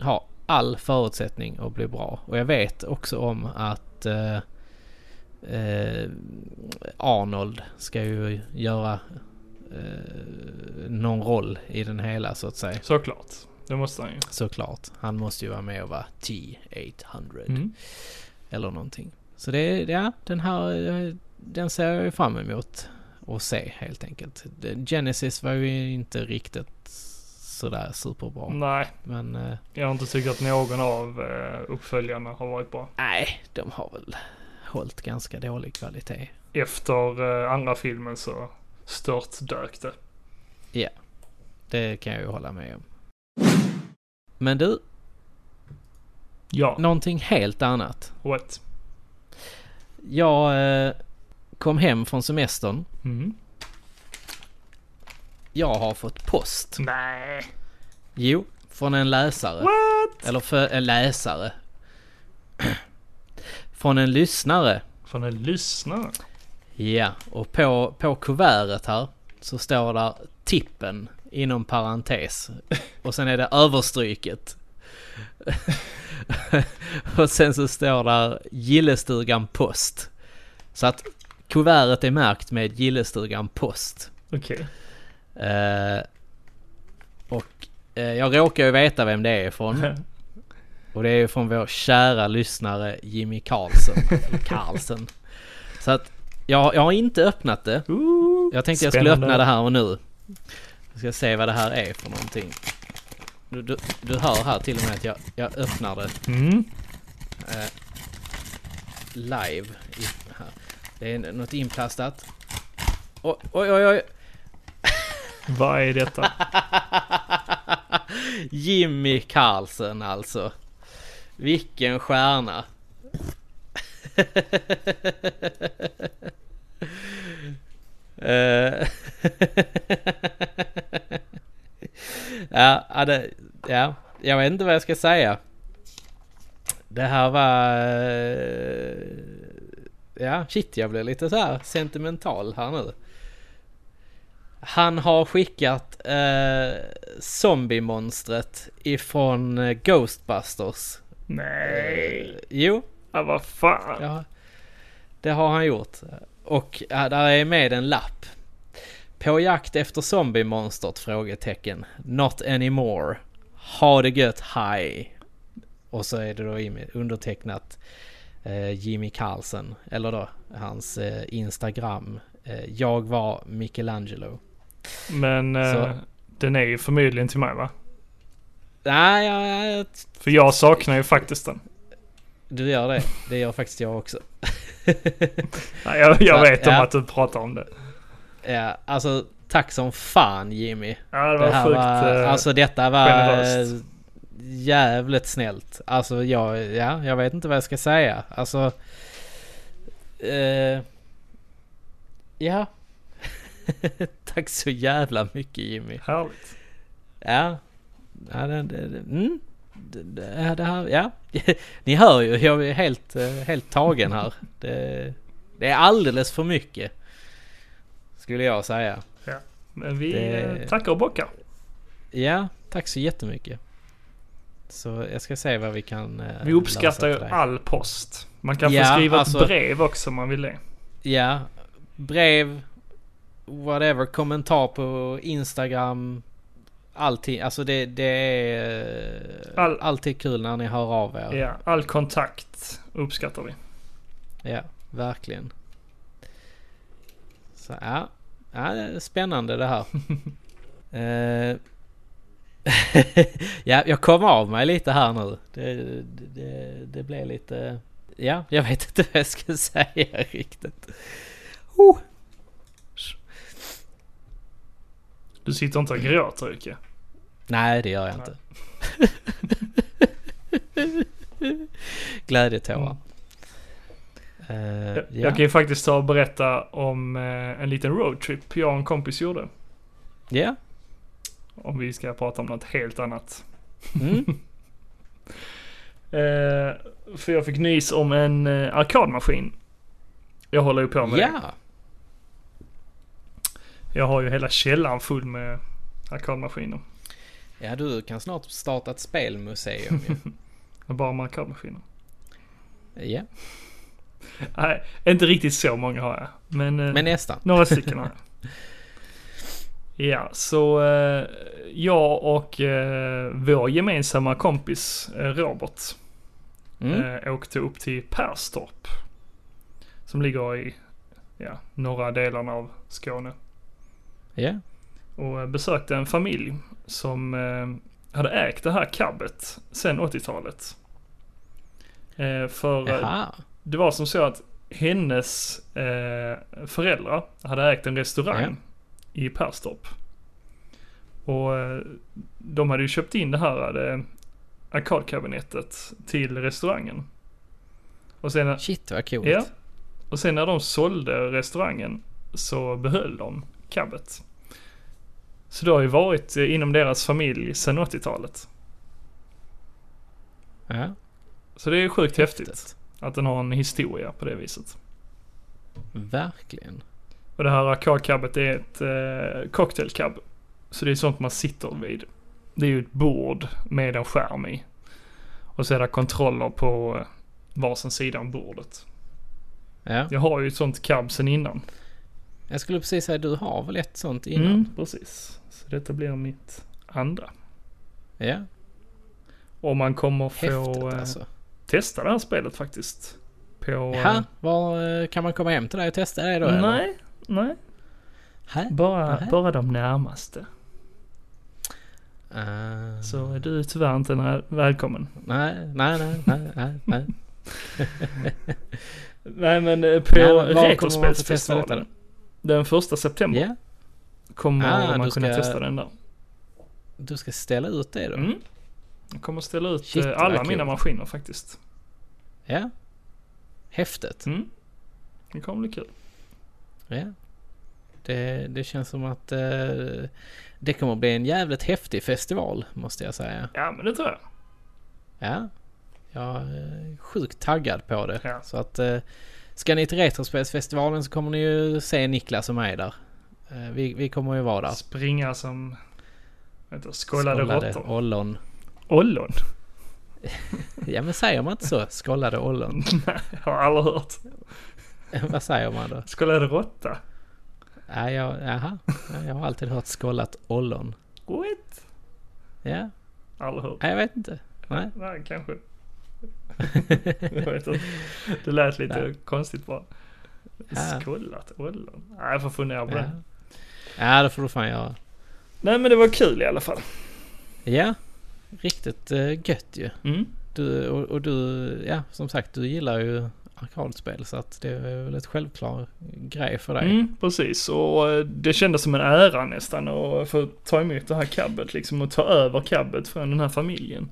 [SPEAKER 1] har all förutsättning att bli bra. Och jag vet också om att eh, eh, Arnold ska ju göra eh, någon roll i den hela så att säga.
[SPEAKER 2] Såklart. Det måste han ju.
[SPEAKER 1] Såklart. Han måste ju vara med och vara T-800
[SPEAKER 2] Mm.
[SPEAKER 1] eller någonting. Så det, det- ja, den här, eh, den ser jag ju fram emot att se helt enkelt. Det- Genesis var ju inte riktigt sådär superbra.
[SPEAKER 2] Nej,
[SPEAKER 1] Men eh,
[SPEAKER 2] jag har inte tyckt att någon av eh, uppföljarna har varit bra.
[SPEAKER 1] nej, de har väl hållit ganska dålig kvalitet.
[SPEAKER 2] Efter eh, andra filmen så stört dök det.
[SPEAKER 1] Det kan jag ju hålla med om. Men du,
[SPEAKER 2] Ja,
[SPEAKER 1] någonting helt annat.
[SPEAKER 2] what?
[SPEAKER 1] Jag eh, kom hem från semestern.
[SPEAKER 2] Mm.
[SPEAKER 1] Jag har fått post.
[SPEAKER 2] Nej.
[SPEAKER 1] Jo, från en läsare.
[SPEAKER 2] What?
[SPEAKER 1] Eller för en läsare. [CLEARS THROAT] Från en lyssnare.
[SPEAKER 2] Från en lyssnare?
[SPEAKER 1] Ja, och på, på kuvertet här så står där tippen inom parentes. [LAUGHS] Och sen är det överstryket. [LAUGHS] och sen så står där Gillestugan post. Så att kuvertet är märkt med Gillestugan post.
[SPEAKER 2] Okej. [LAUGHS]
[SPEAKER 1] Eh, och eh, jag råkar ju veta vem det är ifrån.
[SPEAKER 2] [LAUGHS] Uh.
[SPEAKER 1] Och det är från vår kära lyssnare Jimmy Karlsson. Eller Karlsson. Så att jag, jag har inte öppnat det.
[SPEAKER 2] Ooh,
[SPEAKER 1] Jag tänkte jag skulle
[SPEAKER 2] spännande.
[SPEAKER 1] öppna det här och nu. Vi ska se vad det här är för någonting. Du, du, du hör här till och med att jag, jag öppnar det
[SPEAKER 2] Mm.
[SPEAKER 1] live. I, här. Det är något inplastat. Oj, oj, oj, oj.
[SPEAKER 2] Vad är detta?
[SPEAKER 1] [LAUGHS] Jimmy Karlsson alltså. Vilken stjärna. Eh, [LAUGHS] ja, ja, det, ja, jag vet inte vad jag ska säga. Det här var... eh, Ja, shit jag blev lite så här sentimental här nu. Han har skickat eh, zombiemonstret ifrån eh, Ghostbusters.
[SPEAKER 2] Nej.
[SPEAKER 1] Jo,
[SPEAKER 2] Ja, vad fan.
[SPEAKER 1] ja, det har han gjort. Och ja, där är med en lapp. På jakt efter zombiemonstret? Frågetecken. Not anymore. Ha det gött, hej. Och så är det då i- undertecknat eh, Jimmy Carlsen. Eller då hans eh, Instagram. Eh, jag var Michelangelo.
[SPEAKER 2] Men eh,
[SPEAKER 1] Så.
[SPEAKER 2] den är ju förmodligen till mig va?
[SPEAKER 1] Nej, jag, jag,
[SPEAKER 2] För jag saknar ju faktiskt den.
[SPEAKER 1] du gör det. Det gör faktiskt jag också.
[SPEAKER 2] Nej, jag jag
[SPEAKER 1] Ja,
[SPEAKER 2] vet om
[SPEAKER 1] ja.
[SPEAKER 2] att du pratar om det.
[SPEAKER 1] Ja, alltså tack som fan Jimmy.
[SPEAKER 2] Ja, det var
[SPEAKER 1] Det här
[SPEAKER 2] sjukt.
[SPEAKER 1] var,
[SPEAKER 2] eh,
[SPEAKER 1] alltså detta var
[SPEAKER 2] generöst.
[SPEAKER 1] eh, jävligt snällt. Alltså jag, ja, jag vet inte vad jag ska säga. Alltså... Eh, ja. [LAUGHS] Tack så jävla mycket Jimmy.
[SPEAKER 2] Härligt.
[SPEAKER 1] Ja. Ja, det, det, det, mm. det, det, det här, ja. [LAUGHS] Ni hör ju, jag är helt, eh, helt tagen här. Det, det är alldeles för mycket. Skulle jag säga.
[SPEAKER 2] Men vi
[SPEAKER 1] Det-
[SPEAKER 2] eh, tackar och bockar.
[SPEAKER 1] Ja, tack så jättemycket. Så jag ska se vad vi kan... eh,
[SPEAKER 2] Vi uppskattar
[SPEAKER 1] lösa
[SPEAKER 2] ju
[SPEAKER 1] till dig.
[SPEAKER 2] all post. Man kan
[SPEAKER 1] Ja,
[SPEAKER 2] få skriva
[SPEAKER 1] alltså-
[SPEAKER 2] ett brev också om man vill det.
[SPEAKER 1] Ja. Brev, whatever, kommentar på Instagram. Allting, alltså det, det är eh,
[SPEAKER 2] All-
[SPEAKER 1] alltid kul när ni hör av er.
[SPEAKER 2] Ja, all kontakt uppskattar vi.
[SPEAKER 1] Ja, verkligen. Så ja, ja det är spännande det här. Eh, [LAUGHS] ja, jag kom av mig lite här nu. Det, det, det, det blev lite... Ja, jag vet inte vad jag ska [LAUGHS] säga riktigt. Oh.
[SPEAKER 2] Du sitter inte och
[SPEAKER 1] Mm.
[SPEAKER 2] gråter
[SPEAKER 1] Eh,
[SPEAKER 2] Jocke.
[SPEAKER 1] Nej, det gör jag inte. Glädjetårar. Eh,
[SPEAKER 2] Jag-
[SPEAKER 1] ja.
[SPEAKER 2] Jag kan ju faktiskt ta och berätta om eh, en liten roadtrip jag och en kompis gjorde.
[SPEAKER 1] ja.
[SPEAKER 2] Om vi ska prata om något helt annat.
[SPEAKER 1] Mm.
[SPEAKER 2] Eh, för jag fick nys om en eh, arkadmaskin. Jag håller ju på med det.
[SPEAKER 1] ja.
[SPEAKER 2] Jag har ju hela källaren full med arkadmaskiner.
[SPEAKER 1] Ja, du kan snart starta ett spelmuseum ju.
[SPEAKER 2] Bara med arkadmaskiner.
[SPEAKER 1] Ja,
[SPEAKER 2] Nej, inte riktigt så många har jag. Men, eh,
[SPEAKER 1] men nästan. [LAUGHS]
[SPEAKER 2] Några stycken har jag. Ja, så eh, jag och eh, vår gemensamma kompis eh, Robert
[SPEAKER 1] Mm.
[SPEAKER 2] eh, åkte upp till Perstorp. Som ligger i ja, norra delarna av Skåne.
[SPEAKER 1] Ja.
[SPEAKER 2] Och eh, besökte en familj som eh, hade ägt det här kabbet sedan 80-talet. Eh, för eh,
[SPEAKER 1] Jaha.
[SPEAKER 2] det var som så att hennes eh, föräldrar hade ägt en restaurang
[SPEAKER 1] Ja.
[SPEAKER 2] i Perstorp. Och eh, de hade ju köpt in det här eh, arkadkabinettet till restaurangen. Och sen,
[SPEAKER 1] Shit vad coolt.
[SPEAKER 2] ja, och sen när de sålde restaurangen så behöll de kabbet. Så det har ju varit eh, inom deras familj sedan 80-talet.
[SPEAKER 1] Ja,
[SPEAKER 2] Så det är ju sjukt häftigt
[SPEAKER 1] häftigt.
[SPEAKER 2] att den har en historia på det viset.
[SPEAKER 1] Verkligen.
[SPEAKER 2] Och det här arkadkabbet är ett eh, cocktailkab. Så det är sånt man sitter vid. Det är ju ett bord med en skärm i. Och så är det kontroller på eh, varsin sida om bordet.
[SPEAKER 1] Ja.
[SPEAKER 2] Jag har ju ett sånt cab sen innan.
[SPEAKER 1] Jag skulle precis säga du har väl ett sånt innan?
[SPEAKER 2] Mm. precis. Så detta blir mitt andra.
[SPEAKER 1] Ja.
[SPEAKER 2] Och man kommer
[SPEAKER 1] Häftigt
[SPEAKER 2] få eh,
[SPEAKER 1] alltså.
[SPEAKER 2] testa det här spelet faktiskt. På... eh,
[SPEAKER 1] Jaha, var, eh, kan man komma hem till dig och testa det då eller?
[SPEAKER 2] nej, nej.
[SPEAKER 1] Hä?
[SPEAKER 2] Bara,
[SPEAKER 1] Nähä.
[SPEAKER 2] bara de närmaste.
[SPEAKER 1] Ah.
[SPEAKER 2] Så är du är tyvärr inte nä- välkommen.
[SPEAKER 1] Nej, nej, nej, nej, nej, nej.
[SPEAKER 2] Nej men eh, [LAUGHS] på
[SPEAKER 1] Nej, men var kommer man få testa
[SPEAKER 2] Retrospelsfestivalen.
[SPEAKER 1] detta
[SPEAKER 2] Den första september
[SPEAKER 1] Ja,
[SPEAKER 2] kommer
[SPEAKER 1] Ah,
[SPEAKER 2] man
[SPEAKER 1] du
[SPEAKER 2] kunna
[SPEAKER 1] ska-
[SPEAKER 2] testa den där.
[SPEAKER 1] du ska ställa ut det då?
[SPEAKER 2] Mm. Jag kommer ställa ut
[SPEAKER 1] Shit,
[SPEAKER 2] eh,
[SPEAKER 1] vad
[SPEAKER 2] alla
[SPEAKER 1] kul.
[SPEAKER 2] mina maskiner faktiskt.
[SPEAKER 1] Ja. Häftigt.
[SPEAKER 2] Mm. Det kommer bli kul.
[SPEAKER 1] Ja. Det, det känns som att eh, det kommer bli en jävligt häftig festival måste jag säga.
[SPEAKER 2] Ja men det tror jag.
[SPEAKER 1] Ja, jag är sjukt taggad på det.
[SPEAKER 2] Ja.
[SPEAKER 1] Så att eh, ska ni till Retrospelsfestivalen så kommer ni ju se Niklas och mig där. Eh, vi, vi kommer ju vara där.
[SPEAKER 2] Springa som vet du, skållade råttor.
[SPEAKER 1] ollon.
[SPEAKER 2] Ollon? [LAUGHS]
[SPEAKER 1] Ja men säger man inte så? Skållade ollon. [LAUGHS]
[SPEAKER 2] Nej, jag har aldrig hört.
[SPEAKER 1] Vad säger man då?
[SPEAKER 2] Skållade råtta?
[SPEAKER 1] Ja, jag, aha. Ja, jag har alltid hört skållat ollon.
[SPEAKER 2] What?
[SPEAKER 1] Ja, [LAUGHS]
[SPEAKER 2] Aldrig hört.
[SPEAKER 1] nej, jag vet inte.
[SPEAKER 2] [LAUGHS]
[SPEAKER 1] Nej.
[SPEAKER 2] Nej kanske. jag vet inte. Det lät lite konstigt bara.
[SPEAKER 1] Ja.
[SPEAKER 2] Skållat ollon? Nej jag får fundera på
[SPEAKER 1] Ja.
[SPEAKER 2] det.
[SPEAKER 1] ja, det får du fan göra.
[SPEAKER 2] Nej men det var kul i alla fall.
[SPEAKER 1] Ja, Riktigt eh, gött ju.
[SPEAKER 2] Mm.
[SPEAKER 1] Du, och, och du, ja som sagt du gillar ju arkadspel så att det är väl ett självklar grej för dig.
[SPEAKER 2] Mm, precis, och eh, det kändes som en ära nästan att få ta emot det här cabbet liksom och ta över cabbet från den här familjen.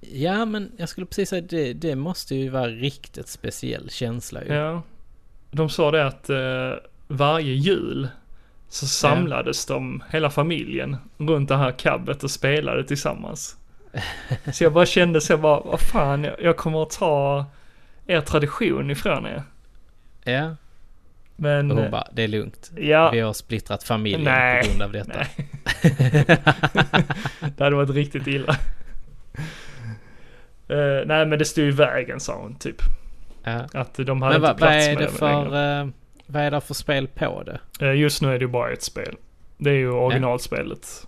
[SPEAKER 1] Ja men jag skulle precis säga det, det måste ju vara riktigt speciell känsla ju.
[SPEAKER 2] Ja. De sa det att eh, varje jul så samlades de, hela familjen, runt det här cabbet och spelade tillsammans. Så jag bara kände så jag bara, vad fan, jag, jag kommer att ta er tradition ifrån er.
[SPEAKER 1] Ja.
[SPEAKER 2] Men...
[SPEAKER 1] Och
[SPEAKER 2] eh,
[SPEAKER 1] hon bara, det är lugnt.
[SPEAKER 2] Ja,
[SPEAKER 1] Vi har splittrat familjen
[SPEAKER 2] Nej.
[SPEAKER 1] på grund av detta.
[SPEAKER 2] Nej. det hade varit riktigt illa. [LAUGHS] Eh, nej men det stod i vägen sa hon typ.
[SPEAKER 1] [LAUGHS] Ja.
[SPEAKER 2] Att de
[SPEAKER 1] Men
[SPEAKER 2] hade inte
[SPEAKER 1] vad, vad
[SPEAKER 2] plats
[SPEAKER 1] är
[SPEAKER 2] med
[SPEAKER 1] det
[SPEAKER 2] det
[SPEAKER 1] för,
[SPEAKER 2] längre.
[SPEAKER 1] eh, vad är det för spel på det?
[SPEAKER 2] Eh, Just nu är det ju bara ett spel. Det är ju originalspelet.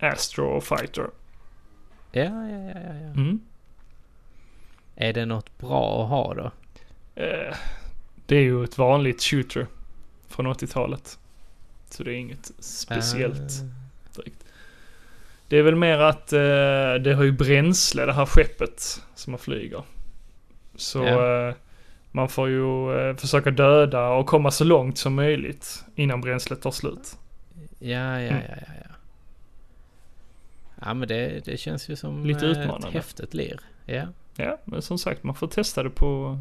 [SPEAKER 2] Astro Fighter.
[SPEAKER 1] Ja, ja, ja, ja. ja.
[SPEAKER 2] Mm.
[SPEAKER 1] Är det något bra att ha då?
[SPEAKER 2] Eh, det är ju ett vanligt shooter. Från 80-talet. Så det är inget speciellt.
[SPEAKER 1] Eh, Ah.
[SPEAKER 2] Det är väl mer att eh, det har ju bränsle det här skeppet som man flyger. Så
[SPEAKER 1] Ja.
[SPEAKER 2] eh, man får ju eh, försöka döda och komma så långt som möjligt innan bränslet tar slut.
[SPEAKER 1] Ja, ja,
[SPEAKER 2] Mm.
[SPEAKER 1] ja, ja, ja. Ja, men det, det känns ju som
[SPEAKER 2] Lite
[SPEAKER 1] eh,
[SPEAKER 2] utmanande.
[SPEAKER 1] ett häftigt lir. Ja.
[SPEAKER 2] Ja, men som sagt man får testa det på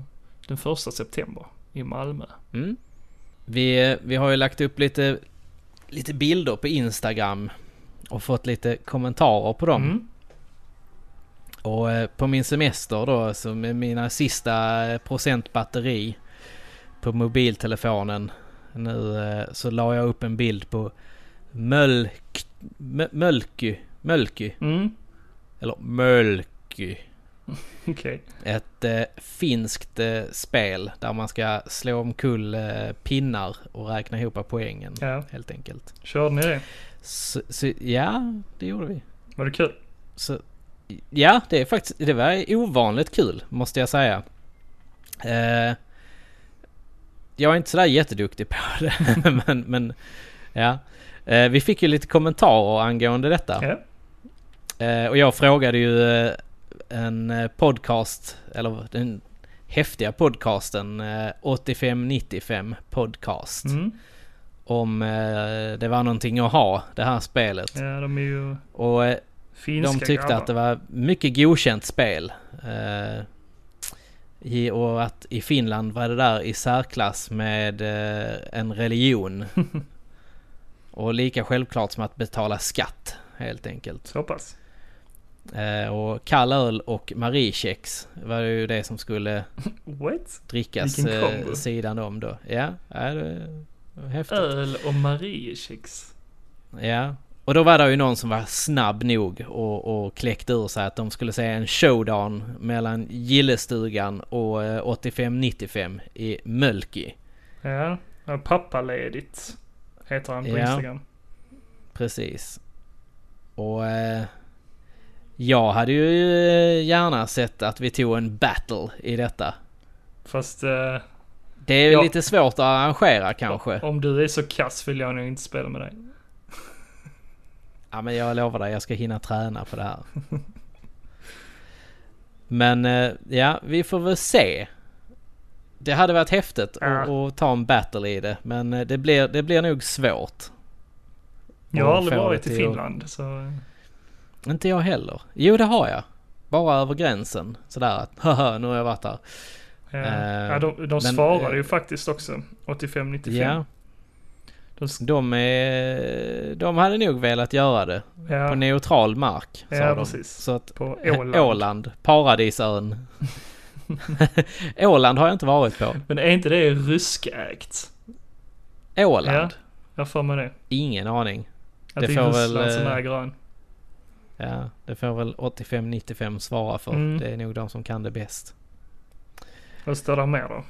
[SPEAKER 2] den första september i Malmö.
[SPEAKER 1] Mm. Vi, eh, vi har ju lagt upp lite, lite bilder på Instagram och fått lite kommentarer på dem.
[SPEAKER 2] Mm.
[SPEAKER 1] Och eh, på min semester då, som är mina sista eh, procent batteri på mobiltelefonen nu, eh, så la jag upp en bild på Mölk... Mö- Mölky. Mölky.
[SPEAKER 2] Mm. [LAUGHS]
[SPEAKER 1] Eller Mölky.
[SPEAKER 2] Okej.
[SPEAKER 1] Ett eh, finskt eh, spel där man ska slå omkull eh, pinnar och räkna ihop poängen.
[SPEAKER 2] Ja,
[SPEAKER 1] Helt enkelt.
[SPEAKER 2] körde ni det?
[SPEAKER 1] Så, så, ja, det gjorde vi.
[SPEAKER 2] Var det kul?
[SPEAKER 1] Så, ja, det är faktiskt, det var ovanligt kul måste jag säga. Eh, jag är inte sådär jätteduktig på [LAUGHS] det, men, men ja. Eh, vi fick ju lite kommentarer angående detta.
[SPEAKER 2] Ja.
[SPEAKER 1] Eh, och jag frågade ju eh, en eh, podcast, eller den häftiga podcasten eh, 8595 podcast.
[SPEAKER 2] Mm.
[SPEAKER 1] Om eh, det var någonting att ha, det här spelet.
[SPEAKER 2] Ja, de är ju
[SPEAKER 1] Och eh,
[SPEAKER 2] finska
[SPEAKER 1] de tyckte
[SPEAKER 2] grabbar.
[SPEAKER 1] att det var mycket godkänt spel. Eh, i, och att i Finland var det där i särklass med eh, en
[SPEAKER 2] [LAUGHS]
[SPEAKER 1] religion. och lika självklart som att betala skatt, helt enkelt.
[SPEAKER 2] Så pass.
[SPEAKER 1] Eh, och kall öl och mariekex var ju det som skulle
[SPEAKER 2] What?
[SPEAKER 1] drickas
[SPEAKER 2] Vilken
[SPEAKER 1] eh,
[SPEAKER 2] kombo.
[SPEAKER 1] sidan om då. Ja, ja det var häftigt.
[SPEAKER 2] Öl och mariekex.
[SPEAKER 1] Ja. Och då var det ju någon som var snabb nog och, och kläckte ur sig att de skulle se en showdown mellan Gillestugan och eh, 8595 i Mölky.
[SPEAKER 2] Ja, ja, pappaledigt heter han på
[SPEAKER 1] Ja.
[SPEAKER 2] Instagram.
[SPEAKER 1] Precis. Och eh, jag hade ju eh, gärna sett att vi tog en battle i detta.
[SPEAKER 2] Fast eh,
[SPEAKER 1] Det är
[SPEAKER 2] Ja.
[SPEAKER 1] lite svårt att arrangera kanske.
[SPEAKER 2] om du är så kass vill jag nog inte spela med dig.
[SPEAKER 1] Ja men jag lovar dig, jag ska hinna träna på det här. Men eh, ja, vi får väl se. Det hade varit häftigt att
[SPEAKER 2] Ja.
[SPEAKER 1] att ta en battle i det, men eh, det blir, det blir nog svårt.
[SPEAKER 2] Jag har
[SPEAKER 1] Och
[SPEAKER 2] aldrig
[SPEAKER 1] få
[SPEAKER 2] varit
[SPEAKER 1] det
[SPEAKER 2] i
[SPEAKER 1] till att-
[SPEAKER 2] Finland så... eh,
[SPEAKER 1] Inte jag heller. Jo, det har jag. Bara över gränsen. Sådär att [LAUGHS] haha, nu har jag varit där.
[SPEAKER 2] Ja.
[SPEAKER 1] Eh,
[SPEAKER 2] ja, de de
[SPEAKER 1] men,
[SPEAKER 2] svarade
[SPEAKER 1] eh,
[SPEAKER 2] ju faktiskt också. 85-95.
[SPEAKER 1] Ja,
[SPEAKER 2] De, s-
[SPEAKER 1] de, är, de hade nog velat göra det.
[SPEAKER 2] ja,
[SPEAKER 1] På
[SPEAKER 2] på,
[SPEAKER 1] neutral mark, sa
[SPEAKER 2] Ja,
[SPEAKER 1] de.
[SPEAKER 2] precis.
[SPEAKER 1] Så att
[SPEAKER 2] Åland.
[SPEAKER 1] Åland, paradisön. [LAUGHS] Åland har jag inte varit på.
[SPEAKER 2] Men är inte det ryskägt?
[SPEAKER 1] Åland?
[SPEAKER 2] Ja, jag har för mig det.
[SPEAKER 1] Ingen aning.
[SPEAKER 2] Att
[SPEAKER 1] Det
[SPEAKER 2] det,
[SPEAKER 1] får
[SPEAKER 2] är Ryssland
[SPEAKER 1] väl,
[SPEAKER 2] som
[SPEAKER 1] eh,
[SPEAKER 2] äger ön.
[SPEAKER 1] Ja, det får väl 85-95 svara för.
[SPEAKER 2] Mm.
[SPEAKER 1] Det är nog de som kan det bäst.
[SPEAKER 2] Vad står där mer då?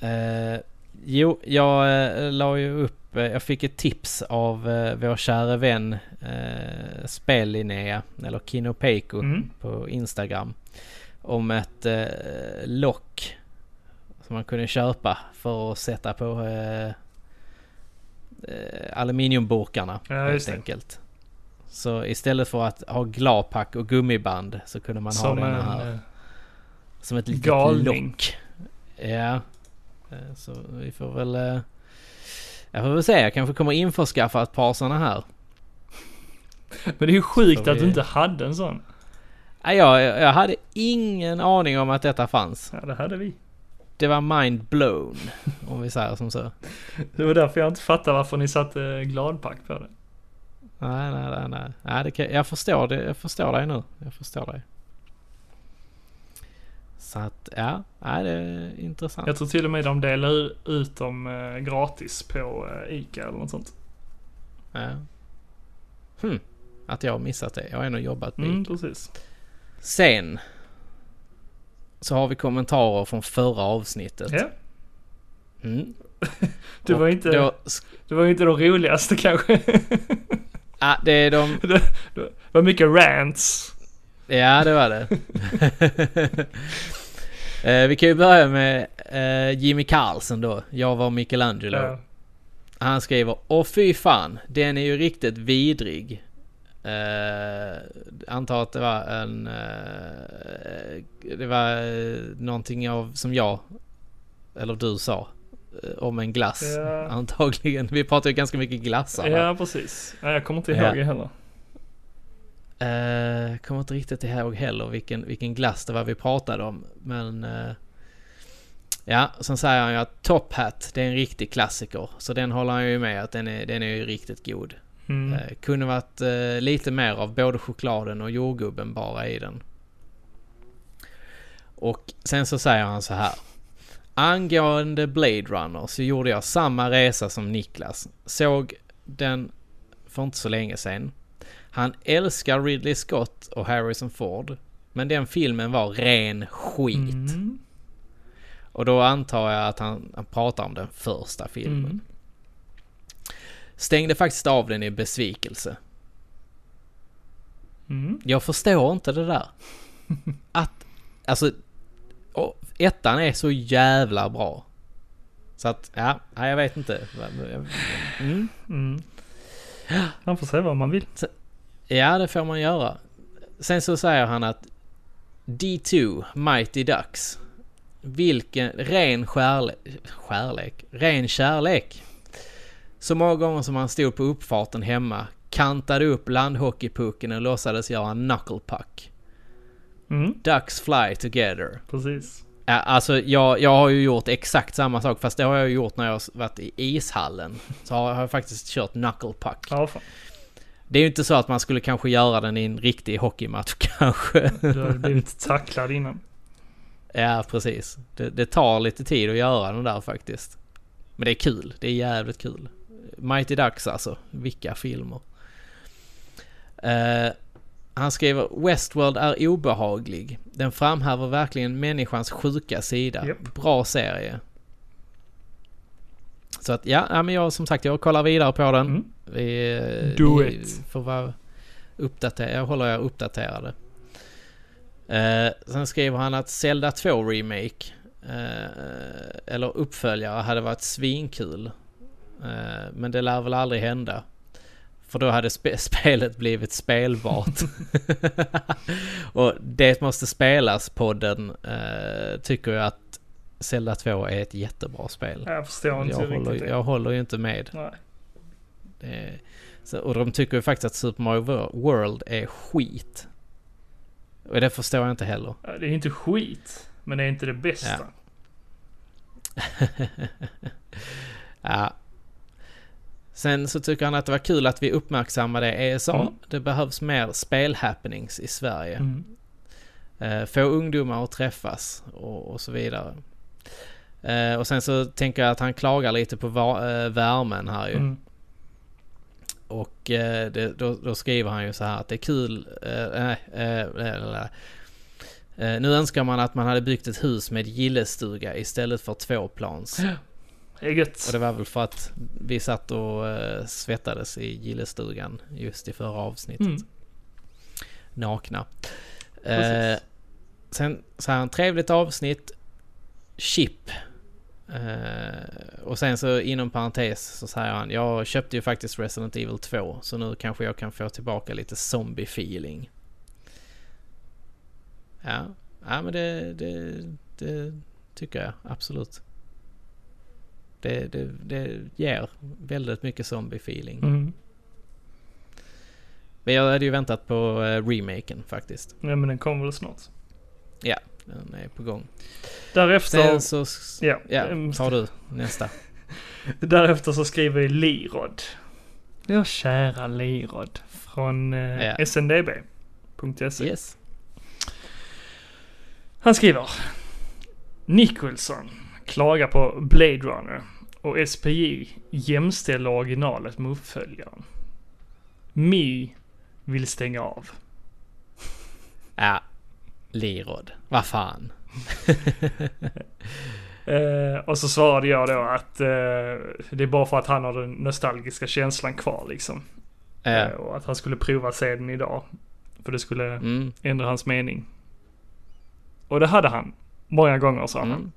[SPEAKER 1] Eh, jo, jag eh, la ju upp, eh, jag fick ett tips av eh, vår käre vän eh, Spellinnea, eller Kinopeiku
[SPEAKER 2] Mm.
[SPEAKER 1] på Instagram. Om ett eh, lock som man kunde köpa för att sätta på eh, eh, aluminiumburkarna
[SPEAKER 2] Ja,
[SPEAKER 1] helt
[SPEAKER 2] just det.
[SPEAKER 1] enkelt. Så istället för att ha glapack och gummiband så kunde man
[SPEAKER 2] som
[SPEAKER 1] ha
[SPEAKER 2] en...
[SPEAKER 1] den här
[SPEAKER 2] eh,
[SPEAKER 1] som ett litet
[SPEAKER 2] galning.
[SPEAKER 1] lock. Ja. Eh, Så vi får väl... eh, Jag får väl se, jag kanske kommer införskaffa ett par sådana här.
[SPEAKER 2] Men det är ju sjukt
[SPEAKER 1] Så
[SPEAKER 2] att du
[SPEAKER 1] vi-
[SPEAKER 2] inte hade en sån.
[SPEAKER 1] Nej, Jag, jag hade ingen aning om att detta fanns.
[SPEAKER 2] Ja, det hade vi.
[SPEAKER 1] Det var mind blown, om vi säger som så.
[SPEAKER 2] Det var därför jag inte fattade varför ni satte gladpack på det.
[SPEAKER 1] Nej, nej, nej, nej. nej det kan, jag förstår det. Jag förstår dig nu. Jag förstår dig. Så att, ja. Nej, det är intressant.
[SPEAKER 2] Jag tror till och med de delar u- ut dem eh, gratis på eh, ICA eller något sånt.
[SPEAKER 1] Ja. Hm. Att jag har missat det. Jag har ändå jobbat med
[SPEAKER 2] Mm, precis.
[SPEAKER 1] Sen så har vi kommentarer från förra avsnittet.
[SPEAKER 2] Ja.
[SPEAKER 1] Mm.
[SPEAKER 2] Det,
[SPEAKER 1] Och
[SPEAKER 2] var inte,
[SPEAKER 1] Då, sk-
[SPEAKER 2] det var inte de roligaste [LAUGHS] kanske.
[SPEAKER 1] ah, det är de...
[SPEAKER 2] Det var mycket rants.
[SPEAKER 1] Ja, det var det.
[SPEAKER 2] [LAUGHS]
[SPEAKER 1] eh, vi kan ju börja med eh, Jimmy Carlsen då. Jag var Michelangelo.
[SPEAKER 2] Ja.
[SPEAKER 1] Han skriver Åh fy fan, den är ju riktigt vidrig. Eh, antar att det var en... eh, det var eh, någonting av, som jag, eller du sa, eh, om en glass.
[SPEAKER 2] Ja.
[SPEAKER 1] Antagligen. Vi pratar ju ganska mycket glassar. här.
[SPEAKER 2] ja, precis. Nej, jag kommer inte
[SPEAKER 1] Ja.
[SPEAKER 2] ihåg det heller.
[SPEAKER 1] Eh, kommer inte riktigt ihåg heller vilken, vilken glass det var vi pratade om. Men... eh, ja, sen säger han ju att Top Hat, det är en riktig klassiker. Så den håller han ju med att den är, den är ju riktigt god.
[SPEAKER 2] Mm.
[SPEAKER 1] Eh, kunde varit eh, lite mer av både chokladen och jordgubben bara i den. Och sen så säger han så här. Angående Blade Runner så gjorde jag samma resa som Niklas. Såg den för inte så länge sedan. Han älskar Ridley Scott och Harrison Ford. Men den filmen var ren skit.
[SPEAKER 2] Mm.
[SPEAKER 1] Och då antar jag att han, han pratar om den första filmen.
[SPEAKER 2] Mm.
[SPEAKER 1] Stängde faktiskt av den i besvikelse.
[SPEAKER 2] Mm.
[SPEAKER 1] Jag förstår inte det där. Att, alltså, och, ettan är så jävla bra. Så att, ja, nej, jag vet inte. Mm.
[SPEAKER 2] Mm. Man får säga vad man vill.
[SPEAKER 1] Ja, det får man göra. Sen så säger han att D2, Mighty Ducks. Vilken ren skärlek, skärlek, ren kärlek. Så många gånger som han stod på uppfarten hemma, kantade upp landhockeypucken och låtsades göra en knuckle puck.
[SPEAKER 2] Mm.
[SPEAKER 1] Ducks fly together.
[SPEAKER 2] Precis.
[SPEAKER 1] Ja, Alltså jag, jag har ju gjort exakt samma sak fast det har jag ju gjort när jag har varit i ishallen. Så har har jag faktiskt kört knuckle puck.
[SPEAKER 2] Ja, fan.
[SPEAKER 1] Det är ju inte så att man skulle kanske göra den i en riktig hockeymatch [LAUGHS] kanske. [LAUGHS]
[SPEAKER 2] Du har blivit tacklad innan.
[SPEAKER 1] Ja precis. Det, det tar lite tid att göra den där faktiskt. Men det är kul. Det är jävligt kul. Mighty Ducks alltså. Vilka filmer. Eh, han skriver Westworld är obehaglig. Den framhäver verkligen människans sjuka sida.
[SPEAKER 2] Japp.
[SPEAKER 1] Bra serie. Så att ja, ja men jag som sagt jag kollar vidare på den.
[SPEAKER 2] Mm.
[SPEAKER 1] Vi, eh,
[SPEAKER 2] Do
[SPEAKER 1] vi
[SPEAKER 2] it.
[SPEAKER 1] får vara uppdaterade. Jag håller er uppdaterade. Eh, sen skriver han att Zelda 2 Remake eh, eller uppföljare hade varit svinkul. Eh, men det lär väl aldrig hända. För då hade spe- [LAUGHS] spelet blivit
[SPEAKER 2] [LAUGHS]
[SPEAKER 1] spelbart. Och det måste spelas podden eh, tycker jag att Zelda 2 är ett jättebra spel.
[SPEAKER 2] Jag förstår inte
[SPEAKER 1] Jag
[SPEAKER 2] riktigt
[SPEAKER 1] håller,
[SPEAKER 2] det.
[SPEAKER 1] jag håller ju inte med.
[SPEAKER 2] Nej.
[SPEAKER 1] Det- Så, och de tycker ju faktiskt att Super Mario Wor- World är skit. Och det förstår jag inte heller. [LAUGHS]
[SPEAKER 2] Ja, Eh, Det är inte skit, men det är inte det bästa.
[SPEAKER 1] ja. Sen så tycker han att det var kul att vi uppmärksammade ESA.
[SPEAKER 2] Mm.
[SPEAKER 1] Det behövs mer spelhappenings i Sverige.
[SPEAKER 2] Mm.
[SPEAKER 1] Eh, få ungdomar att träffas och, och så vidare. Eh, och sen så tänker jag att han klagar lite på va- eh, värmen här ju.
[SPEAKER 2] Mm.
[SPEAKER 1] Och eh, det, då, då skriver han ju så här att det är kul... Eh, nej, eh, nej, nej, nej. Eh, nu önskar man att man hade byggt ett hus med gillestuga istället för tvåplans.
[SPEAKER 2] Det är gött.
[SPEAKER 1] Och det var väl för att vi satt och eh, svettades i gillestugan just i förra avsnittet.
[SPEAKER 2] Mm.
[SPEAKER 1] Nakna. Eh,
[SPEAKER 2] Precis.
[SPEAKER 1] sen så här, en trevligt avsnitt. Chip. Eh, och sen så inom parentes så säger han, jag köpte ju faktiskt Resident Evil 2 så nu kanske jag kan få tillbaka lite zombie feeling. Ja, ja men det, det, det tycker jag absolut. Det, det, det ger väldigt mycket zombie feeling.
[SPEAKER 2] Mm.
[SPEAKER 1] Men jag hade ju väntat på eh, remaken faktiskt.
[SPEAKER 2] Ja, men den kommer väl snart.
[SPEAKER 1] Den är på gång.
[SPEAKER 2] Därefter,
[SPEAKER 1] Sen så... s-
[SPEAKER 2] ja,
[SPEAKER 1] Ja,
[SPEAKER 2] mm,
[SPEAKER 1] tar du [LAUGHS] nästa.
[SPEAKER 2] därefter så skriver ju Lirod. Ja, kära Lirod från eh,
[SPEAKER 1] Ja.
[SPEAKER 2] sndb.se.
[SPEAKER 1] Yes.
[SPEAKER 2] E. Han skriver. Nicholson klagar på Blade Runner och SPJ jämställer originalet med uppföljaren. My vill stänga av.
[SPEAKER 1] Ja. Lirod. Vad [LAUGHS] fan.
[SPEAKER 2] Eh, och så svarade jag då att eh, det är bara för att han har den nostalgiska känslan kvar liksom.
[SPEAKER 1] Eh,
[SPEAKER 2] Eh, och att han skulle prova se den idag. För det skulle
[SPEAKER 1] mm,
[SPEAKER 2] ändra hans mening. Och det hade han. Många gånger sa han.
[SPEAKER 1] mm,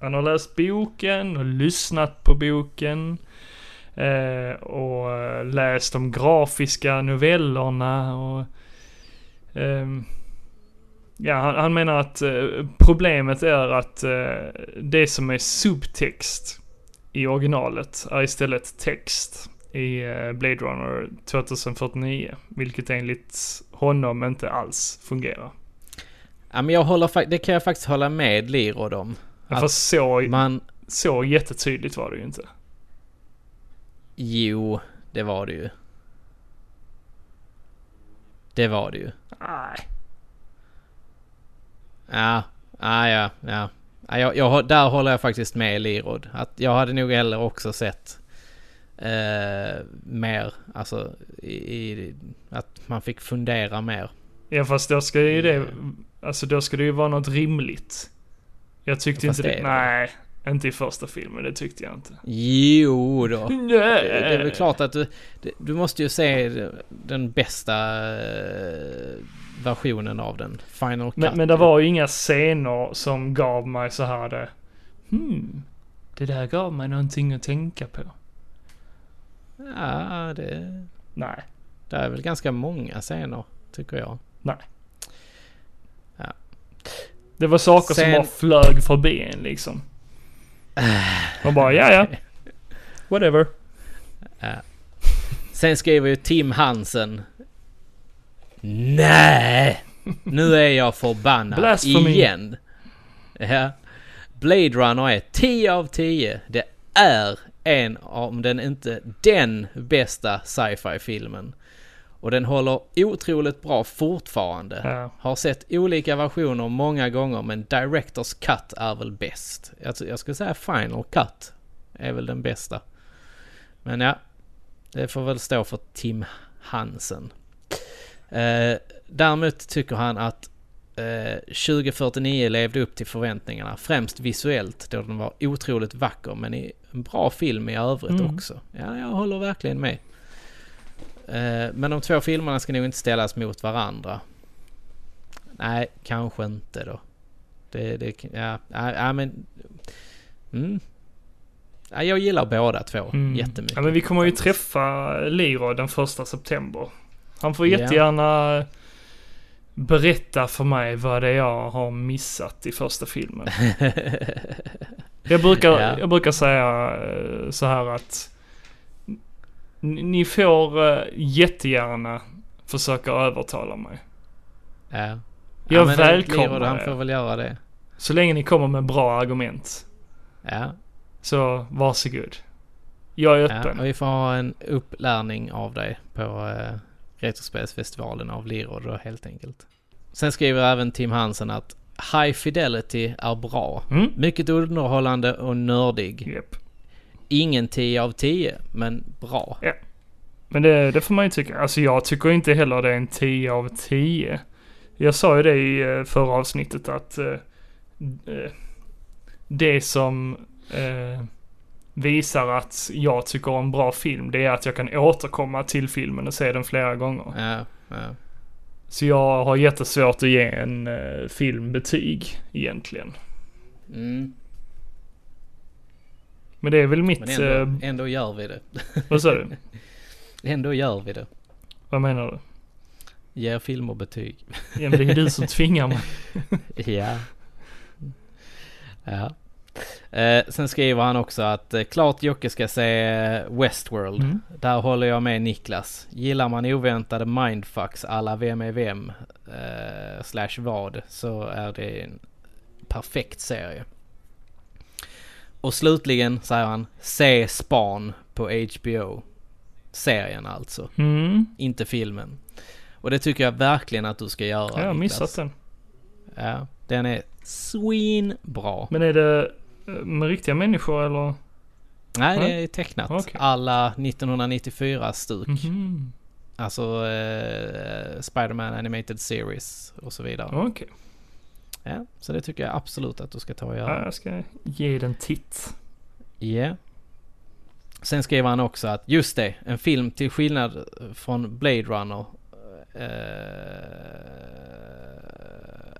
[SPEAKER 2] Han har läst boken och lyssnat på boken. Eh, och eh, läst de grafiska novellerna och... ehm, ja, han, han menar att eh, problemet är att eh, det som är subtext i originalet är istället text i eh, Blade Runner 2049. Vilket enligt honom inte alls fungerar.
[SPEAKER 1] ja, men jag håller fak- det kan jag faktiskt hålla med Lirod om. Att
[SPEAKER 2] Fast så,
[SPEAKER 1] Man...
[SPEAKER 2] så jättetydligt var det ju inte.
[SPEAKER 1] Jo, det var det ju. Det var det ju.
[SPEAKER 2] Nej.
[SPEAKER 1] Ja, ja, ja. ja. ja jag, jag, har- där håller jag faktiskt med Lirod. Att jag hade nog heller också sett eh, mer, alltså i, i, att man fick fundera mer.
[SPEAKER 2] Ja fast då ska ju det,
[SPEAKER 1] Ja.
[SPEAKER 2] alltså då ska det ju vara något rimligt. Jag tyckte
[SPEAKER 1] Fast
[SPEAKER 2] inte
[SPEAKER 1] det
[SPEAKER 2] det.
[SPEAKER 1] är det.
[SPEAKER 2] Nej, inte i första filmen, det tyckte jag inte.
[SPEAKER 1] Jo då.
[SPEAKER 2] Nej.
[SPEAKER 1] Det, det är väl klart att du, det- du måste ju se den bästa eh, versionen av den. Final Cut.
[SPEAKER 2] Men, men det var ju inga scener som gav mig så här det. Hmm, det där gav mig någonting att tänka på.
[SPEAKER 1] Ja, det,
[SPEAKER 2] Nej.
[SPEAKER 1] det är väl ganska många scener, tycker jag.
[SPEAKER 2] Det var saker som
[SPEAKER 1] Sen-
[SPEAKER 2] bara flög förbi en liksom. Man bara,
[SPEAKER 1] [LAUGHS]
[SPEAKER 2] ja ja. Whatever.
[SPEAKER 1] Sen skriver ju Tim Hansen. Nej! Nu är jag förbannad
[SPEAKER 2] Blasphemy.
[SPEAKER 1] igen. Ja. Blade Runner är 10 av 10. Det är en, om den inte den bästa sci-fi filmen. Och den håller otroligt bra fortfarande.
[SPEAKER 2] Ja.
[SPEAKER 1] Har sett olika versioner många gånger men Directors Cut är väl bäst. Jag, jag skulle säga Final Cut är väl den bästa. Men ja, det får väl stå för Tim Hansen. Eh, däremot tycker han att eh, 2049 levde upp till förväntningarna, främst visuellt då den var otroligt vacker men i en bra film i övrigt
[SPEAKER 2] Mm.
[SPEAKER 1] också. Ja, jag håller verkligen med. Eh, men de två filmerna ska nog inte ställas mot varandra. Nej, kanske inte då. Det, det, ja, ja, ja men... Mm. Ja, jag gillar båda två
[SPEAKER 2] Mm.
[SPEAKER 1] jättemycket.
[SPEAKER 2] Ja, men vi kommer ju
[SPEAKER 1] faktiskt.
[SPEAKER 2] träffa Liro den första september. Han får
[SPEAKER 1] Ja.
[SPEAKER 2] jättegärna berätta för mig vad det är jag har missat i
[SPEAKER 1] [LAUGHS]
[SPEAKER 2] första filmen. Jag brukar,
[SPEAKER 1] Ja.
[SPEAKER 2] jag brukar säga eh, så här att ni ni får eh, jättegärna försöka övertala mig.
[SPEAKER 1] ja.
[SPEAKER 2] Jag
[SPEAKER 1] men det-
[SPEAKER 2] välkomnar
[SPEAKER 1] Leroy, Han
[SPEAKER 2] det.
[SPEAKER 1] får väl göra det.
[SPEAKER 2] Så länge ni kommer med bra argument,
[SPEAKER 1] Ja.
[SPEAKER 2] så varsågod. Jag är
[SPEAKER 1] ja.
[SPEAKER 2] öppen.
[SPEAKER 1] Och vi får ha en upplärning av dig på eh, Retrospelsfestivalen av Lirod då helt enkelt. Sen skriver även Tim Hansen att High Fidelity är bra.
[SPEAKER 2] Mm?
[SPEAKER 1] Mycket underhållande och nördig.
[SPEAKER 2] Japp.
[SPEAKER 1] Ingen 10 av 10, men bra.
[SPEAKER 2] Men det, det får man ju tycka. Alltså jag tycker inte heller det är en 10 av 10. Jag sa ju det i eh, förra avsnittet att eh, eh, det som eh, visar att jag tycker om bra film det är att jag kan återkomma till filmen och se den flera gånger.
[SPEAKER 1] Ja, ja.
[SPEAKER 2] Så jag har jättesvårt att ge en eh, film betyg egentligen.
[SPEAKER 1] Mm.
[SPEAKER 2] Men det är väl
[SPEAKER 1] Men
[SPEAKER 2] mitt... eh,
[SPEAKER 1] ändå, ändå gör vi det.
[SPEAKER 2] vad sa du?
[SPEAKER 1] Ändå gör vi det.
[SPEAKER 2] Vad menar du?
[SPEAKER 1] Ger filmer betyg.
[SPEAKER 2] Ja, men det är ju du som tvingar mig.
[SPEAKER 1] Ja. ja. Eh, sen skriver han också att eh, klart Jocke ska se eh, Westworld.
[SPEAKER 2] Mm.
[SPEAKER 1] Där håller jag med Niklas. Gillar man oväntade mindfucks alla vem är vem eh, slash vad så är det en perfekt serie. Och slutligen säger han se Span på HBO. Serien alltså,
[SPEAKER 2] Mm.
[SPEAKER 1] inte filmen. Och det tycker jag verkligen att du ska göra.
[SPEAKER 2] Ja, jag har
[SPEAKER 1] Niklas.
[SPEAKER 2] missat den.
[SPEAKER 1] Ja, den är svinbra.
[SPEAKER 2] Men är det eh, med riktiga människor eller?
[SPEAKER 1] Nej, det
[SPEAKER 2] Nej.
[SPEAKER 1] är tecknat.
[SPEAKER 2] Okej.
[SPEAKER 1] Alla 1994-stuk.
[SPEAKER 2] Mhm.
[SPEAKER 1] Alltså eh, Spider-Man Animated Series och så vidare.
[SPEAKER 2] Okej.
[SPEAKER 1] Ja, så det tycker jag absolut att du ska ta och göra.
[SPEAKER 2] Ja, jag ska ge den titt.
[SPEAKER 1] Ja. Sen skriver han också att just det, en film till skillnad från Blade Runner eh,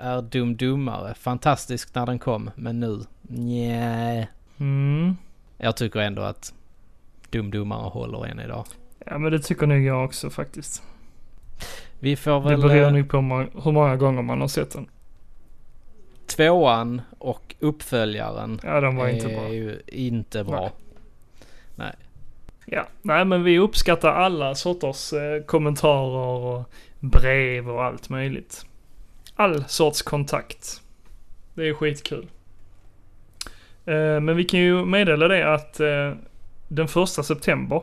[SPEAKER 1] är dum dummare. Fantastisk när den kom, men nu nej.
[SPEAKER 2] Mm.
[SPEAKER 1] Jag tycker ändå att dum dummare håller än idag.
[SPEAKER 2] Ja, men det tycker nog jag också faktiskt.
[SPEAKER 1] Vi får
[SPEAKER 2] Det
[SPEAKER 1] väl...
[SPEAKER 2] beror
[SPEAKER 1] eh,
[SPEAKER 2] nog på hur många- hur många gånger man har sett den.
[SPEAKER 1] Tvåan och uppföljaren
[SPEAKER 2] Ja, den var
[SPEAKER 1] är
[SPEAKER 2] inte bra.
[SPEAKER 1] ju inte bra.
[SPEAKER 2] Nej. Ja, nej men vi uppskattar alla sorters eh, kommentarer och brev och allt möjligt. All sorts kontakt. Det är skitkul. Eh, men vi kan ju meddela det att eh, den första september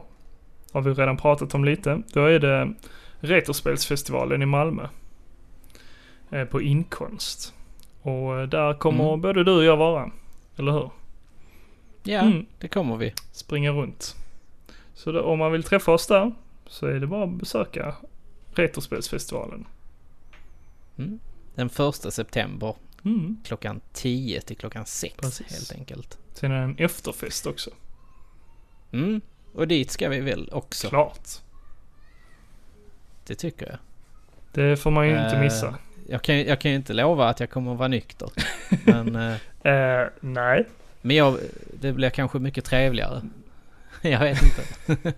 [SPEAKER 2] har vi redan pratat om lite. Då är det Retrospelsfestivalen i Malmö. Eh, på Inkonst. Och eh, där kommer
[SPEAKER 1] Mm.
[SPEAKER 2] både du och jag vara. Eller hur?
[SPEAKER 1] Ja,
[SPEAKER 2] Mm
[SPEAKER 1] det kommer vi.
[SPEAKER 2] springa runt. Så då, om man vill träffa oss där så är det bara att besöka Retrospelsfestivalen.
[SPEAKER 1] Mm. Den första september
[SPEAKER 2] Mm.
[SPEAKER 1] klockan 10 till klockan 6
[SPEAKER 2] Precis.
[SPEAKER 1] helt enkelt.
[SPEAKER 2] Sen är det en efterfest också.
[SPEAKER 1] Mm. Och dit ska vi väl också?
[SPEAKER 2] Klart.
[SPEAKER 1] Det tycker jag.
[SPEAKER 2] Det får man ju inte
[SPEAKER 1] Eh,
[SPEAKER 2] missa.
[SPEAKER 1] Jag kan, ju- jag kan ju inte lova att jag kommer att vara
[SPEAKER 2] [LAUGHS]
[SPEAKER 1] nykter. men, eh,
[SPEAKER 2] Eh, nej.
[SPEAKER 1] men jag, det blir kanske mycket trevligare. [LAUGHS] jag vet inte.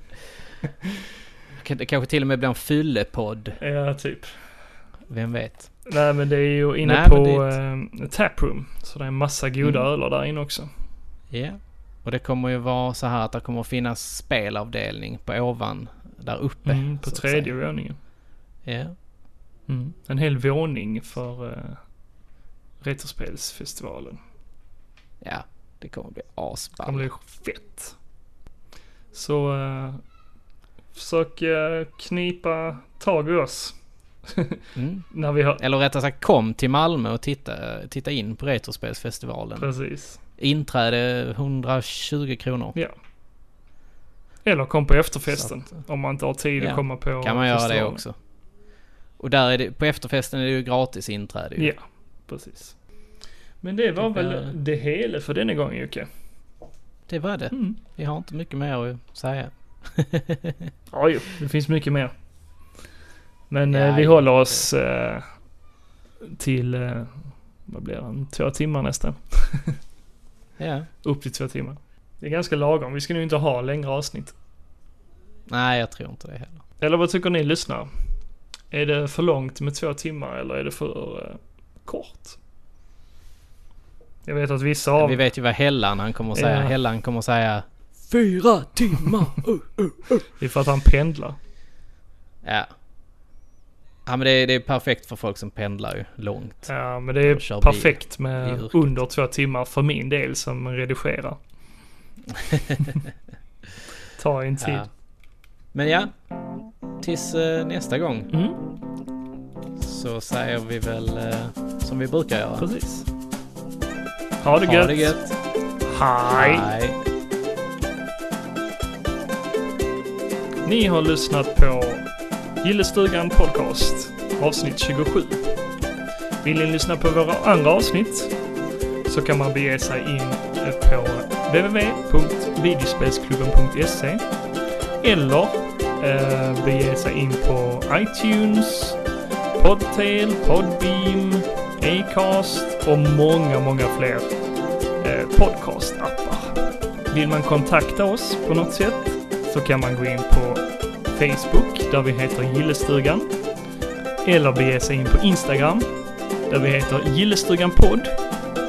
[SPEAKER 2] [LAUGHS]
[SPEAKER 1] Det kanske till och med blir en fyllepodd.
[SPEAKER 2] Ja, typ.
[SPEAKER 1] Vem vet?
[SPEAKER 2] Nej, men det är ju inne
[SPEAKER 1] Nej, men
[SPEAKER 2] på eh, Taproom. Så det är en massa goda
[SPEAKER 1] Mm.
[SPEAKER 2] öler där inne också.
[SPEAKER 1] Ja. Och det kommer ju vara så här att det kommer att finnas spelavdelning på ovan där uppe.
[SPEAKER 2] Mm, på
[SPEAKER 1] så att
[SPEAKER 2] tredje
[SPEAKER 1] säga.
[SPEAKER 2] våningen.
[SPEAKER 1] Ja.
[SPEAKER 2] Mm. En hel våning för eh, Retrospelsfestivalen.
[SPEAKER 1] Ja, det kommer bli
[SPEAKER 2] Det kommer
[SPEAKER 1] asballt.
[SPEAKER 2] bli fett. Så eh, försök eh, knipa tag i oss
[SPEAKER 1] Mm.
[SPEAKER 2] när vi har...
[SPEAKER 1] Eller rättare sagt kom till Malmö och titta, titta in på Retrospelsfestivalen.
[SPEAKER 2] Precis.
[SPEAKER 1] Inträde 120 kronor.
[SPEAKER 2] Ja. Eller kom på
[SPEAKER 1] Så
[SPEAKER 2] efterfesten.
[SPEAKER 1] att,
[SPEAKER 2] Om man inte har tid
[SPEAKER 1] Ja.
[SPEAKER 2] att komma på
[SPEAKER 1] kan man göra det
[SPEAKER 2] festivalen.
[SPEAKER 1] också. Och där är det, på efterfesten är det ju gratis inträde ju.
[SPEAKER 2] Ja, precis. Men det var
[SPEAKER 1] Typ, ja.
[SPEAKER 2] väl det hela för denna gången Jocke.
[SPEAKER 1] Det var det.
[SPEAKER 2] Mm.
[SPEAKER 1] Vi har inte mycket mer att säga. [LAUGHS]
[SPEAKER 2] Ja, jo. Det finns mycket mer. Men eh,
[SPEAKER 1] Ja,
[SPEAKER 2] vi
[SPEAKER 1] jo.
[SPEAKER 2] håller oss eh, till, eh, vad blir det, En två timmar nästan.
[SPEAKER 1] ja.
[SPEAKER 2] Upp till två timmar. Det är ganska lagom. Vi ska nu inte ha längre avsnitt.
[SPEAKER 1] Nej, jag tror inte det heller.
[SPEAKER 2] Eller vad tycker ni lyssnare? Är det för långt med två timmar eller är det för eh, kort? Jag vet att vissa av...
[SPEAKER 1] Vi vet ju vad Hellan han kommer att säga.
[SPEAKER 2] Ja.
[SPEAKER 1] Hellan kommer att säga...
[SPEAKER 3] Fyra timmar.
[SPEAKER 2] Det är för att han pendlar.
[SPEAKER 1] [LAUGHS] Ja. Ja men det är, det är perfekt för folk som pendlar ju långt.
[SPEAKER 2] Ja, men det
[SPEAKER 1] Då
[SPEAKER 2] är
[SPEAKER 1] kör vi-
[SPEAKER 2] perfekt
[SPEAKER 1] vi
[SPEAKER 2] med
[SPEAKER 1] yrket.
[SPEAKER 2] under två timmar för min del som
[SPEAKER 1] [LAUGHS]
[SPEAKER 2] redigerar. Ta en tid.
[SPEAKER 1] Ja. Men ja, tills eh, nästa gång
[SPEAKER 2] Mm,
[SPEAKER 1] så säger vi väl eh, som vi brukar göra.
[SPEAKER 2] precis. Ha det gött.
[SPEAKER 1] Ha det gött.
[SPEAKER 2] Hej.
[SPEAKER 1] Hej.
[SPEAKER 2] Ni har lyssnat på Gillestugan Podcast, avsnitt 27. Vill ni lyssna på våra andra avsnitt så kan man bege sig in på www.videospelsklubben.se E eller eh, bege sig in på iTunes, Podtail, Podbeam, Acast och många, många fler eh, podcastappar. Vill man kontakta oss på något sätt så kan man gå in på Facebook där vi heter Gillestugan. Eller bege sig in på Instagram där vi heter Gillestugan podd.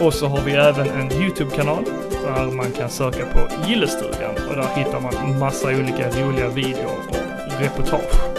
[SPEAKER 2] Och så har vi även en YouTube-kanal där man kan söka på Gillestugan och där hittar man massa olika roliga videor och reportage.